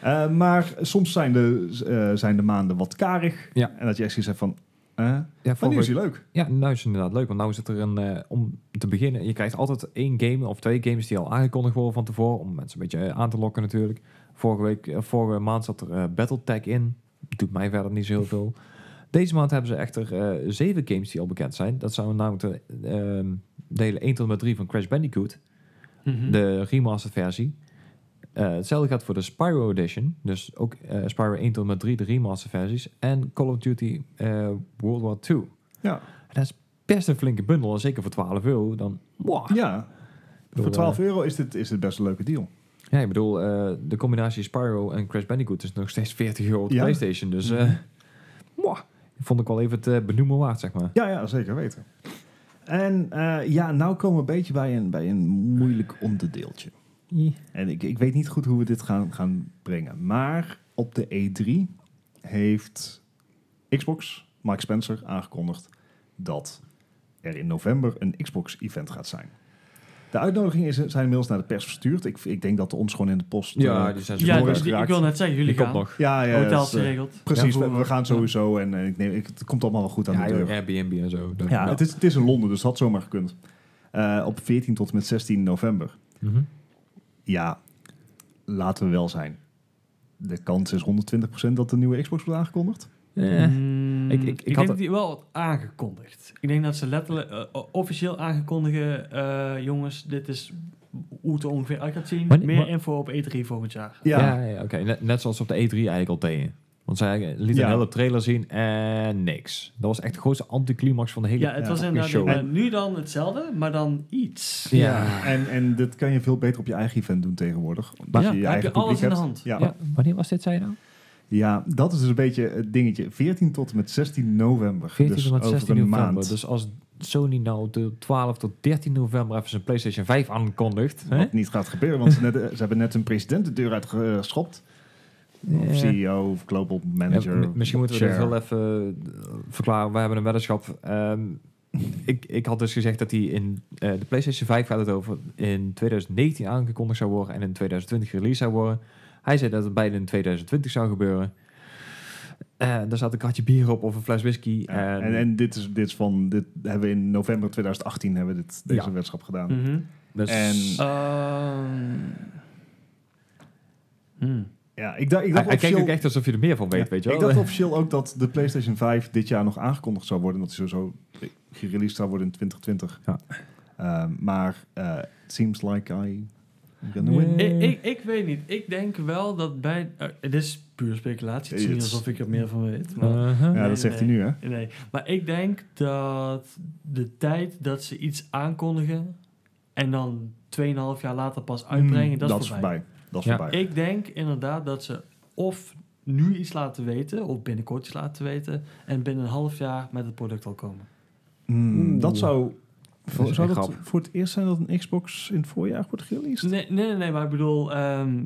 Speaker 1: Eh, maar soms zijn de, eh, zijn de maanden wat karig.
Speaker 2: Ja.
Speaker 1: En dat je echt zoiets hebt van... eh,
Speaker 2: Ja,
Speaker 1: maar nu is
Speaker 2: vorige-
Speaker 1: hij leuk.
Speaker 2: ja, nou is het inderdaad leuk. Want nou is het er een... eh, om te beginnen, je krijgt altijd één game of twee games die al aangekondigd worden van tevoren. Om mensen een beetje eh, aan te lokken natuurlijk. Vorige, week, eh, vorige maand zat er eh, Battletech in. Doet mij verder niet zo heel veel. Deze maand hebben ze echter eh, zeven games die al bekend zijn. Dat zijn namelijk de ehm, delen 1 tot en met 3 van Crash Bandicoot.
Speaker 3: Hm?
Speaker 2: de remastered versie. Eh, hetzelfde gaat voor de Spyro Edition. Dus ook eh, Spyro 1 tot en met 3, de remastered versies. En Call of Duty eh, World War 2.
Speaker 1: Ja.
Speaker 2: En dat is best een flinke bundel. En zeker voor 12 euro. Dan, wow.
Speaker 1: Ja.
Speaker 2: bedoel, eh,
Speaker 1: Voor 12 euro is dit, is dit best een leuke deal.
Speaker 2: Ja, ik bedoel, eh, de combinatie Spyro en Crash Bandicoot is nog steeds 40 euro op de
Speaker 1: Ja.
Speaker 2: PlayStation. Dus eh wow. vond ik wel even het eh, benoemen waard, zeg maar.
Speaker 1: Ja, ja, zeker weten. En eh, ja, nou komen we een beetje bij een, bij een moeilijk onderdeeltje. En ik, ik weet niet goed hoe we dit gaan, gaan brengen. Maar op de E3 heeft Xbox, Mike Spencer, aangekondigd dat er in november een Xbox-event gaat zijn. De uitnodigingen is- zijn inmiddels naar de pers verstuurd. Ik, ik denk dat de ons gewoon in de post... eh,
Speaker 2: die zijn
Speaker 3: Ja,
Speaker 1: Hoor
Speaker 3: dus
Speaker 1: eens
Speaker 3: die- ik
Speaker 1: geraakt.
Speaker 3: wil net zeggen, jullie
Speaker 2: Die komt
Speaker 3: gaan.
Speaker 2: nog.
Speaker 1: ja, ja,
Speaker 3: Hotels
Speaker 1: dus, eh,
Speaker 3: geregeld.
Speaker 1: precies,
Speaker 2: Ja,
Speaker 1: we,
Speaker 2: voor-
Speaker 1: we gaan sowieso en, en ik neem, ik, het komt allemaal wel goed aan
Speaker 2: Ja,
Speaker 1: de deur.
Speaker 2: joh, eh, Airbnb en zo. Dat-
Speaker 1: Ja, het is, het is in Londen, dus het had zomaar gekund. Eh, op 14 tot en met 16 november.
Speaker 2: Mhm.
Speaker 1: Ja, laten we wel zijn. De kans is 120% dat de nieuwe Xbox wordt aangekondigd.
Speaker 2: Eh.
Speaker 3: Mm,
Speaker 2: Ik-
Speaker 3: ik,
Speaker 2: ik- ik had
Speaker 3: denk
Speaker 2: het-
Speaker 3: dat die wel wat aangekondigd. Ik denk dat ze letterlijk eh, o- officieel aangekondigen... eh, jongens, dit is hoe het er ongeveer uit gaat zien.
Speaker 2: Maar-
Speaker 3: Meer
Speaker 2: maar-
Speaker 3: info op E3 volgend jaar.
Speaker 2: Ja, ja, oké. Net, net zoals op de E3 eigenlijk al deden. Want zij lieten
Speaker 1: Ja.
Speaker 2: een hele trailer zien en niks. Dat was echt de grootste anticlimax van de hele...
Speaker 3: Ja, het
Speaker 1: ja,
Speaker 3: was
Speaker 1: een
Speaker 3: inderdaad
Speaker 2: show.
Speaker 3: eh, nu dan hetzelfde, maar dan iets.
Speaker 2: Ja.
Speaker 1: En, en dit kan je veel beter op je eigen event doen tegenwoordig. Omdat
Speaker 3: Ja,
Speaker 1: je je
Speaker 3: heb
Speaker 1: eigen
Speaker 3: je alles
Speaker 1: publiek
Speaker 3: in de
Speaker 1: hebt.
Speaker 3: hand.
Speaker 1: Ja. Ja.
Speaker 2: Ja, wanneer was dit, zei je nou?
Speaker 1: Dus dat is dus een beetje het dingetje. 14 tot en met 16 november.
Speaker 2: 14
Speaker 1: dus
Speaker 2: tot en met
Speaker 1: over
Speaker 2: 16
Speaker 1: een
Speaker 2: november.
Speaker 1: maand.
Speaker 2: Dus als Sony nou de 12 tot 13 november even zijn PlayStation 5 aankondigt... Hè?
Speaker 1: Wat niet gaat gebeuren, want ze, net, ze hebben net een president de deur uitgeschopt. Of
Speaker 2: Ja.
Speaker 1: CEO, of global manager.
Speaker 2: Ja, m- misschien moeten we
Speaker 1: chair.
Speaker 2: dit heel even eh, verklaren. We hebben een weddenschap. Ehm, ik, ik had dus gezegd dat die in eh, de PlayStation 5 gaat het over in 2019 aangekondigd zou worden en in 2020 release zou worden. Hij zei dat het beide in 2020 zou gebeuren. Eh, daar zat een kratje bier op of een fles whisky.
Speaker 1: Ja,
Speaker 2: en,
Speaker 1: en, en dit is dit is van dit hebben we in november 2018 hebben we dit deze
Speaker 2: Ja.
Speaker 1: wedstrijd gedaan.
Speaker 3: Mhm.
Speaker 2: dus-
Speaker 1: en-
Speaker 3: Ehm, hmm.
Speaker 1: Ja, ik, dacht ik dacht
Speaker 2: hij, hij kijkt
Speaker 1: officieel,
Speaker 2: ook echt alsof je er meer van weet,
Speaker 1: ja,
Speaker 2: weet je wel.
Speaker 1: ik dacht officieel ook dat de PlayStation 5 dit jaar nog aangekondigd zou worden, dat hij sowieso gereleased zou worden in 2020.
Speaker 2: Ja.
Speaker 1: Ehm, maar eh, it seems like I gonna
Speaker 2: Nee.
Speaker 1: win.
Speaker 3: Ik, ik, ik weet niet. Ik denk wel dat bij... eh, het is puur speculatie. Het is niet
Speaker 1: Het is-
Speaker 3: alsof ik er meer van weet. Maar,
Speaker 2: Uh-huh.
Speaker 1: Ja,
Speaker 3: Nee,
Speaker 1: dat zegt
Speaker 3: nee.
Speaker 1: hij nu hè.
Speaker 3: nee. maar ik denk dat de tijd dat ze iets aankondigen... en dan 2,5 jaar later pas uitbrengen, Hmm, dat, is voorbij.
Speaker 1: Dat is
Speaker 2: Mm, Ja.
Speaker 1: voorbij.
Speaker 3: Ik denk inderdaad dat ze of nu iets laten weten... of binnenkort iets laten weten... en binnen een half jaar met het product al komen.
Speaker 1: Mm,
Speaker 2: Oeh.
Speaker 1: dat zou
Speaker 2: Dat is
Speaker 1: zou
Speaker 2: echt
Speaker 1: dat
Speaker 2: grap.
Speaker 1: voor het eerst zijn dat een Xbox in het voorjaar wordt gereleased?
Speaker 3: Nee, nee, nee, nee, maar ik bedoel, ehm,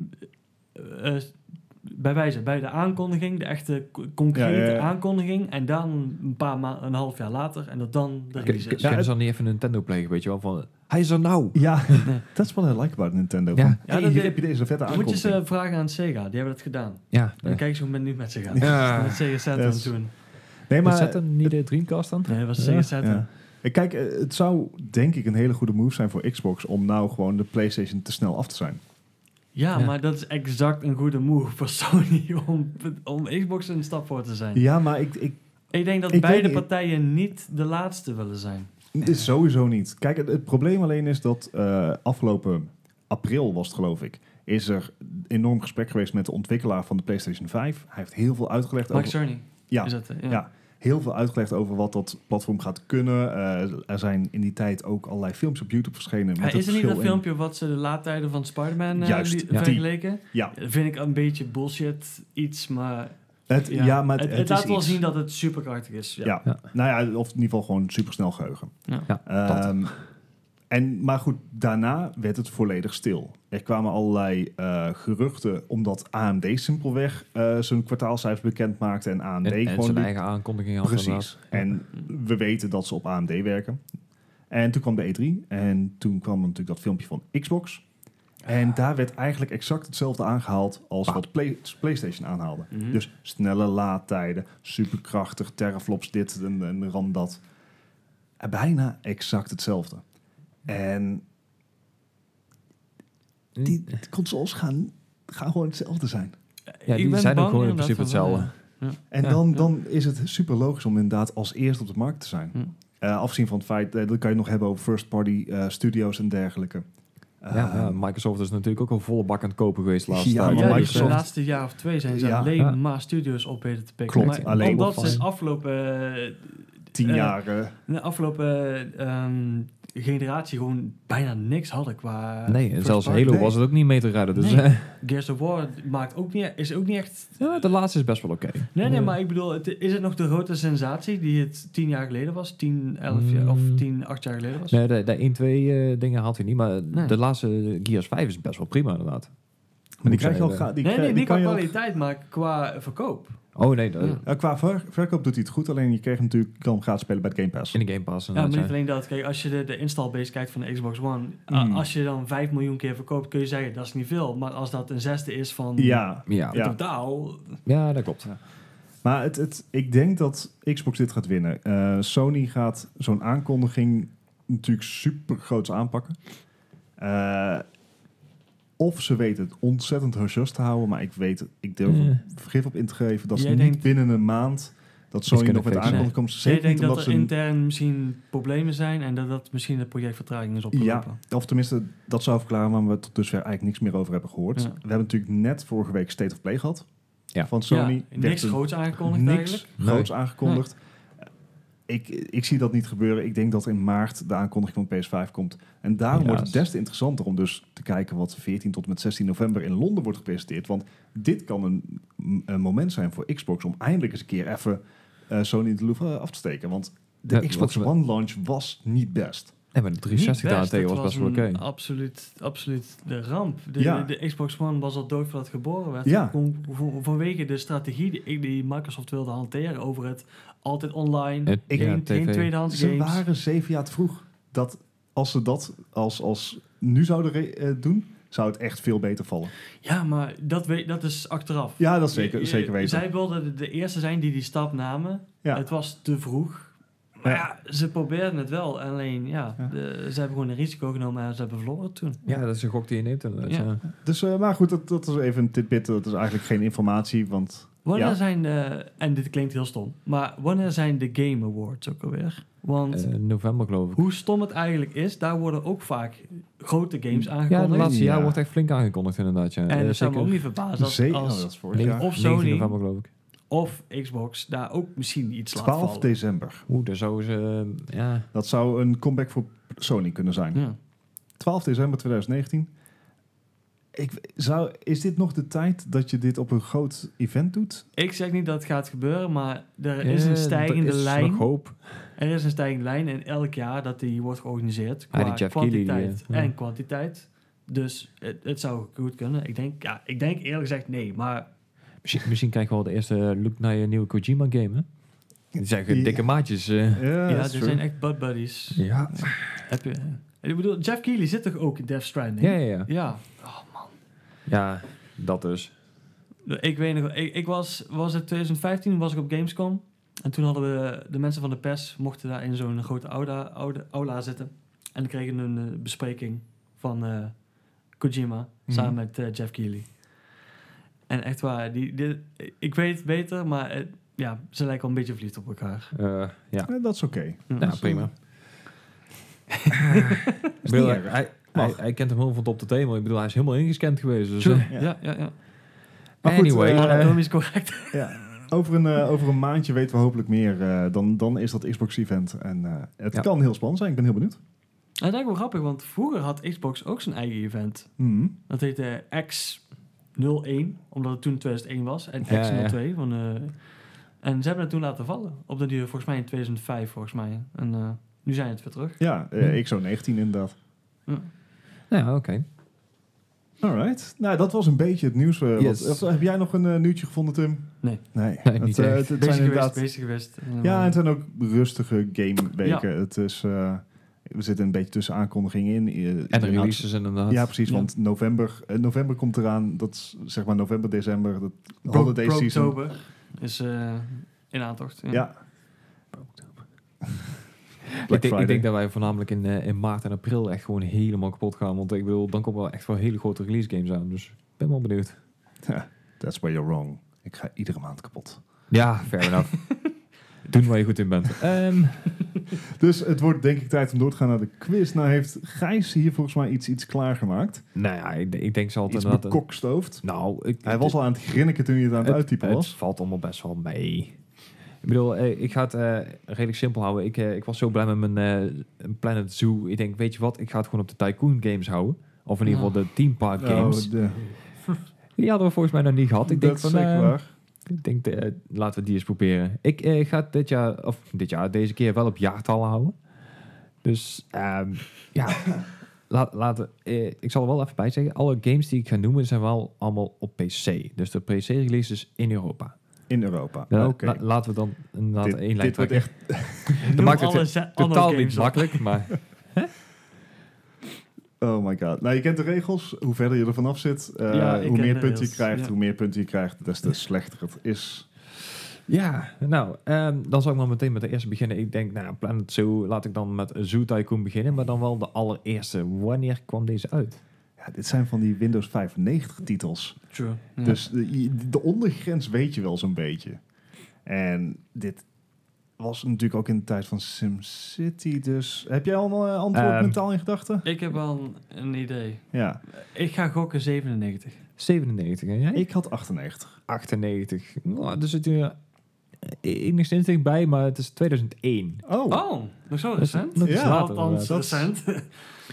Speaker 3: eh, bij wijze, bij de aankondiging, de echte co- concrete
Speaker 1: Ja, ja, ja.
Speaker 3: aankondiging, en dan een paar ma- een half jaar later, en dat dan de
Speaker 2: Kun-
Speaker 3: release
Speaker 2: kun-
Speaker 3: is.
Speaker 1: Ja,
Speaker 2: Kunnen ze dan niet even Nintendo plegen, weet je wel? Van, hij is er nou!
Speaker 1: Ja,
Speaker 3: Nee.
Speaker 1: dat is wat I like about Nintendo.
Speaker 2: Ja.
Speaker 1: Van,
Speaker 3: Ja,
Speaker 1: hey,
Speaker 3: dat-
Speaker 1: hier heb je deze vette
Speaker 3: Dan moet je
Speaker 1: aankondiging.
Speaker 3: eens eh, vragen aan Sega, die hebben dat gedaan.
Speaker 2: Ja,
Speaker 3: Dan kijk ze hoe men nu met Sega.
Speaker 2: Ja.
Speaker 3: Met Sega Saturn
Speaker 1: Dat is-
Speaker 3: toen.
Speaker 1: nee,
Speaker 2: maar,
Speaker 1: maar
Speaker 2: is dat dan niet de Dreamcast dan?
Speaker 3: Nee, dat was
Speaker 1: Ja,
Speaker 3: Sega
Speaker 1: ja.
Speaker 3: Saturn.
Speaker 1: Eh, Kijk, eh, het zou denk ik een hele goede move zijn voor Xbox om nou gewoon de PlayStation te snel af te zijn.
Speaker 3: Ja,
Speaker 2: Ja.
Speaker 3: maar dat is exact een goede move voor Sony om, om Xbox een stap voor te zijn.
Speaker 1: Ja, maar ik, ik
Speaker 3: Ik denk dat
Speaker 1: Ik weet
Speaker 3: beide
Speaker 1: niet.
Speaker 3: partijen niet de laatste willen zijn.
Speaker 1: dit is sowieso niet. Kijk, het, het probleem alleen is dat eh, afgelopen april was het geloof ik, is er enorm gesprek geweest met de ontwikkelaar van de PlayStation 5. Hij heeft heel veel uitgelegd
Speaker 3: Mike
Speaker 1: over,
Speaker 3: Cerny
Speaker 1: Oh, ja,
Speaker 3: is dat, hè? ja.
Speaker 1: Ja. heel veel uitgelegd over wat dat platform gaat kunnen. Eh, er zijn in die tijd ook allerlei films op YouTube verschenen. met
Speaker 3: Maar
Speaker 1: het
Speaker 3: Eh, is er niet
Speaker 1: verschil
Speaker 3: dat
Speaker 1: in-
Speaker 3: filmpje wat ze de laadtijden van Spider-Man eh,
Speaker 1: Juist,
Speaker 3: li-
Speaker 1: ja.
Speaker 3: vergeleken?
Speaker 1: Ja.
Speaker 3: Dat vind ik een beetje bullshit iets, maar...
Speaker 1: Het, ja. maar het,
Speaker 3: het,
Speaker 1: het
Speaker 3: laat
Speaker 1: is
Speaker 3: wel
Speaker 1: iets.
Speaker 3: zien dat het super krachtig is. Ja.
Speaker 1: Ja. Nou ja, of in ieder geval gewoon supersnel geheugen.
Speaker 3: Ja.
Speaker 2: Ja, dat.
Speaker 1: Ehm, En, maar goed, daarna werd het volledig stil. Er kwamen allerlei eh, geruchten omdat AMD simpelweg eh, zijn kwartaalcijfers bekend maakte en AMD
Speaker 2: En, en
Speaker 1: gewoon
Speaker 2: zijn
Speaker 1: die-
Speaker 2: eigen aankondiging had. inderdaad.
Speaker 1: Precies. En we weten dat ze op AMD werken. En toen kwam de E3 en toen kwam natuurlijk dat filmpje van Xbox. En daar werd eigenlijk exact hetzelfde aangehaald als wat Play- PlayStation aanhaalde.
Speaker 3: Mhm.
Speaker 1: Dus snelle laadtijden, superkrachtig, teraflops dit en, en ram dat. En bijna exact hetzelfde. En die consoles gaan, gaan gewoon hetzelfde zijn.
Speaker 2: Ja, die
Speaker 5: ben
Speaker 2: zijn ook
Speaker 5: bang
Speaker 2: gewoon in
Speaker 5: inderdaad
Speaker 2: principe
Speaker 5: van,
Speaker 2: hetzelfde.
Speaker 1: En
Speaker 5: Ja,
Speaker 1: dan,
Speaker 5: ja.
Speaker 1: dan is het super logisch om inderdaad als eerste op de markt te zijn.
Speaker 3: Hm.
Speaker 1: Eh, afzien van het feit, eh, dat kan je nog hebben over first-party eh, studios en dergelijke.
Speaker 2: Ja, ja,
Speaker 1: Ehm,
Speaker 2: Microsoft is natuurlijk ook al volle bak aan het kopen geweest de laatste
Speaker 1: Ja,
Speaker 3: Ja,
Speaker 2: tijd. Dus, eh,
Speaker 1: maar
Speaker 3: die
Speaker 1: Microsoft-
Speaker 3: zijn de laatste jaar of twee zijn ze
Speaker 1: Ja.
Speaker 3: alleen
Speaker 2: Ja.
Speaker 3: maar studios op weten te pikken.
Speaker 1: Klopt,
Speaker 3: Maar
Speaker 1: alleen.
Speaker 3: Omdat ze
Speaker 2: Fijn.
Speaker 3: het afgelopen, eh,
Speaker 1: tien
Speaker 3: eh,
Speaker 1: jaar. eh,
Speaker 3: de afgelopen ehm, generatie gewoon bijna niks hadden qua...
Speaker 2: Nee, en
Speaker 3: first
Speaker 2: zelfs
Speaker 3: party.
Speaker 2: Halo
Speaker 1: Nee.
Speaker 2: was het ook niet mee te redden. Dus,
Speaker 3: Nee.
Speaker 2: eh,
Speaker 3: Gears of War maakt ook niet, e- is ook niet echt...
Speaker 2: ja, eh, de laatste is best wel oké.
Speaker 3: Nee, nee,
Speaker 2: Ja.
Speaker 3: maar ik bedoel, het- is het nog de grote sensatie die het tien jaar geleden was? Tien, elf jaar of
Speaker 2: Mm.
Speaker 3: tien, acht jaar geleden was?
Speaker 2: Nee, de, de 1, 2 eh, dingen had hij niet. Maar
Speaker 3: Nee.
Speaker 2: de laatste Gears 5 is best wel prima inderdaad.
Speaker 1: maar die
Speaker 2: moet
Speaker 1: krijg je al
Speaker 2: zeggen.
Speaker 1: ga- die
Speaker 3: nee,
Speaker 1: krijg-
Speaker 3: nee,
Speaker 1: die
Speaker 3: niet
Speaker 1: kan
Speaker 3: qua
Speaker 1: je al-
Speaker 3: kwaliteit, maar qua verkoop.
Speaker 2: Oh nee, dat-
Speaker 3: Ja.
Speaker 1: Eh, qua ver- verkoop doet hij het goed, alleen je kreeg hem natuurlijk, je kan hem gratis spelen bij de Game Pass.
Speaker 2: in de Game Pass.
Speaker 3: Ja,
Speaker 2: inderdaad,
Speaker 3: maar niet
Speaker 2: ja.
Speaker 3: alleen dat. Kijk, als je de, de install base kijkt van de Xbox One, a-
Speaker 1: Mm.
Speaker 3: als je dan 5 miljoen keer verkoopt, kun je zeggen dat is niet veel. Maar als dat een zesde is van
Speaker 1: Ja,
Speaker 2: Ja.
Speaker 3: het
Speaker 1: Ja.
Speaker 3: totaal,
Speaker 2: Ja, dat klopt. Ja.
Speaker 1: maar het, het, ik denk dat Xbox dit gaat winnen. Eh, Sony gaat zo'n aankondiging natuurlijk super groots aanpakken. Eh, of ze weten het ontzettend hush te houden, maar ik weet, ik durf
Speaker 2: Eh.
Speaker 1: vergif op in te geven dat ze
Speaker 3: Jij
Speaker 1: niet
Speaker 3: denkt-
Speaker 1: binnen een maand dat Sony
Speaker 2: kunnen
Speaker 1: nog met de
Speaker 2: fixen.
Speaker 1: aankondiging komt.
Speaker 3: zij
Speaker 1: Zeker
Speaker 3: denkt
Speaker 1: niet
Speaker 3: dat
Speaker 1: omdat
Speaker 3: er
Speaker 1: ze...
Speaker 3: intern misschien problemen zijn en dat dat misschien het project vertraging is opgelopen.
Speaker 1: Of tenminste, dat zou verklaren waarom we tot dusver eigenlijk niks meer over hebben gehoord.
Speaker 3: Ja.
Speaker 1: We hebben natuurlijk net vorige week State of Play gehad
Speaker 2: Ja.
Speaker 1: van
Speaker 3: Ja,
Speaker 1: Sony. Werd
Speaker 3: niks
Speaker 1: een-
Speaker 3: groots aangekondigd
Speaker 1: niks
Speaker 3: eigenlijk.
Speaker 2: Nee.
Speaker 1: groots aangekondigd. Ik, ik zie dat niet gebeuren. Ik denk dat in maart de aankondiging van PS5 komt. En daarom
Speaker 2: Ja,
Speaker 1: wordt het
Speaker 2: is-
Speaker 1: des te interessanter om dus te kijken wat 14 tot en met 16 november in Londen wordt gepresenteerd. Want dit kan een, een moment zijn voor Xbox om eindelijk eens een keer even eh, Sony de loef eh, af te steken. Want de
Speaker 2: Ja,
Speaker 1: Xbox
Speaker 2: wat we-
Speaker 1: One launch was niet best.
Speaker 2: Nee, maar de 360
Speaker 3: Niet best,
Speaker 2: daarentegen
Speaker 3: dat
Speaker 2: was best wel oké.
Speaker 3: een Absoluut, absoluut de ramp. De,
Speaker 1: Ja.
Speaker 3: de, de Xbox One was al dood voordat geboren werd.
Speaker 1: Ja.
Speaker 3: Van- van- vanwege de strategie die, die Microsoft wilde hanteren over het altijd online,
Speaker 2: Het-
Speaker 1: Ik-
Speaker 3: geen,
Speaker 2: ja,
Speaker 3: geen
Speaker 2: TV.
Speaker 3: tweedehands
Speaker 1: Ze
Speaker 3: games.
Speaker 1: waren zeven jaar te vroeg. Dat als ze dat als, als nu zouden re- eh, doen, zou het echt veel beter vallen.
Speaker 3: Ja, maar dat, we, dat is achteraf.
Speaker 1: Ja, dat zeker,
Speaker 3: Je- je-
Speaker 1: zeker weten.
Speaker 3: Zij wilden de, de eerste zijn die die stap namen.
Speaker 1: Ja.
Speaker 3: Het was te vroeg. Maar ja, ze probeerden het wel. Alleen, ja,
Speaker 1: Ja.
Speaker 3: de- ze hebben gewoon een risico genomen en ze hebben verloren toen.
Speaker 2: Ja, dat is een gok die je neemt inderdaad.
Speaker 3: Ja.
Speaker 2: Ja.
Speaker 1: Dus, eh, maar goed, dat, dat is even een tidbit. Dat is eigenlijk geen informatie, want...
Speaker 3: Wanneer
Speaker 1: Ja.
Speaker 3: zijn de... En dit klinkt heel stom. Maar wanneer zijn de Game Awards ook alweer? Want
Speaker 2: Eh, november geloof ik.
Speaker 3: hoe stom het eigenlijk is, daar worden ook vaak grote games
Speaker 2: Ja,
Speaker 3: aangekondigd.
Speaker 2: de laatste
Speaker 1: Ja.
Speaker 2: jaar wordt echt flink aangekondigd inderdaad. Ja.
Speaker 3: en
Speaker 2: Eh,
Speaker 3: dat zou me ook niet verbazen als,
Speaker 1: zeker,
Speaker 3: als
Speaker 1: oh, dat is vorig
Speaker 2: Nee,
Speaker 1: jaar.
Speaker 3: of
Speaker 2: 19
Speaker 3: Sony
Speaker 2: november geloof ik.
Speaker 3: of Xbox daar ook misschien iets laat
Speaker 1: 12
Speaker 3: vallen.
Speaker 1: december.
Speaker 2: Oeh, daar zouden ze... eh, ja.
Speaker 1: Dat zou een comeback voor Sony kunnen zijn.
Speaker 3: Ja.
Speaker 1: 12 december 2019. Ik zou, is dit nog de tijd dat je dit op een groot event doet?
Speaker 3: Ik zeg niet dat het gaat gebeuren, maar er is
Speaker 2: Eh,
Speaker 3: een
Speaker 2: er
Speaker 3: stijgende
Speaker 2: is
Speaker 3: lijn.
Speaker 2: nog hoop.
Speaker 3: Er is een stijgende lijn en elk jaar dat die wordt georganiseerd
Speaker 2: Ah,
Speaker 3: qua
Speaker 2: die Jeff Keighley, die,
Speaker 3: kwantiteit
Speaker 2: eh, ja.
Speaker 3: en kwantiteit. Dus het, het zou goed kunnen. Ik denk, ja, ik denk eerlijk gezegd nee, maar
Speaker 2: Misschien, misschien krijgen we al de eerste look naar je nieuwe Kojima game, hè? Die zijn
Speaker 1: Ja.
Speaker 2: geen dikke maatjes. eh.
Speaker 1: Ja,
Speaker 3: ja,
Speaker 1: dat
Speaker 3: er
Speaker 1: is true.
Speaker 3: zijn echt bud buddies.
Speaker 2: Ja.
Speaker 3: Heb je, eh, ik bedoel, Jeff Keighley zit toch ook in Death Stranding?
Speaker 2: Ja, ja, ja.
Speaker 3: Ja.
Speaker 2: Ja, dat dus.
Speaker 3: Ik weet nog, ik, ik was, was het 2015, was ik op Gamescom. En toen hadden we, de mensen van de pers mochten daar in zo'n grote aula, oude- aula zitten. En dan kregen we een eh, bespreking van eh, Kojima
Speaker 2: Mhm.
Speaker 3: samen met eh, Jeff Keighley. En echt waar, die, die- ik weet het beter, maar eh, ja, ze lijken wel een beetje verliefd op elkaar. Dus-
Speaker 2: Eh, ja.
Speaker 1: Ja, dat is oké.
Speaker 2: ja, Nou, prima. ik bedoel, hij, hij, hij, hij kent hem helemaal van top tot teen, maar ik bedoel, hij is helemaal ingescand geweest. Dus, eh,
Speaker 1: Ja.
Speaker 3: Ja, ja, ja.
Speaker 1: Maar goed,
Speaker 2: Anyway,
Speaker 1: eh,
Speaker 2: eh,
Speaker 3: Anatomisch correct.
Speaker 1: Ja. Over, een, eh, over een maandje weten we hopelijk meer. eh, dan, dan is dat Xbox-event. En eh, het
Speaker 2: Ja.
Speaker 1: kan heel spannend zijn. Ik ben heel benieuwd.
Speaker 3: Dat is eigenlijk wel grappig, want vroeger had Xbox ook zijn eigen event.
Speaker 1: Mhm.
Speaker 3: Dat heette X01, omdat het toen 2001 was. En
Speaker 2: Ja, ja.
Speaker 3: X02. Van, eh, en ze hebben het toen laten vallen. Op de duur, volgens mij in 2005, volgens mij. En, eh,
Speaker 6: Nu zijn het weer terug.
Speaker 1: Ja, eh,
Speaker 2: Ja.
Speaker 1: ik zo 19 inderdaad.
Speaker 2: Nou ja, oké.
Speaker 1: Alright. Nou, dat was een beetje het nieuws. eh, wat-
Speaker 2: Yes.
Speaker 1: of, heb jij nog een eh, nieuwtje gevonden, Tim?
Speaker 6: Nee.
Speaker 1: Nee,
Speaker 2: Nee,
Speaker 1: het,
Speaker 2: niet
Speaker 1: eh,
Speaker 2: echt.
Speaker 1: het-
Speaker 6: Bezig
Speaker 1: het zijn
Speaker 6: geweest,
Speaker 1: inderdaad...
Speaker 6: bezig geweest. eh,
Speaker 1: Ja, en het zijn ook rustige gameweken. Het is... eh, we zitten een beetje tussen aankondigingen in. eh,
Speaker 2: En de
Speaker 1: inderdaad-
Speaker 2: releases inderdaad.
Speaker 1: Ja, precies.
Speaker 6: Ja.
Speaker 1: Want november, eh, november komt eraan. Dat is zeg maar november, december. Dat
Speaker 6: Pro-
Speaker 1: holiday season.
Speaker 6: Pro-Oktober is eh, in aantocht. Ja.
Speaker 1: Ja.
Speaker 2: ik, denk, ik
Speaker 1: Friday.
Speaker 2: denk dat wij voornamelijk in, eh, in maart en april echt gewoon helemaal kapot gaan. Want ik bedoel, dan komt wel echt wel hele grote release games aan. Dus ik ben wel benieuwd.
Speaker 1: That's where you're wrong. Ik ga iedere maand kapot.
Speaker 2: Ja, fair enough. Doen waar je goed in bent. Ehm,
Speaker 1: Dus het wordt denk ik tijd om door te gaan naar de quiz. Nou heeft Gijs hier volgens mij iets, iets klaargemaakt.
Speaker 2: nou ja, ik, ik denk ze altijd
Speaker 1: Iets
Speaker 2: inderdaad... een-
Speaker 1: bekokstoofd.
Speaker 2: Nou, ik,
Speaker 1: Hij was al aan het grinniken toen hij het aan het, uittypen
Speaker 2: het
Speaker 1: was.
Speaker 2: valt allemaal best wel mee. Ik bedoel, eh, ik ga het eh, redelijk simpel houden. Ik, eh, ik was zo blij met mijn eh, Planet Zoo. Ik denk, weet je wat, ik ga het gewoon op de Tycoon games houden. Of in ieder geval de Theme Park games.
Speaker 1: Oh, de-
Speaker 2: Die hadden we volgens mij nog niet gehad.
Speaker 1: dat
Speaker 2: Ik denk
Speaker 1: is
Speaker 2: van,
Speaker 1: zeker
Speaker 2: eh,
Speaker 1: waar.
Speaker 2: Ik denk, eh, laten we die eens proberen. Ik eh, ga het dit jaar, of dit jaar, deze keer wel op jaartallen houden. Dus ehm, ja, La- laten, eh, ik zal er wel even bij zeggen. Alle games die ik ga noemen zijn wel allemaal op PC. Dus de PC-releases in Europa.
Speaker 1: In Europa.
Speaker 2: La-
Speaker 1: Oké.
Speaker 2: la- laten we dan inderdaad
Speaker 1: Dit,
Speaker 2: één lijn
Speaker 1: dit wordt
Speaker 2: trekken.
Speaker 1: echt...
Speaker 2: Dat maakt het
Speaker 6: alle ze- alle
Speaker 2: totaal
Speaker 6: games
Speaker 2: niet
Speaker 6: op.
Speaker 2: makkelijk, maar
Speaker 1: Oh my god. Nou, je kent de regels. Hoe verder je er vanaf zit, eh,
Speaker 6: Ja, ik
Speaker 1: hoe
Speaker 6: ken
Speaker 1: meer
Speaker 6: de
Speaker 1: punten je
Speaker 6: regels,
Speaker 1: krijgt,
Speaker 6: ja.
Speaker 1: hoe meer punten je krijgt, des te slechter het is.
Speaker 2: ja. Nou, ehm, dan zal ik maar meteen met de eerste beginnen. Ik denk, nou, Planet Zoo, laat ik dan met Zoo Tycoon beginnen. Maar dan wel de allereerste. Wanneer kwam deze uit?
Speaker 1: Ja, dit zijn van die Windows 95 titels.
Speaker 6: True. Ja.
Speaker 1: Dus de, de ondergrens weet je wel zo'n beetje. En dit was natuurlijk ook in de tijd van SimCity, dus... Heb jij allemaal eh, antwoord
Speaker 2: Ehm.
Speaker 1: mentaal in gedachten?
Speaker 6: Ik heb wel een, een idee.
Speaker 1: Ja,
Speaker 6: Ik ga gokken 97.
Speaker 2: 97, en jij?
Speaker 1: ik had 98.
Speaker 2: 98. Nou, er zit hier eh, enigszins dichtbij, maar het is 2001.
Speaker 1: Oh,
Speaker 6: Oh, nog zo
Speaker 2: Dat is, dat
Speaker 6: recent?
Speaker 2: is
Speaker 1: Ja,
Speaker 2: later.
Speaker 6: Althans,
Speaker 2: inderdaad.
Speaker 1: dat is-
Speaker 6: recent.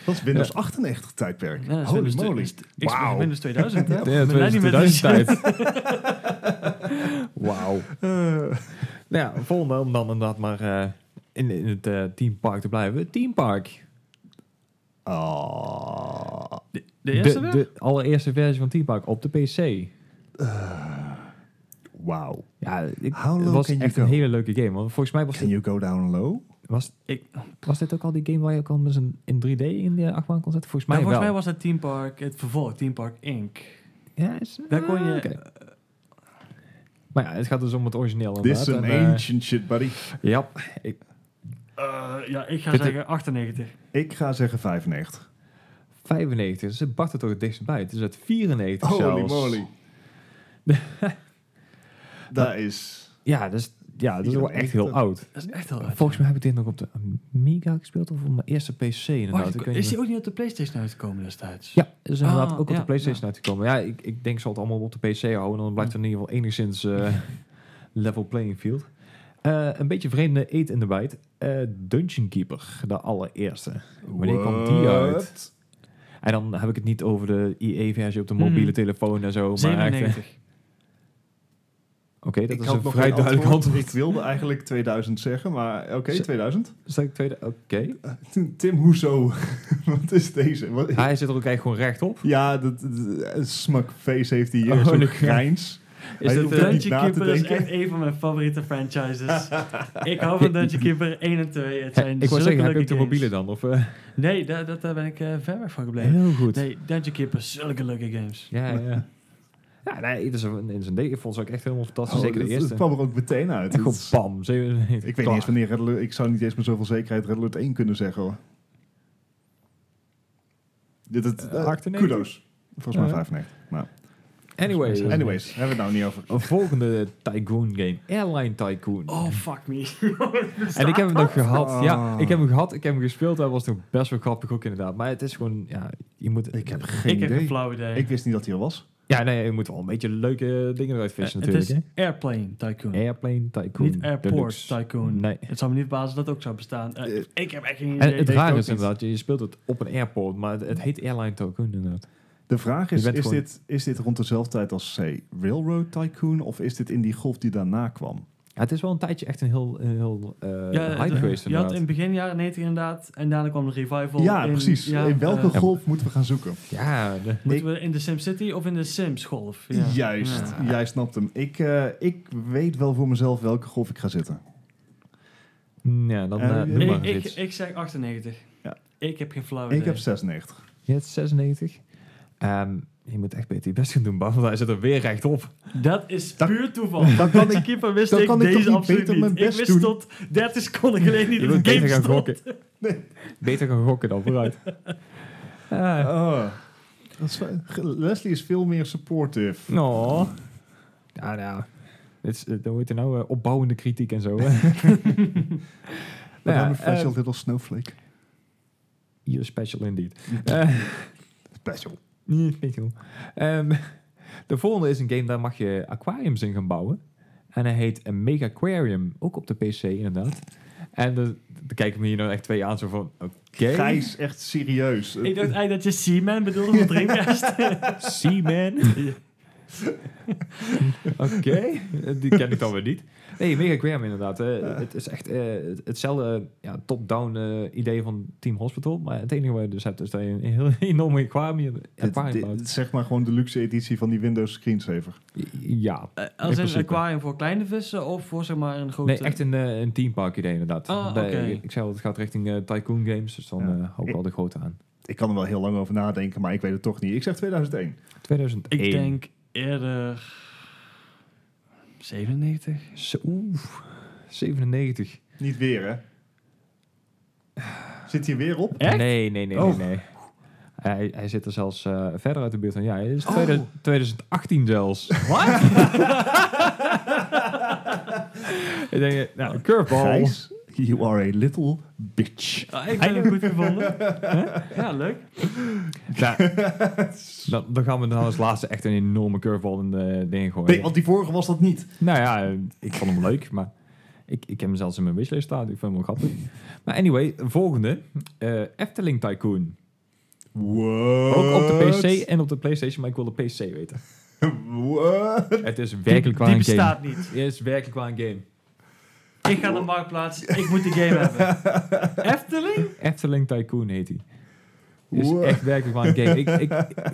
Speaker 1: dat is Windows 98 tijdperk.
Speaker 6: Ja, dat is
Speaker 1: Holy
Speaker 6: Windows twee-
Speaker 1: moly.
Speaker 6: is- Ik
Speaker 1: Wauw.
Speaker 6: wow. Windows 2000. hè?
Speaker 2: Ja,
Speaker 6: Millennium
Speaker 2: 2000
Speaker 6: Edition.
Speaker 2: tijd. Wauw.
Speaker 1: Eh,
Speaker 2: Nou ja, volgende om dan inderdaad maar eh, in, in het eh Team Park te blijven. Team Park.
Speaker 1: ah.
Speaker 6: De, de eerste
Speaker 2: de,
Speaker 6: weer?
Speaker 2: de allereerste versie van Team Park op de PC.
Speaker 1: Wauw.
Speaker 2: Ja, ik,
Speaker 1: How
Speaker 2: het
Speaker 1: low
Speaker 2: was
Speaker 1: can you
Speaker 2: echt
Speaker 1: go?
Speaker 2: een hele leuke game. Want volgens mij was
Speaker 1: Can
Speaker 2: dit,
Speaker 1: you go down low?
Speaker 2: was,
Speaker 6: Ik,
Speaker 2: was dit ook al die game waar je ook al met z'n- in 3D in de achtbaan kon zetten? Nou, Volgens mij
Speaker 6: maar volgens mij
Speaker 2: wel.
Speaker 6: was dat Team Park, het vervolg, Team Park Inc.
Speaker 2: ja, is,
Speaker 6: Daar kon je...
Speaker 2: ah, oké. Maar ja, het gaat dus om het origineel.
Speaker 1: This is
Speaker 2: inderdaad.
Speaker 1: some
Speaker 2: En, eh,
Speaker 1: ancient shit, buddy.
Speaker 2: Ja,
Speaker 6: eh, ja, ik ga
Speaker 2: Dit-
Speaker 6: zeggen 98.
Speaker 1: Ik ga zeggen 95.
Speaker 2: 95. Ze Bart er toch het dichtst bij. Het is uit 94
Speaker 1: Holy
Speaker 2: zelfs.
Speaker 1: moly. Dat is...
Speaker 2: Ja, dat is, ja, dat is wel echt heel
Speaker 1: 94.
Speaker 2: oud.
Speaker 6: Dat is echt heel erg.
Speaker 2: Volgens mij heb ik dit nog op de Amiga gespeeld of op mijn eerste PC inderdaad.
Speaker 6: Wacht,
Speaker 2: Nou, Ik weet
Speaker 6: is
Speaker 2: niet
Speaker 6: die ook niet op de Playstation uitgekomen destijds?
Speaker 2: meer. Ja, dat is inderdaad
Speaker 6: Ah,
Speaker 2: ook op
Speaker 6: ja,
Speaker 2: de Playstation
Speaker 6: ja.
Speaker 2: uitgekomen. Ja, ik, ik denk ze het allemaal op de PC houden. Dan blijft er in ieder geval enigszins eh, level playing field. Eh, een beetje vreemde eet in de bijt. Eh, Dungeon Keeper, de allereerste. Wanneer kwam die
Speaker 1: What?
Speaker 2: uit? En dan heb ik het niet over de IE-versie op de mobiele
Speaker 6: Mhm.
Speaker 2: telefoon en zo. Maar echt, eh,
Speaker 6: 97.
Speaker 2: Oké, dat
Speaker 1: Ik
Speaker 2: is
Speaker 1: had
Speaker 2: een
Speaker 1: nog
Speaker 2: vrij
Speaker 1: geen
Speaker 2: duidelijk antwoord.
Speaker 1: Ik wilde eigenlijk 2000 zeggen, maar oké,
Speaker 2: Zo-
Speaker 1: 2000.
Speaker 2: Zeg ik tweede? Oké.
Speaker 1: Tim, hoezo? Wat is deze? Wat-
Speaker 2: Hij zit er ook echt gewoon rechtop.
Speaker 1: Ja, dat, dat- smugface heeft hij hier
Speaker 2: Oh,
Speaker 1: zo'n
Speaker 2: de-
Speaker 1: grijns.
Speaker 2: Is
Speaker 1: Hij
Speaker 2: dit,
Speaker 1: doet
Speaker 2: eh,
Speaker 1: het niet.
Speaker 6: Dungeon
Speaker 1: na te
Speaker 6: Keeper is
Speaker 1: denken.
Speaker 6: echt een van mijn favoriete franchises. ik hou van Dungeon Keeper 1 en 2. Het zijn
Speaker 2: ik wou
Speaker 6: zulke
Speaker 2: zeggen, heb je
Speaker 6: leuke
Speaker 2: ook de mobiele
Speaker 6: games.
Speaker 2: dan? Of, eh?
Speaker 6: Nee, daar, dat, daar ben ik eh, ver weg van gebleven.
Speaker 2: Heel goed.
Speaker 6: Nee, Dungeon Keeper, zulke leuke games.
Speaker 2: Ja, ja. ja, nee, het is een, het is een ding. Ik vond ze ook echt helemaal fantastisch.
Speaker 1: Oh,
Speaker 2: Zeker de
Speaker 1: dat-
Speaker 2: eerste.
Speaker 1: Dat kwam er ook meteen uit.
Speaker 2: En
Speaker 1: Dat
Speaker 2: gewoon
Speaker 1: is-
Speaker 2: bam. Zeven,
Speaker 1: ik weet niet eens wanneer Red Alert- Ik zou niet eens met zoveel zekerheid Red Alert 1 kunnen zeggen hoor. Dit het
Speaker 2: Eh, 98.
Speaker 1: kudos. Volgens mij
Speaker 2: Ja.
Speaker 1: 95. Maar
Speaker 2: Anyway,
Speaker 6: Anyways.
Speaker 1: anyways, hebben we het nou niet over.
Speaker 2: een volgende Tycoon game. Airline Tycoon.
Speaker 6: Oh, fuck me.
Speaker 2: en ik heb hem nog gehad. Ja,
Speaker 1: Ah.
Speaker 2: ik heb hem gehad. Ik heb hem gespeeld. Dat was nog best wel grappig ook inderdaad. Maar het is gewoon, ja, je moet...
Speaker 1: Ik heb geen
Speaker 6: ik heb een
Speaker 1: idee.
Speaker 6: flauw idee.
Speaker 1: Ik wist niet dat hij er was.
Speaker 2: Ja, nee, je moet wel een beetje leuke dingen eruit
Speaker 6: Eh,
Speaker 2: vissen
Speaker 6: het
Speaker 2: natuurlijk.
Speaker 6: is
Speaker 2: hè?
Speaker 6: Airplane Tycoon.
Speaker 2: Airplane Tycoon.
Speaker 6: Niet Airport
Speaker 2: Deluxe.
Speaker 6: Tycoon.
Speaker 2: Nee.
Speaker 6: Het zou me niet verbazen dat dat ook zou bestaan. Eh,
Speaker 1: Eh,
Speaker 6: ik heb echt geen idee.
Speaker 2: En het
Speaker 6: Ik
Speaker 2: rare
Speaker 6: ook
Speaker 2: is
Speaker 6: niet.
Speaker 2: inderdaad, je je speelt het op een airport, maar het, het heet Airline Tycoon inderdaad.
Speaker 1: De vraag
Speaker 2: Je
Speaker 1: is,
Speaker 2: bent
Speaker 1: is,
Speaker 2: gewoon-
Speaker 1: dit, is dit rond dezelfde tijd als, say, Railroad Tycoon? Of is dit in die golf die daarna kwam?
Speaker 2: Ja, het is wel een tijdje echt een heel, een heel eh, hype
Speaker 6: de-
Speaker 2: geweest
Speaker 6: Je had
Speaker 2: inderdaad.
Speaker 6: in begin jaren 90 inderdaad. En daarna kwam de revival.
Speaker 1: Ja,
Speaker 6: in-
Speaker 1: precies.
Speaker 6: ja,
Speaker 1: in welke
Speaker 6: eh,
Speaker 1: golf moeten we gaan zoeken?
Speaker 2: Ja, de-
Speaker 6: Moeten we in de SimCity of in de Sims golf? Ja.
Speaker 1: Juist,
Speaker 6: Ja.
Speaker 1: jij snapt hem. Ik, eh, ik weet wel voor mezelf welke golf ik ga zitten.
Speaker 6: Oh,
Speaker 2: ja, dan
Speaker 1: Eh,
Speaker 2: eh,
Speaker 1: ik-
Speaker 2: noem
Speaker 6: Ik,
Speaker 2: maar
Speaker 6: ik,
Speaker 2: eens iets.
Speaker 6: ik zeg 98.
Speaker 1: Ja.
Speaker 6: Ik heb geen flauw
Speaker 1: ik
Speaker 6: idee.
Speaker 1: heb 96.
Speaker 2: Je hebt 96. Ehm, je moet echt beter je best gaan doen, Bam, want hij zit er weer recht op.
Speaker 6: Dat is
Speaker 1: Dat-
Speaker 6: puur toeval.
Speaker 1: Dan kan
Speaker 6: De
Speaker 1: ik...
Speaker 6: keeper wist
Speaker 1: dan
Speaker 6: ik
Speaker 1: kan ik toch
Speaker 6: deze
Speaker 1: niet
Speaker 6: absoluut
Speaker 1: beter
Speaker 6: niet.
Speaker 1: mijn
Speaker 6: Ik
Speaker 1: best
Speaker 6: wist
Speaker 1: doen?
Speaker 6: tot 30 seconden geleden niet
Speaker 2: Je
Speaker 6: dat het
Speaker 2: moet beter
Speaker 6: game
Speaker 2: gaan
Speaker 6: stond.
Speaker 2: gokken. Beter gaan gokken dan, vooruit. Ah,
Speaker 1: Oh. Dat is wel- Ge- Leslie is veel meer supportive.
Speaker 2: no. Ja, nou. Oh. Dit is, eh, hoe heet het nou? eh, opbouwende kritiek en zo. hè.
Speaker 1: Maar
Speaker 2: Nou ja,
Speaker 1: dan een special
Speaker 2: eh,
Speaker 1: little snowflake.
Speaker 2: you're special indeed. Eh,
Speaker 1: Special.
Speaker 2: Nee, weet je wel. Ehm, de volgende is een game, daar mag je aquariums in gaan bouwen. En hij heet een Mega Aquarium, ook op de PC inderdaad. En de- dan kijken me hier nou echt twee aan, zo van, oké.
Speaker 1: Gijs, echt serieus.
Speaker 6: Ik dacht eigenlijk dat je Seaman bedoelde van Dreamcast.
Speaker 2: Seaman. Oké, die ken ik dan weer niet. Nee, Mega Aquarium inderdaad. eh, het is echt eh, het- hetzelfde ja, top-down eh, idee van Team Hospital. Maar het enige wat je dus hebt, is dat je een heel enorme aquarium,
Speaker 1: Dit-
Speaker 2: aquarium
Speaker 1: dit-
Speaker 2: bouwt.
Speaker 1: zeg maar gewoon de luxe editie van die Windows screensaver.
Speaker 2: Ja.
Speaker 6: Eh,
Speaker 2: In
Speaker 6: Als een
Speaker 2: principe.
Speaker 6: aquarium voor kleine vissen of voor zeg maar een grote...
Speaker 2: Nee, echt een, eh, een teampark idee inderdaad.
Speaker 6: Oh, Ah,
Speaker 2: Bij-
Speaker 6: oké.
Speaker 2: Ik zei al, het gaat richting eh, Tycoon Games, dus dan
Speaker 1: Ja.
Speaker 2: eh hou ik wel de grote aan.
Speaker 1: Ik kan er wel heel lang over nadenken, maar ik weet het toch niet. Ik zeg 2001.
Speaker 2: 2001.
Speaker 6: Ik denk eerder... 97?
Speaker 2: Zo, Oeh, 97.
Speaker 1: Niet weer, hè? Zit hij weer op?
Speaker 6: Echt?
Speaker 2: Nee, nee, nee,
Speaker 1: Oh.
Speaker 2: nee. nee. Hij, hij zit er zelfs eh, verder uit de buurt dan jij. Het
Speaker 6: Oh.
Speaker 2: is 2000 2018 zelfs. Wat? ik denk, eh, nou, curveball.
Speaker 1: Gijs, you are a little bitch.
Speaker 6: Ah, ik heb hem goed gevonden. Huh? Ja, leuk.
Speaker 2: Nou, dan, dan gaan we dan als laatste echt een enorme curveball in de dingen gooien.
Speaker 1: Nee, want die vorige was dat niet.
Speaker 2: Nou ja, eh, ik vond hem leuk, maar ik, ik heb hem zelfs in mijn wishlist staan. Ik vind hem wel grappig. Maar anyway, volgende. eh, Efteling Tycoon.
Speaker 1: What?
Speaker 2: Ook op de PC en op de PlayStation, maar ik wil de PC weten.
Speaker 1: What?
Speaker 2: Het is werkelijk
Speaker 6: Die
Speaker 2: waar een game.
Speaker 6: bestaat niet.
Speaker 2: Het is werkelijk waar een game.
Speaker 6: Ik ga naar de marktplaats. Ik moet de game hebben. Efteling?
Speaker 2: Efteling Tycoon heet hij. Het
Speaker 1: Wow.
Speaker 2: is echt werkelijk waar een game. Ik, ik,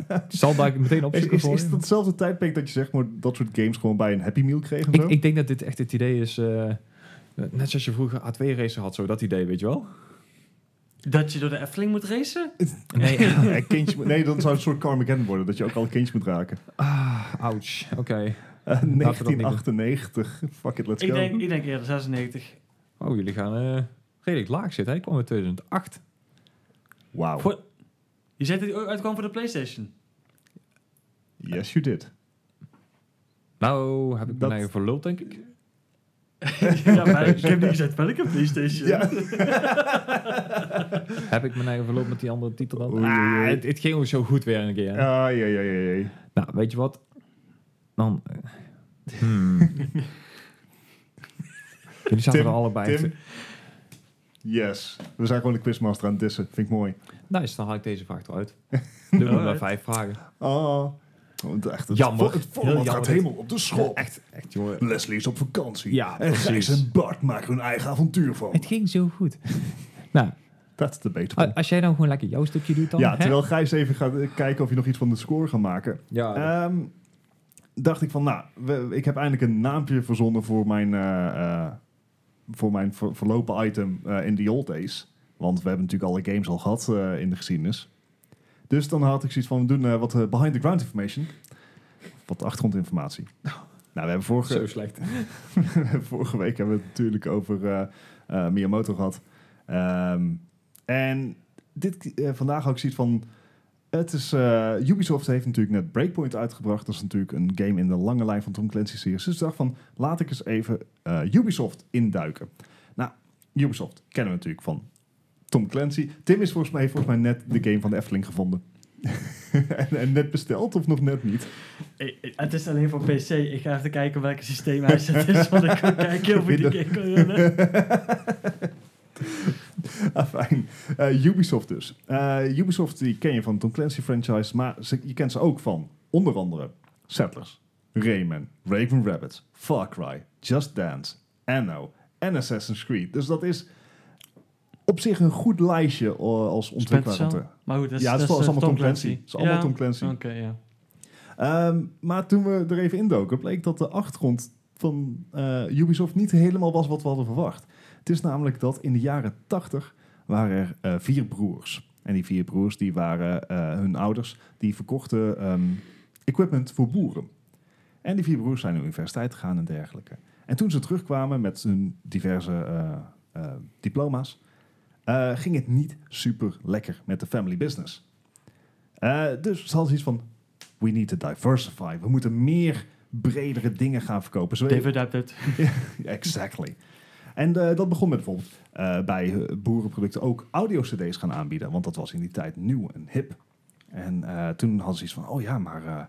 Speaker 2: ik zal daar meteen
Speaker 1: Is,
Speaker 2: opzoeken
Speaker 1: is,
Speaker 2: voor
Speaker 1: is het
Speaker 2: je.
Speaker 1: hetzelfde tijdperk dat je zeg maar dat soort games gewoon bij een Happy Meal kreeg en
Speaker 2: Ik,
Speaker 1: zo?
Speaker 2: ik denk dat dit echt het idee is... eh, net zoals je vroeger A2-racer had, zo dat idee, weet je wel?
Speaker 6: Dat je door de Efteling moet racen?
Speaker 2: Nee,
Speaker 1: Ja, kindje moet- nee, dat zou een soort Carmageddon worden, dat je ook al een kindje moet raken.
Speaker 2: ah, ouch. Oké.
Speaker 1: Eh,
Speaker 2: doen.
Speaker 1: 1998, fuck it, let's
Speaker 6: Ik
Speaker 1: go.
Speaker 6: denk, ik denk eerder 96.
Speaker 2: Oh, jullie gaan eh, redelijk laag zitten. Hij kwam in 2008.
Speaker 1: Wauw,
Speaker 6: Voor- Je zei dat die ooit uitkwam voor de PlayStation.
Speaker 1: yes you did.
Speaker 2: Nou, heb ik
Speaker 1: Dat-
Speaker 2: mijn eigen verlult, denk ik.
Speaker 6: ja, maar ik heb niet gezegd welke PlayStation.
Speaker 1: Ja.
Speaker 2: heb ik mijn eigen verlult met die andere titel dan?
Speaker 1: Oei, oei,
Speaker 2: Ah,
Speaker 1: oei.
Speaker 2: het, het ging ook zo goed weer een keer. hè?
Speaker 1: Ah, ja, ja, ja, ja.
Speaker 2: Nou, weet je wat? Dan... eh, hmm. jullie zaten
Speaker 1: Tim,
Speaker 2: er allebei.
Speaker 1: Tim. Yes. We zijn gewoon de quizmaster aan het dissen. Vind ik mooi.
Speaker 2: Nice, dan haal ik deze vraag eruit. Doen we maar
Speaker 6: Alright.
Speaker 2: vijf vragen.
Speaker 1: Ah. Want Echt, het
Speaker 2: Jammer.
Speaker 1: vo- Het
Speaker 2: Heel
Speaker 1: format
Speaker 2: jammer
Speaker 1: gaat
Speaker 2: dit.
Speaker 1: helemaal op de schop.
Speaker 2: Echt, echt jongen.
Speaker 1: Leslie is op vakantie.
Speaker 2: Ja,
Speaker 1: en Gijs
Speaker 2: precies.
Speaker 1: en Bart maken hun eigen avontuur van.
Speaker 2: Het ging zo goed. nou,
Speaker 1: Dat is de betere.
Speaker 2: a- als jij nou gewoon lekker jouw stukje doet dan.
Speaker 1: ja,
Speaker 2: hè?
Speaker 1: terwijl Gijs even gaat eh, kijken of je nog iets van de score gaat maken.
Speaker 2: Ja,
Speaker 1: Ehm, dacht ik van, nou, we- ik heb eindelijk een naampje verzonnen voor mijn, eh, eh, voor mijn ver- verlopen item eh, in the old days. Want we hebben natuurlijk alle games al gehad eh, in de geschiedenis. Dus dan had ik zoiets van, we doen eh, wat eh, behind the ground information. Wat achtergrondinformatie. Nou, we hebben vorige,
Speaker 2: zo slecht.
Speaker 1: vorige week hebben we het natuurlijk over eh, eh, Miyamoto gehad. Ehm, en dit, eh, vandaag ook zoiets van... Het is, eh, Ubisoft heeft natuurlijk net Breakpoint uitgebracht. Dat is natuurlijk een game in de lange lijn van Tom Clancy's series. Dus ik dacht van, laat ik eens even eh, Ubisoft induiken. Nou, Ubisoft kennen we natuurlijk van Tom Clancy. Tim is volgens mij, heeft volgens mij net de game van de Efteling gevonden. en, en net besteld of nog net niet.
Speaker 6: Eh, eh, Het is alleen voor PC. Ik ga even kijken welke systeem hij zet is. Want ik ga kijken of ik die game kan runnen.
Speaker 1: Ah, fijn. Eh, Ubisoft dus. Eh, Ubisoft die ken je van de Tom Clancy franchise, maar ze- je kent ze ook van onder andere Settlers, Rayman, Raven Rabbit, Far Cry, Just Dance, Anno en Assassin's Creed. Dus dat is op zich een goed lijstje eh, als ontwikkelaar.
Speaker 6: Splinter Cell? Maar goed, dat is,
Speaker 1: ja, het is,
Speaker 6: dat
Speaker 1: allemaal
Speaker 6: eh,
Speaker 1: Tom Clancy. Het is allemaal
Speaker 6: Ja? Oh.
Speaker 1: Tom Clancy.
Speaker 6: Oké, ja.
Speaker 1: Ehm, maar toen we er even indoken, bleek dat de achtergrond van eh, Ubisoft niet helemaal was wat we hadden verwacht. Het is namelijk dat in de jaren 80 waren er eh, vier broers. En die vier broers die waren eh, hun ouders, die verkochten ehm, equipment voor boeren. En die vier broers zijn naar de universiteit gegaan en dergelijke. En toen ze terugkwamen met hun diverse eh, eh, diploma's, eh, ging het niet super lekker met de family business. Eh, dus ze hadden iets van, we need to diversify. We moeten meer bredere dingen gaan verkopen. Zo-
Speaker 6: David Apted.
Speaker 1: exactly. En eh, dat begon met bijvoorbeeld eh, bij eh, boerenproducten ook audio-cd's gaan aanbieden. Want dat was in die tijd nieuw en hip. En eh, toen hadden ze iets van, oh ja, maar eh,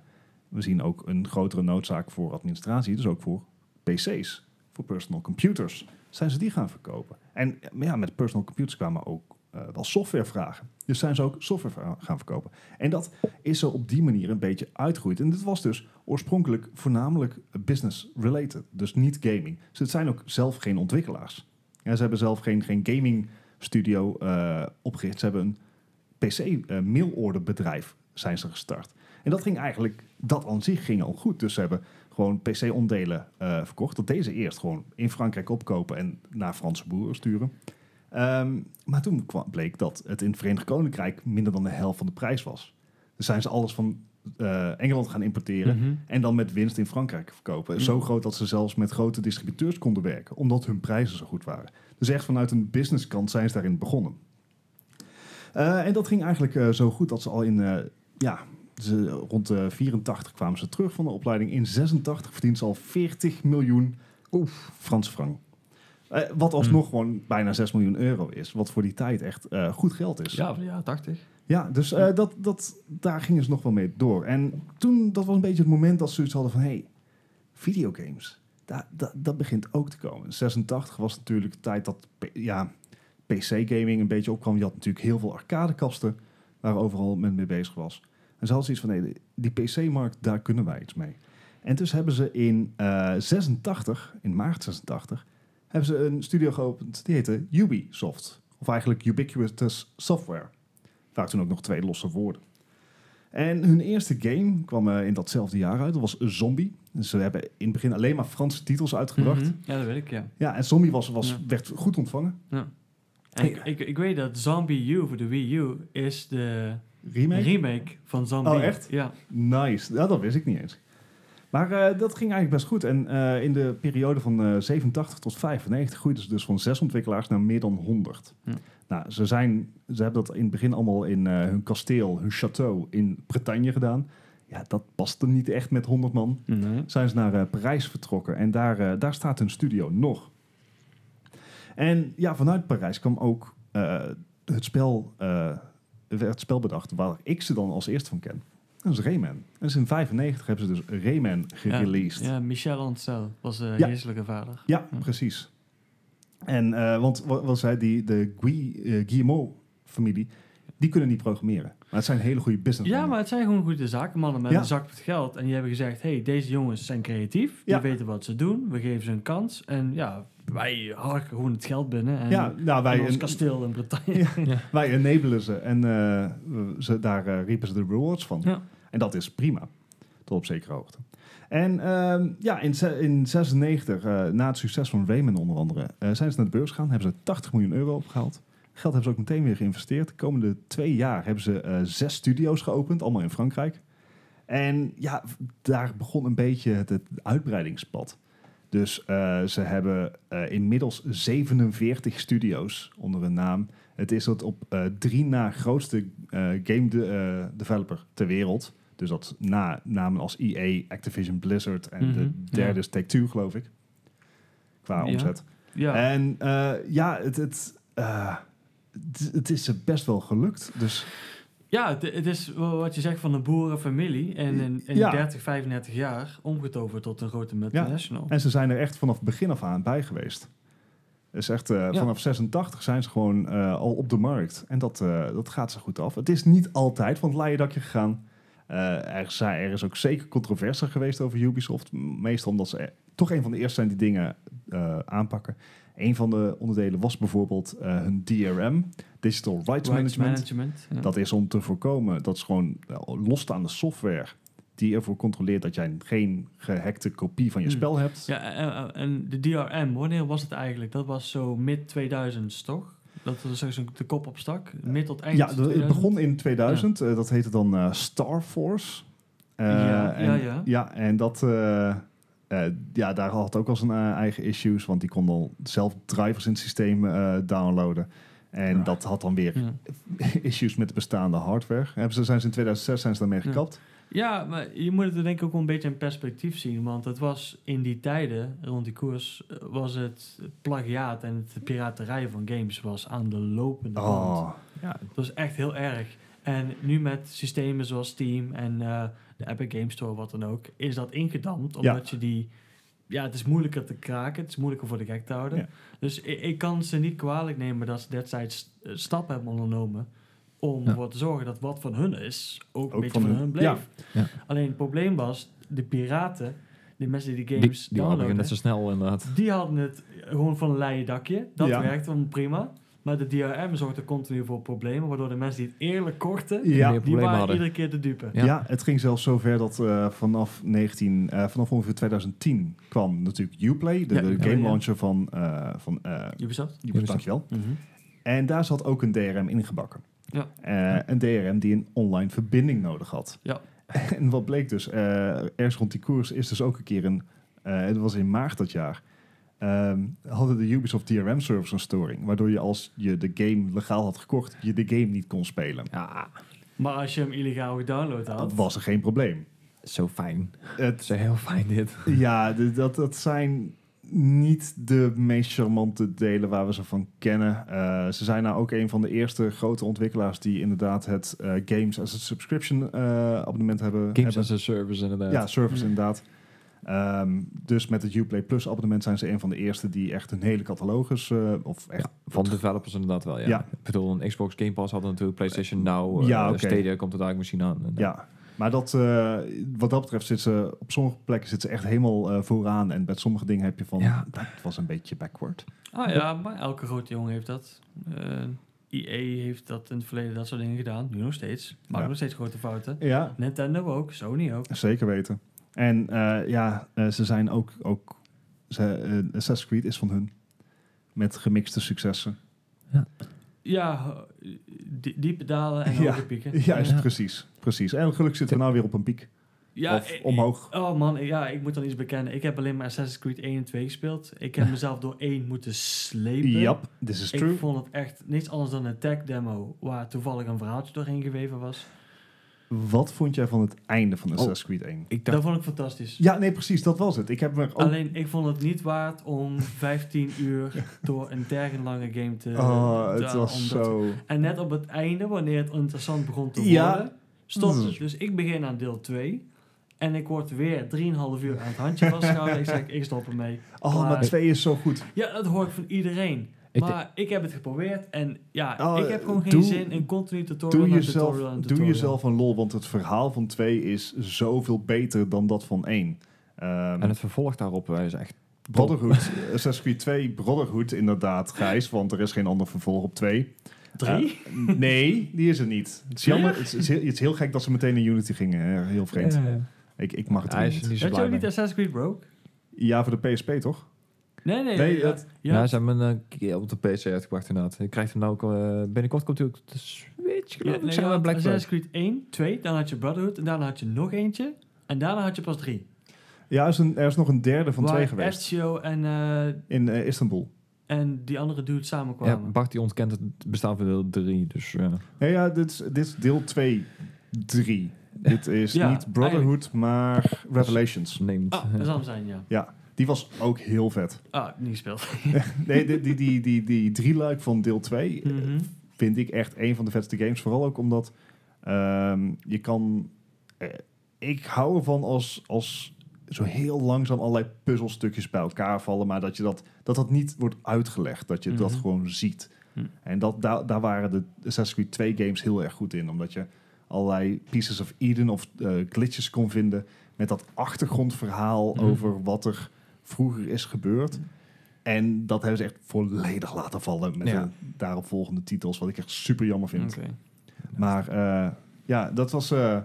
Speaker 1: we zien ook een grotere noodzaak voor administratie. Dus ook voor pc's, voor personal computers. Zijn ze die gaan verkopen. En eh, maar ja, met personal computers kwamen ook eh, wel softwarevragen. Dus zijn ze ook software vra- gaan verkopen. En dat is zo op die manier een beetje uitgegroeid. En dit was dus oorspronkelijk voornamelijk business-related, dus niet gaming. Dus het zijn ook zelf geen ontwikkelaars. Ja, ze hebben zelf geen, geen gaming-studio eh, opgericht. Ze hebben een PC-mailorderbedrijf zijn ze gestart. En dat ging eigenlijk, dat aan zich ging al goed. Dus ze hebben gewoon PC-onderdelen eh, verkocht. Dat deze eerst gewoon in Frankrijk opkopen en naar Franse boeren sturen. Ehm, maar toen kwam, bleek dat het in het Verenigd Koninkrijk minder dan de helft van de prijs was. Dus zijn ze alles van eh, Engeland gaan importeren.
Speaker 6: Mhm.
Speaker 1: En dan met winst in Frankrijk verkopen. Zo groot dat ze zelfs met grote distributeurs konden werken, omdat hun prijzen zo goed waren. Dus echt vanuit een businesskant zijn ze daarin begonnen. Eh, en dat ging eigenlijk eh, zo goed dat ze al in, eh, ja, ze, rond de 84 kwamen ze terug van de opleiding. In 86 verdienden ze al 40 miljoen Oef. Frans frank. Eh, wat alsnog gewoon bijna 6 miljoen euro is. Wat voor die tijd echt eh, goed geld is.
Speaker 6: Ja, van de jaren 80.
Speaker 1: Ja, dus eh, dat, dat, daar gingen ze nog wel mee door. En toen, dat was een beetje het moment dat ze zoiets hadden van... hé, hey, videogames, da, da- dat begint ook te komen. 86 was natuurlijk de tijd dat p- ja, PC-gaming een beetje opkwam. Je had natuurlijk heel veel arcadekasten waar overal men mee bezig was. En ze hadden zoiets van, nee, die PC-markt, daar kunnen wij iets mee. En dus hebben ze in eh, 86, in maart 86... hebben ze een studio geopend, die heette Ubisoft. Of eigenlijk Ubiquitous Software waren toen ook nog twee losse woorden. En hun eerste game kwam eh, in datzelfde jaar uit. Dat was Zombie. Dus ze hebben in het begin alleen maar Franse titels uitgebracht.
Speaker 6: Mhm. Ja, dat weet ik, ja.
Speaker 1: Ja, en Zombie was, was,
Speaker 6: Ja.
Speaker 1: werd goed ontvangen.
Speaker 6: En ik, ik, ik weet dat Zombie U voor de Wii U is de
Speaker 1: Remake?
Speaker 6: remake van Zombie.
Speaker 1: Oh, echt?
Speaker 6: Ja.
Speaker 1: Nice. Ja, dat wist ik niet eens. Maar eh, dat ging eigenlijk best goed. En eh, in de periode van eh, 87 tot 95 groeiden ze dus van zes ontwikkelaars naar meer dan 100.
Speaker 6: Ja.
Speaker 1: Nou, ze, zijn, ze hebben dat in het begin allemaal in eh, hun kasteel, hun château in Bretagne gedaan. Ja, dat paste niet echt met 100 man. zijn ze naar eh, Parijs vertrokken. En daar, eh, daar staat hun studio nog. En ja, vanuit Parijs kwam ook eh, het, spel, eh, werd het spel bedacht waar ik ze dan als eerste van ken. Dat is Rayman. En dus in 1995 hebben ze dus Rayman gereleased. Ja,
Speaker 6: Ja, Michel Ancel was de
Speaker 1: Ja.
Speaker 6: geestelijke vader.
Speaker 1: precies. En eh, want wa- wat zei die, de Gui, eh, Guillemot-familie, die kunnen niet programmeren. Maar het zijn hele goede businessmen.
Speaker 6: Ja, maar het zijn gewoon goede zakenmannen met
Speaker 1: Ja.
Speaker 6: een zak met geld. En die hebben gezegd, hey, deze jongens zijn creatief.
Speaker 1: Ja.
Speaker 6: Die weten wat ze doen. We geven ze een kans. En ja, wij harken gewoon het geld binnen. En
Speaker 1: ja, nou, wij,
Speaker 6: in ons
Speaker 1: en-
Speaker 6: kasteel in Bretagne.
Speaker 1: Wij enabelen ze en eh, we- ze, daar eh, riepen ze de rewards van.
Speaker 6: Ja.
Speaker 1: En dat is prima, tot op zekere hoogte. En ehm, ja, in, ze- in 96, eh, na het succes van Raymond onder andere, eh, zijn ze naar de beurs gegaan. Hebben ze 80 miljoen euro opgehaald. Geld hebben ze ook meteen weer geïnvesteerd. De komende twee jaar hebben ze eh, zes studio's geopend, allemaal in Frankrijk. En ja, v- daar begon een beetje het, het uitbreidingspad. Dus eh, ze hebben eh, inmiddels 47 studio's onder hun naam. Het is het op eh, drie na grootste eh, game de- eh, developer ter wereld. Dus dat na namen als EA, Activision Blizzard en
Speaker 6: Mhm,
Speaker 1: de derde
Speaker 6: ja.
Speaker 1: is Take-Two, geloof ik. Qua
Speaker 6: Ja.
Speaker 1: omzet.
Speaker 6: Ja.
Speaker 1: En eh, ja, het, het, eh, het, het is ze best wel gelukt. Dus
Speaker 6: Ja, het, het is wa- wat je zegt van een boerenfamilie. En in, in
Speaker 1: Ja.
Speaker 6: 30, 35 jaar omgetoverd tot een grote multinational.
Speaker 1: En ze zijn er echt vanaf het begin af aan bij geweest. Dus echt, eh, vanaf 86 zijn ze gewoon eh, al op de markt. En dat, eh, dat gaat ze goed af. Het is niet altijd van het leien dakje gegaan. Eh, Eh, er, zijn- er is ook zeker controverse geweest over Ubisoft. Meestal omdat ze eh, toch een van de eerste zijn die dingen eh, aanpakken. Een van de onderdelen was bijvoorbeeld eh, hun DRM, Digital Rights, Management.
Speaker 3: management. ja.
Speaker 1: Dat is om te voorkomen, dat is gewoon eh, losstaande software die ervoor controleert dat jij geen gehackte kopie van je
Speaker 3: Hmm.
Speaker 1: spel hebt.
Speaker 3: Ja, en, en de DRM, wanneer was het eigenlijk? Dat was zo mid 2000 toch? Dat er zo de kop op stak, mid tot eind
Speaker 1: Ja, de-
Speaker 3: 2000?
Speaker 1: het begon in 2000. eh, dat heette dan eh, Star Force. Eh,
Speaker 3: Ja,
Speaker 1: en,
Speaker 3: ja, ja.
Speaker 1: en dat... eh, eh, ja, daar had het ook al zijn eh, eigen issues, want die kon al zelf drivers in het systeem eh, downloaden. En
Speaker 3: Right.
Speaker 1: dat had dan weer
Speaker 3: Ja. Hm.
Speaker 1: issues met de bestaande hardware. Hebben ze, zijn ze in 2006 zijn ze daarmee
Speaker 3: Ja.
Speaker 1: gekapt.
Speaker 3: Ja, maar je moet het denk ik ook wel een beetje in perspectief zien. Want het was in die tijden, rond die koers, eh, was het plagiaat en de piraterij van games was aan de lopende band.
Speaker 1: Oh,
Speaker 3: Het was echt heel erg. En nu met systemen zoals Steam en eh, de Epic Game Store, wat dan ook, is dat ingedampt. Omdat je die... Ja, het is moeilijker te kraken. Het is moeilijker voor de gek te houden.
Speaker 1: Ja.
Speaker 3: Dus ik, ik kan ze niet kwalijk nemen dat ze destijds eh, stappen hebben ondernomen. Om
Speaker 2: Ja.
Speaker 3: ervoor te zorgen dat wat van hun is, ook,
Speaker 1: Ook
Speaker 3: een beetje
Speaker 1: van
Speaker 3: van,
Speaker 1: hun-
Speaker 3: hun bleef.
Speaker 2: Ja. Ja.
Speaker 3: Alleen het probleem was, de piraten, de mensen die de
Speaker 2: Die,
Speaker 3: games
Speaker 2: die waren
Speaker 3: downloaden,
Speaker 2: net zo snel inderdaad.
Speaker 3: die hadden het gewoon van een leien dakje. Dat
Speaker 1: Ja.
Speaker 3: werkte allemaal prima. Maar de DRM zorgde continu voor problemen, waardoor de mensen die het eerlijk kochten,
Speaker 1: ja,
Speaker 2: Meer
Speaker 3: die
Speaker 2: problemen
Speaker 3: waren
Speaker 2: hadden.
Speaker 3: iedere keer de dupe.
Speaker 1: Ja.
Speaker 2: Ja.
Speaker 1: het ging zelfs zover dat eh, vanaf, 19, eh, vanaf ongeveer 2010 kwam natuurlijk Uplay, de,
Speaker 3: Ja,
Speaker 1: de
Speaker 3: Uplay,
Speaker 1: game
Speaker 3: ja.
Speaker 1: launcher van, eh van eh
Speaker 3: Ubisoft?
Speaker 1: Ubisoft, dankjewel.
Speaker 3: Mhm.
Speaker 1: En daar zat ook een DRM ingebakken.
Speaker 3: Ja.
Speaker 1: Eh, een DRM die een online verbinding nodig had.
Speaker 3: Ja.
Speaker 1: En wat bleek dus, eh ergens rond die koers is dus ook een keer een, eh, het was in maart dat jaar, ehm, hadden de Ubisoft DRM-servers een storing, waardoor je als je de game legaal had gekocht, je de game niet kon spelen.
Speaker 2: Ja,
Speaker 3: Maar als je hem illegaal gedownload had,
Speaker 1: Dat was er geen probleem.
Speaker 2: zo fijn.
Speaker 1: Het
Speaker 2: Zo heel fijn dit.
Speaker 1: Ja, de- dat, dat zijn niet de meest charmante delen waar we ze van kennen. Eh, ze zijn nou ook een van de eerste grote ontwikkelaars die inderdaad het eh, Games as a Subscription eh, abonnement hebben.
Speaker 2: Games
Speaker 1: hebben.
Speaker 2: as a service inderdaad.
Speaker 1: Ja, service
Speaker 3: Ja.
Speaker 1: inderdaad. Ehm, dus met het Uplay Plus abonnement zijn ze een van de eerste die echt een hele catalogus, eh, of echt
Speaker 2: Van developers inderdaad wel, ja.
Speaker 1: Ja.
Speaker 2: Ik bedoel, een Xbox Game Pass hadden natuurlijk PlayStation Now. eh,
Speaker 1: Ja, oké.
Speaker 2: Stadia komt er daar misschien aan.
Speaker 1: Ja, maar dat, eh, wat dat betreft zitten ze op sommige plekken zitten ze echt helemaal eh, vooraan. En bij sommige dingen heb je van,
Speaker 2: Ja.
Speaker 1: dat was een beetje backward.
Speaker 3: ah ja, maar elke grote jongen heeft dat. Eh EA heeft dat in het verleden dat soort dingen gedaan, nu nog steeds. Maakt
Speaker 1: Ja.
Speaker 3: nog steeds grote fouten.
Speaker 1: Ja,
Speaker 3: Nintendo ook, Sony ook.
Speaker 1: Zeker weten. En eh, ja, eh, ze zijn ook... ook ze, eh, Assassin's Creed is van hun. Met gemixte successen.
Speaker 3: Ja, eh, die- diepe dalen en
Speaker 1: Ja.
Speaker 3: hoge pieken.
Speaker 1: Juist,
Speaker 2: Ja.
Speaker 1: precies. Precies. En gelukkig zitten we nou weer op een piek.
Speaker 3: Ja,
Speaker 1: of
Speaker 3: eh,
Speaker 1: omhoog.
Speaker 3: Oh man, ja, ik moet dan iets bekennen. Ik heb alleen maar Assassin's Creed 1 en 2 gespeeld. Ik heb mezelf door 1 moeten slepen.
Speaker 1: Jap, this is true.
Speaker 3: Ik vond het echt niets anders dan een tech demo waar toevallig een verhaaltje doorheen geweven was.
Speaker 1: Wat vond jij van het einde
Speaker 3: Oh.
Speaker 1: van Assassin's Creed 1?
Speaker 2: Ik
Speaker 3: Dat,
Speaker 2: dacht,
Speaker 3: vond ik fantastisch.
Speaker 1: Ja, nee, precies. Dat was het. Ik heb me ook...
Speaker 3: Alleen ik vond het niet waard om 15 uur door een tergen lange game te.
Speaker 1: Oh,
Speaker 3: te-
Speaker 1: het was
Speaker 3: om dat-
Speaker 1: zo...
Speaker 3: En net op het einde, wanneer het interessant begon te
Speaker 1: Ja. Hmm.
Speaker 3: worden, stopte het. Dus ik begin aan deel 2. En ik word weer 3,5 uur aan het handje vastgehouden. ik zeg, ik stop ermee.
Speaker 1: Oh, maar
Speaker 3: Maar-
Speaker 1: 2 is zo goed.
Speaker 3: Ja, dat hoor ik van iedereen.
Speaker 2: Ik
Speaker 3: maar ik heb het geprobeerd en ja,
Speaker 1: Oh,
Speaker 3: ik heb gewoon geen
Speaker 1: doe-
Speaker 3: zin in continu tutorial
Speaker 1: Doe
Speaker 3: na
Speaker 1: jezelf,
Speaker 3: tutorial en
Speaker 1: doe
Speaker 3: tutorial.
Speaker 1: jezelf een lol, want het verhaal van 2 is zoveel beter dan dat van Ehm, 1.
Speaker 2: en het vervolg daarop eh, is echt...
Speaker 1: Brotherhood, Assassin's Creed 2, Brotherhood inderdaad, Gijs, want er is geen ander vervolg op 2.
Speaker 3: Drie?
Speaker 1: nee, die is er niet. Het is, jammer, het, is, het is heel, het is heel gek dat ze meteen in Unity gingen, hè. heel vreemd. Ik, ik mag het
Speaker 2: Hij
Speaker 1: ook
Speaker 2: is er
Speaker 1: niet.
Speaker 2: niet zo
Speaker 3: Heb je
Speaker 2: blij
Speaker 3: ook niet
Speaker 2: mee.
Speaker 3: Assassin's Creed Rogue?
Speaker 1: Ja, voor de PSP toch?
Speaker 3: Nee, nee.
Speaker 1: Nee,
Speaker 3: ja,
Speaker 1: dat-
Speaker 3: ja.
Speaker 2: Ja, ze hebben hem een keer op de PC uitgebracht inderdaad. Je krijgt hem nou ook... eh, binnenkort komt hij ook op de Switch,
Speaker 3: Ja,
Speaker 2: geloof ik.
Speaker 3: nee,
Speaker 2: samen
Speaker 3: je
Speaker 2: met
Speaker 3: had
Speaker 2: Black Flag.
Speaker 3: Assassin's Creed 1, 2, daarna had je Brotherhood en daarna had je nog eentje. En daarna had je pas drie.
Speaker 1: Ja, er is, een, er is nog een derde van
Speaker 3: Waar
Speaker 1: 2 geweest
Speaker 3: Ezio en, eh,
Speaker 1: in eh, Istanbul.
Speaker 3: en die andere dude
Speaker 2: Ja,
Speaker 3: samenkwamen.
Speaker 2: Bart die ontkent het bestaan van deel 3, dus... eh,
Speaker 1: Nee, ja, dit is, dit is deel 2, 3. Dit is
Speaker 3: Ja,
Speaker 1: niet Brotherhood, maar Revelations.
Speaker 2: neemt.
Speaker 3: Ah, dat zal hem zijn, ja.
Speaker 1: Die was ook heel vet.
Speaker 3: Ah, niet gespeeld.
Speaker 1: Nee, die, die, die, die, die drieluik van deel 2
Speaker 3: Mhm.
Speaker 1: vind ik echt een van de vetste games. Vooral ook omdat ehm, je kan... eh, ik hou ervan als, als zo heel langzaam allerlei puzzelstukjes bij elkaar vallen... maar dat je dat, dat, dat niet wordt uitgelegd, dat je dat
Speaker 3: Mhm.
Speaker 1: gewoon ziet.
Speaker 3: Hm.
Speaker 1: En dat, daar daar waren de Assassin's Creed 2 games heel erg goed in. Omdat je allerlei pieces of Eden of eh, glitches kon vinden. Met dat achtergrondverhaal
Speaker 2: Mhm.
Speaker 1: over wat er vroeger is gebeurd. En dat hebben ze echt volledig laten vallen met
Speaker 2: Ja.
Speaker 1: de daaropvolgende titels. Wat ik echt super jammer vind.
Speaker 2: Oké.
Speaker 1: Maar eh, ja, dat was... eh,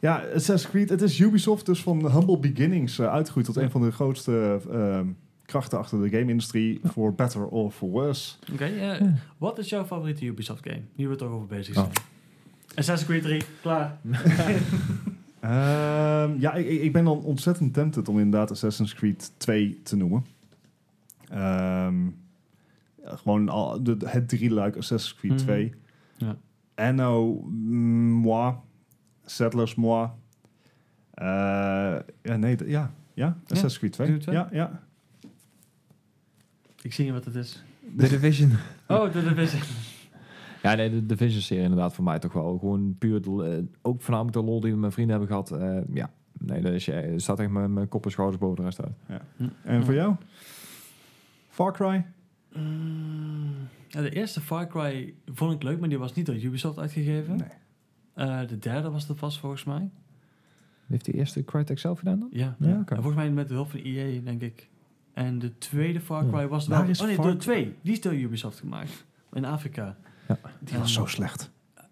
Speaker 1: ja, Assassin's Creed, het is Ubisoft dus van humble beginnings eh, uitgegroeid... tot een van de grootste ehm, krachten achter de game-industrie... voor better or for worse.
Speaker 3: Oké, eh,
Speaker 2: Ja.
Speaker 3: wat is jouw favoriete Ubisoft game? Nu we er toch over bezig
Speaker 2: Oh.
Speaker 3: zijn. Assassin's Creed 3, klaar.
Speaker 1: Ehm, ja, ik, ik ben dan ontzettend tempted om inderdaad Assassin's Creed 2 te noemen. Ehm, ja, gewoon al, de, de- het drieluik Assassin's Creed
Speaker 3: Mhm.
Speaker 1: 2.
Speaker 3: Ja.
Speaker 1: Anno, mm, moi, Settlers, moi. Eh, ja, nee, d- ja, ja, Assassin's Creed 2.
Speaker 3: Creed 2.
Speaker 1: Ja, ja.
Speaker 3: Ik zie niet wat het is.
Speaker 2: The Division.
Speaker 3: Oh, de Division.
Speaker 2: Ja, nee, de Division-serie inderdaad voor mij toch wel. Gewoon puur, de, eh, ook voornamelijk de lol die we met vrienden hebben gehad. eh, ja, nee, daar is, eh, staat echt mijn, mijn kop en schouders boven de rest uit.
Speaker 1: En voor jou? Far Cry?
Speaker 3: Mm, Eh, ja, de eerste Far Cry vond ik leuk, maar die was niet door Ubisoft uitgegeven.
Speaker 1: Nee.
Speaker 3: Eh, de derde was dat vast volgens mij.
Speaker 2: Heeft die eerste Crytek zelf gedaan dan?
Speaker 3: Ja.
Speaker 2: Ja, oké.
Speaker 3: En volgens mij met de hulp van EA, denk ik. En de tweede Far Cry was
Speaker 1: Waar
Speaker 3: wel...
Speaker 1: is
Speaker 3: oh nee,
Speaker 1: Far
Speaker 3: de
Speaker 1: Cry?
Speaker 3: twee. Die is door Ubisoft gemaakt. In Afrika.
Speaker 2: Ja.
Speaker 1: Die was
Speaker 3: En,
Speaker 1: zo slecht.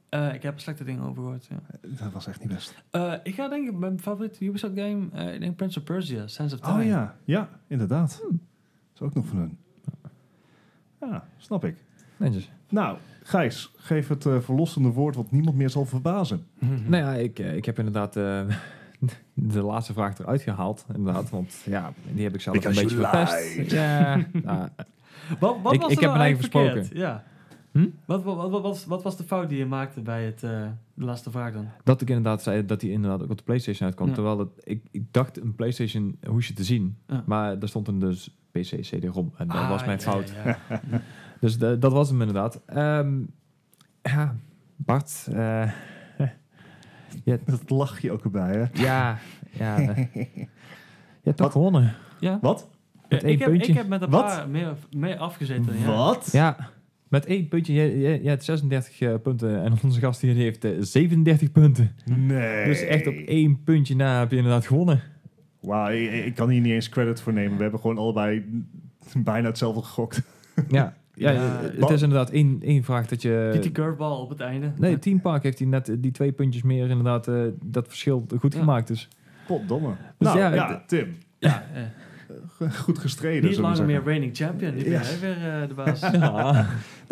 Speaker 3: eh, ik heb er slechte dingen over gehoord, ja.
Speaker 1: Dat was echt niet best.
Speaker 3: Eh, ik ga denk ik mijn favoriete Ubisoft game, eh, ik denk Prince of Persia, Sense of Time.
Speaker 1: Oh ja, ja, inderdaad. is ook nog van hun. Hm. Ja, snap ik.
Speaker 2: Netjes.
Speaker 1: Nou, Gijs, geef het eh, verlossende woord wat niemand meer zal verbazen.
Speaker 3: Mm.
Speaker 2: Nou ja, ik, eh, ik heb inderdaad eh, de laatste vraag eruit gehaald. Inderdaad, want ja, die heb ik zelf
Speaker 1: Because
Speaker 2: een beetje
Speaker 1: you lied.
Speaker 2: verpest. Ja, nou,
Speaker 3: Wat, wat
Speaker 2: Ik-
Speaker 3: was
Speaker 2: ik
Speaker 3: er
Speaker 2: heb
Speaker 3: nou
Speaker 2: mijn eigen
Speaker 3: eigenlijk
Speaker 2: versproken.
Speaker 3: verkeerd? Ja.
Speaker 2: Hm?
Speaker 3: Wat, wat, wat, wat, was- wat was de fout die je maakte bij het, eh, de laatste vraag dan?
Speaker 2: dat ik inderdaad zei dat die inderdaad ook op de PlayStation uitkwam.
Speaker 3: Ja.
Speaker 2: Terwijl het, ik, ik dacht een PlayStation hoesje te zien.
Speaker 3: Ja.
Speaker 2: Maar daar stond hem dus PC, CD-ROM. En dat was mijn
Speaker 3: Ah, ja,
Speaker 2: fout.
Speaker 3: ja, ja.
Speaker 2: Dus de- dat was hem inderdaad. Ehm, ja, Bart. eh,
Speaker 1: Dat lach je ook erbij, hè?
Speaker 2: ja, ja. eh, je hebt toch
Speaker 1: Wat?
Speaker 2: gewonnen.
Speaker 3: Ja.
Speaker 1: Wat?
Speaker 3: Ja,
Speaker 2: één
Speaker 3: ik, heb, ik
Speaker 2: puntje.
Speaker 3: heb met een
Speaker 1: Wat?
Speaker 3: paar meer, meer afgezeten. Ja.
Speaker 1: Wat?
Speaker 2: Ja, met één puntje. Je, je, je hebt 36 eh, punten en onze gast hier die heeft eh, 37 punten.
Speaker 1: Nee.
Speaker 2: Dus echt op één puntje na heb je inderdaad gewonnen.
Speaker 1: Wauw, ik, ik kan hier niet eens credit voor nemen. We hebben gewoon allebei bijna hetzelfde gegokt.
Speaker 2: Ja, ja, eh,
Speaker 3: Ja,
Speaker 2: het is inderdaad één, één vraag dat
Speaker 3: Niet die
Speaker 2: je...
Speaker 3: curveball op het einde.
Speaker 2: Nee, Team Park heeft hij net eh, die twee puntjes meer inderdaad eh, dat verschil goed
Speaker 3: Ja.
Speaker 2: gemaakt. Dus
Speaker 1: Potdomme. nou ja,
Speaker 2: ja,
Speaker 1: Tim.
Speaker 3: Ja, eh,
Speaker 1: Goed gestreden,
Speaker 3: niet
Speaker 1: zullen we
Speaker 3: langer
Speaker 1: zeggen.
Speaker 3: meer reigning champion. Nu ben
Speaker 1: Ja.
Speaker 3: jij weer eh, de baas.
Speaker 2: ja.
Speaker 1: Nou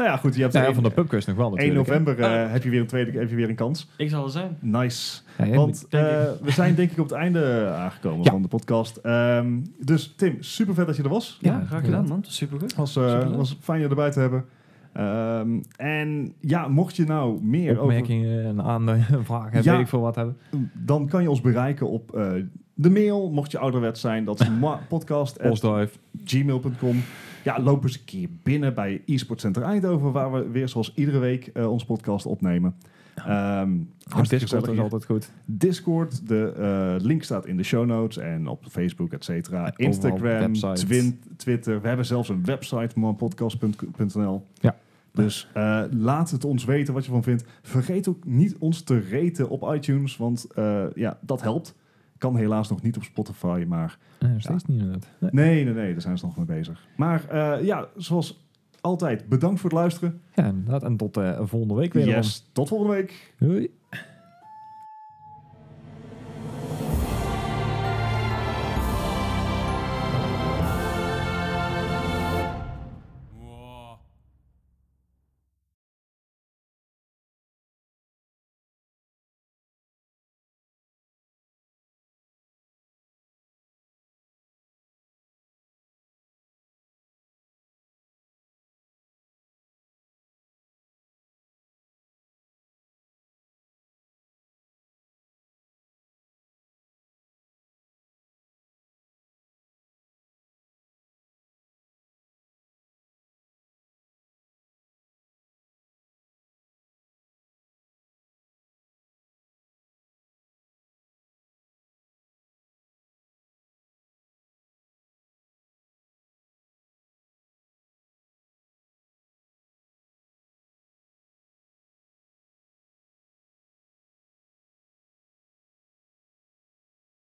Speaker 1: ja, goed. Je hebt
Speaker 2: Nou ja,
Speaker 1: één-
Speaker 2: van de pubquest nog wel
Speaker 1: 1
Speaker 2: natuurlijk. hè.
Speaker 1: november eh, heb, je weer een tweede, heb je weer een kans.
Speaker 3: Ik zal er zijn.
Speaker 1: Nice.
Speaker 2: Ja, jij
Speaker 1: Want
Speaker 3: denk
Speaker 1: eh, we zijn denk ik op het einde eh, aangekomen
Speaker 2: Ja.
Speaker 1: van de podcast. Ehm, dus Tim, super vet dat je er was.
Speaker 3: Ja,
Speaker 2: Ja,
Speaker 3: graag gedaan
Speaker 2: inderdaad.
Speaker 3: man. Supergoed.
Speaker 1: Was, eh,
Speaker 3: Superleuk.
Speaker 1: was fijn je erbij te hebben. Ehm, en ja, mocht je nou meer over...
Speaker 2: opmerkingen eh, en aan vragen,
Speaker 1: Ja.
Speaker 2: weet ik veel wat hebben.
Speaker 1: Dan kan je ons bereiken op eh, de mail. Mocht je ouderwets zijn, dat is
Speaker 2: Postduif.
Speaker 1: podcast.gmail.com. Ja, loop eens een keer binnen bij eSport Center Eindhoven... waar we weer zoals iedere week eh onze podcast opnemen. Ehm
Speaker 2: Op
Speaker 1: hartstikke
Speaker 2: Discord
Speaker 1: gezellig
Speaker 2: is
Speaker 1: hier.
Speaker 2: altijd goed.
Speaker 1: Discord. De eh, link staat in de show notes en op Facebook, et cetera.
Speaker 2: overal
Speaker 1: Instagram,
Speaker 2: websites.
Speaker 1: Twin, Twitter. We hebben zelfs een website, manpodcast.nl.
Speaker 2: Ja.
Speaker 1: Dus eh, laat het ons weten wat je van vindt. Vergeet ook niet ons te reten op iTunes, want eh, ja, dat helpt. Kan helaas nog niet op Spotify, maar...
Speaker 2: Nee, nog steeds niet inderdaad. Nee.
Speaker 1: Nee, nee, nee, daar zijn ze nog mee bezig. Maar eh, ja, zoals altijd, bedankt voor het luisteren.
Speaker 2: Ja, inderdaad. En tot eh, volgende week weer.
Speaker 1: yes, tot volgende week.
Speaker 2: dan. Doei.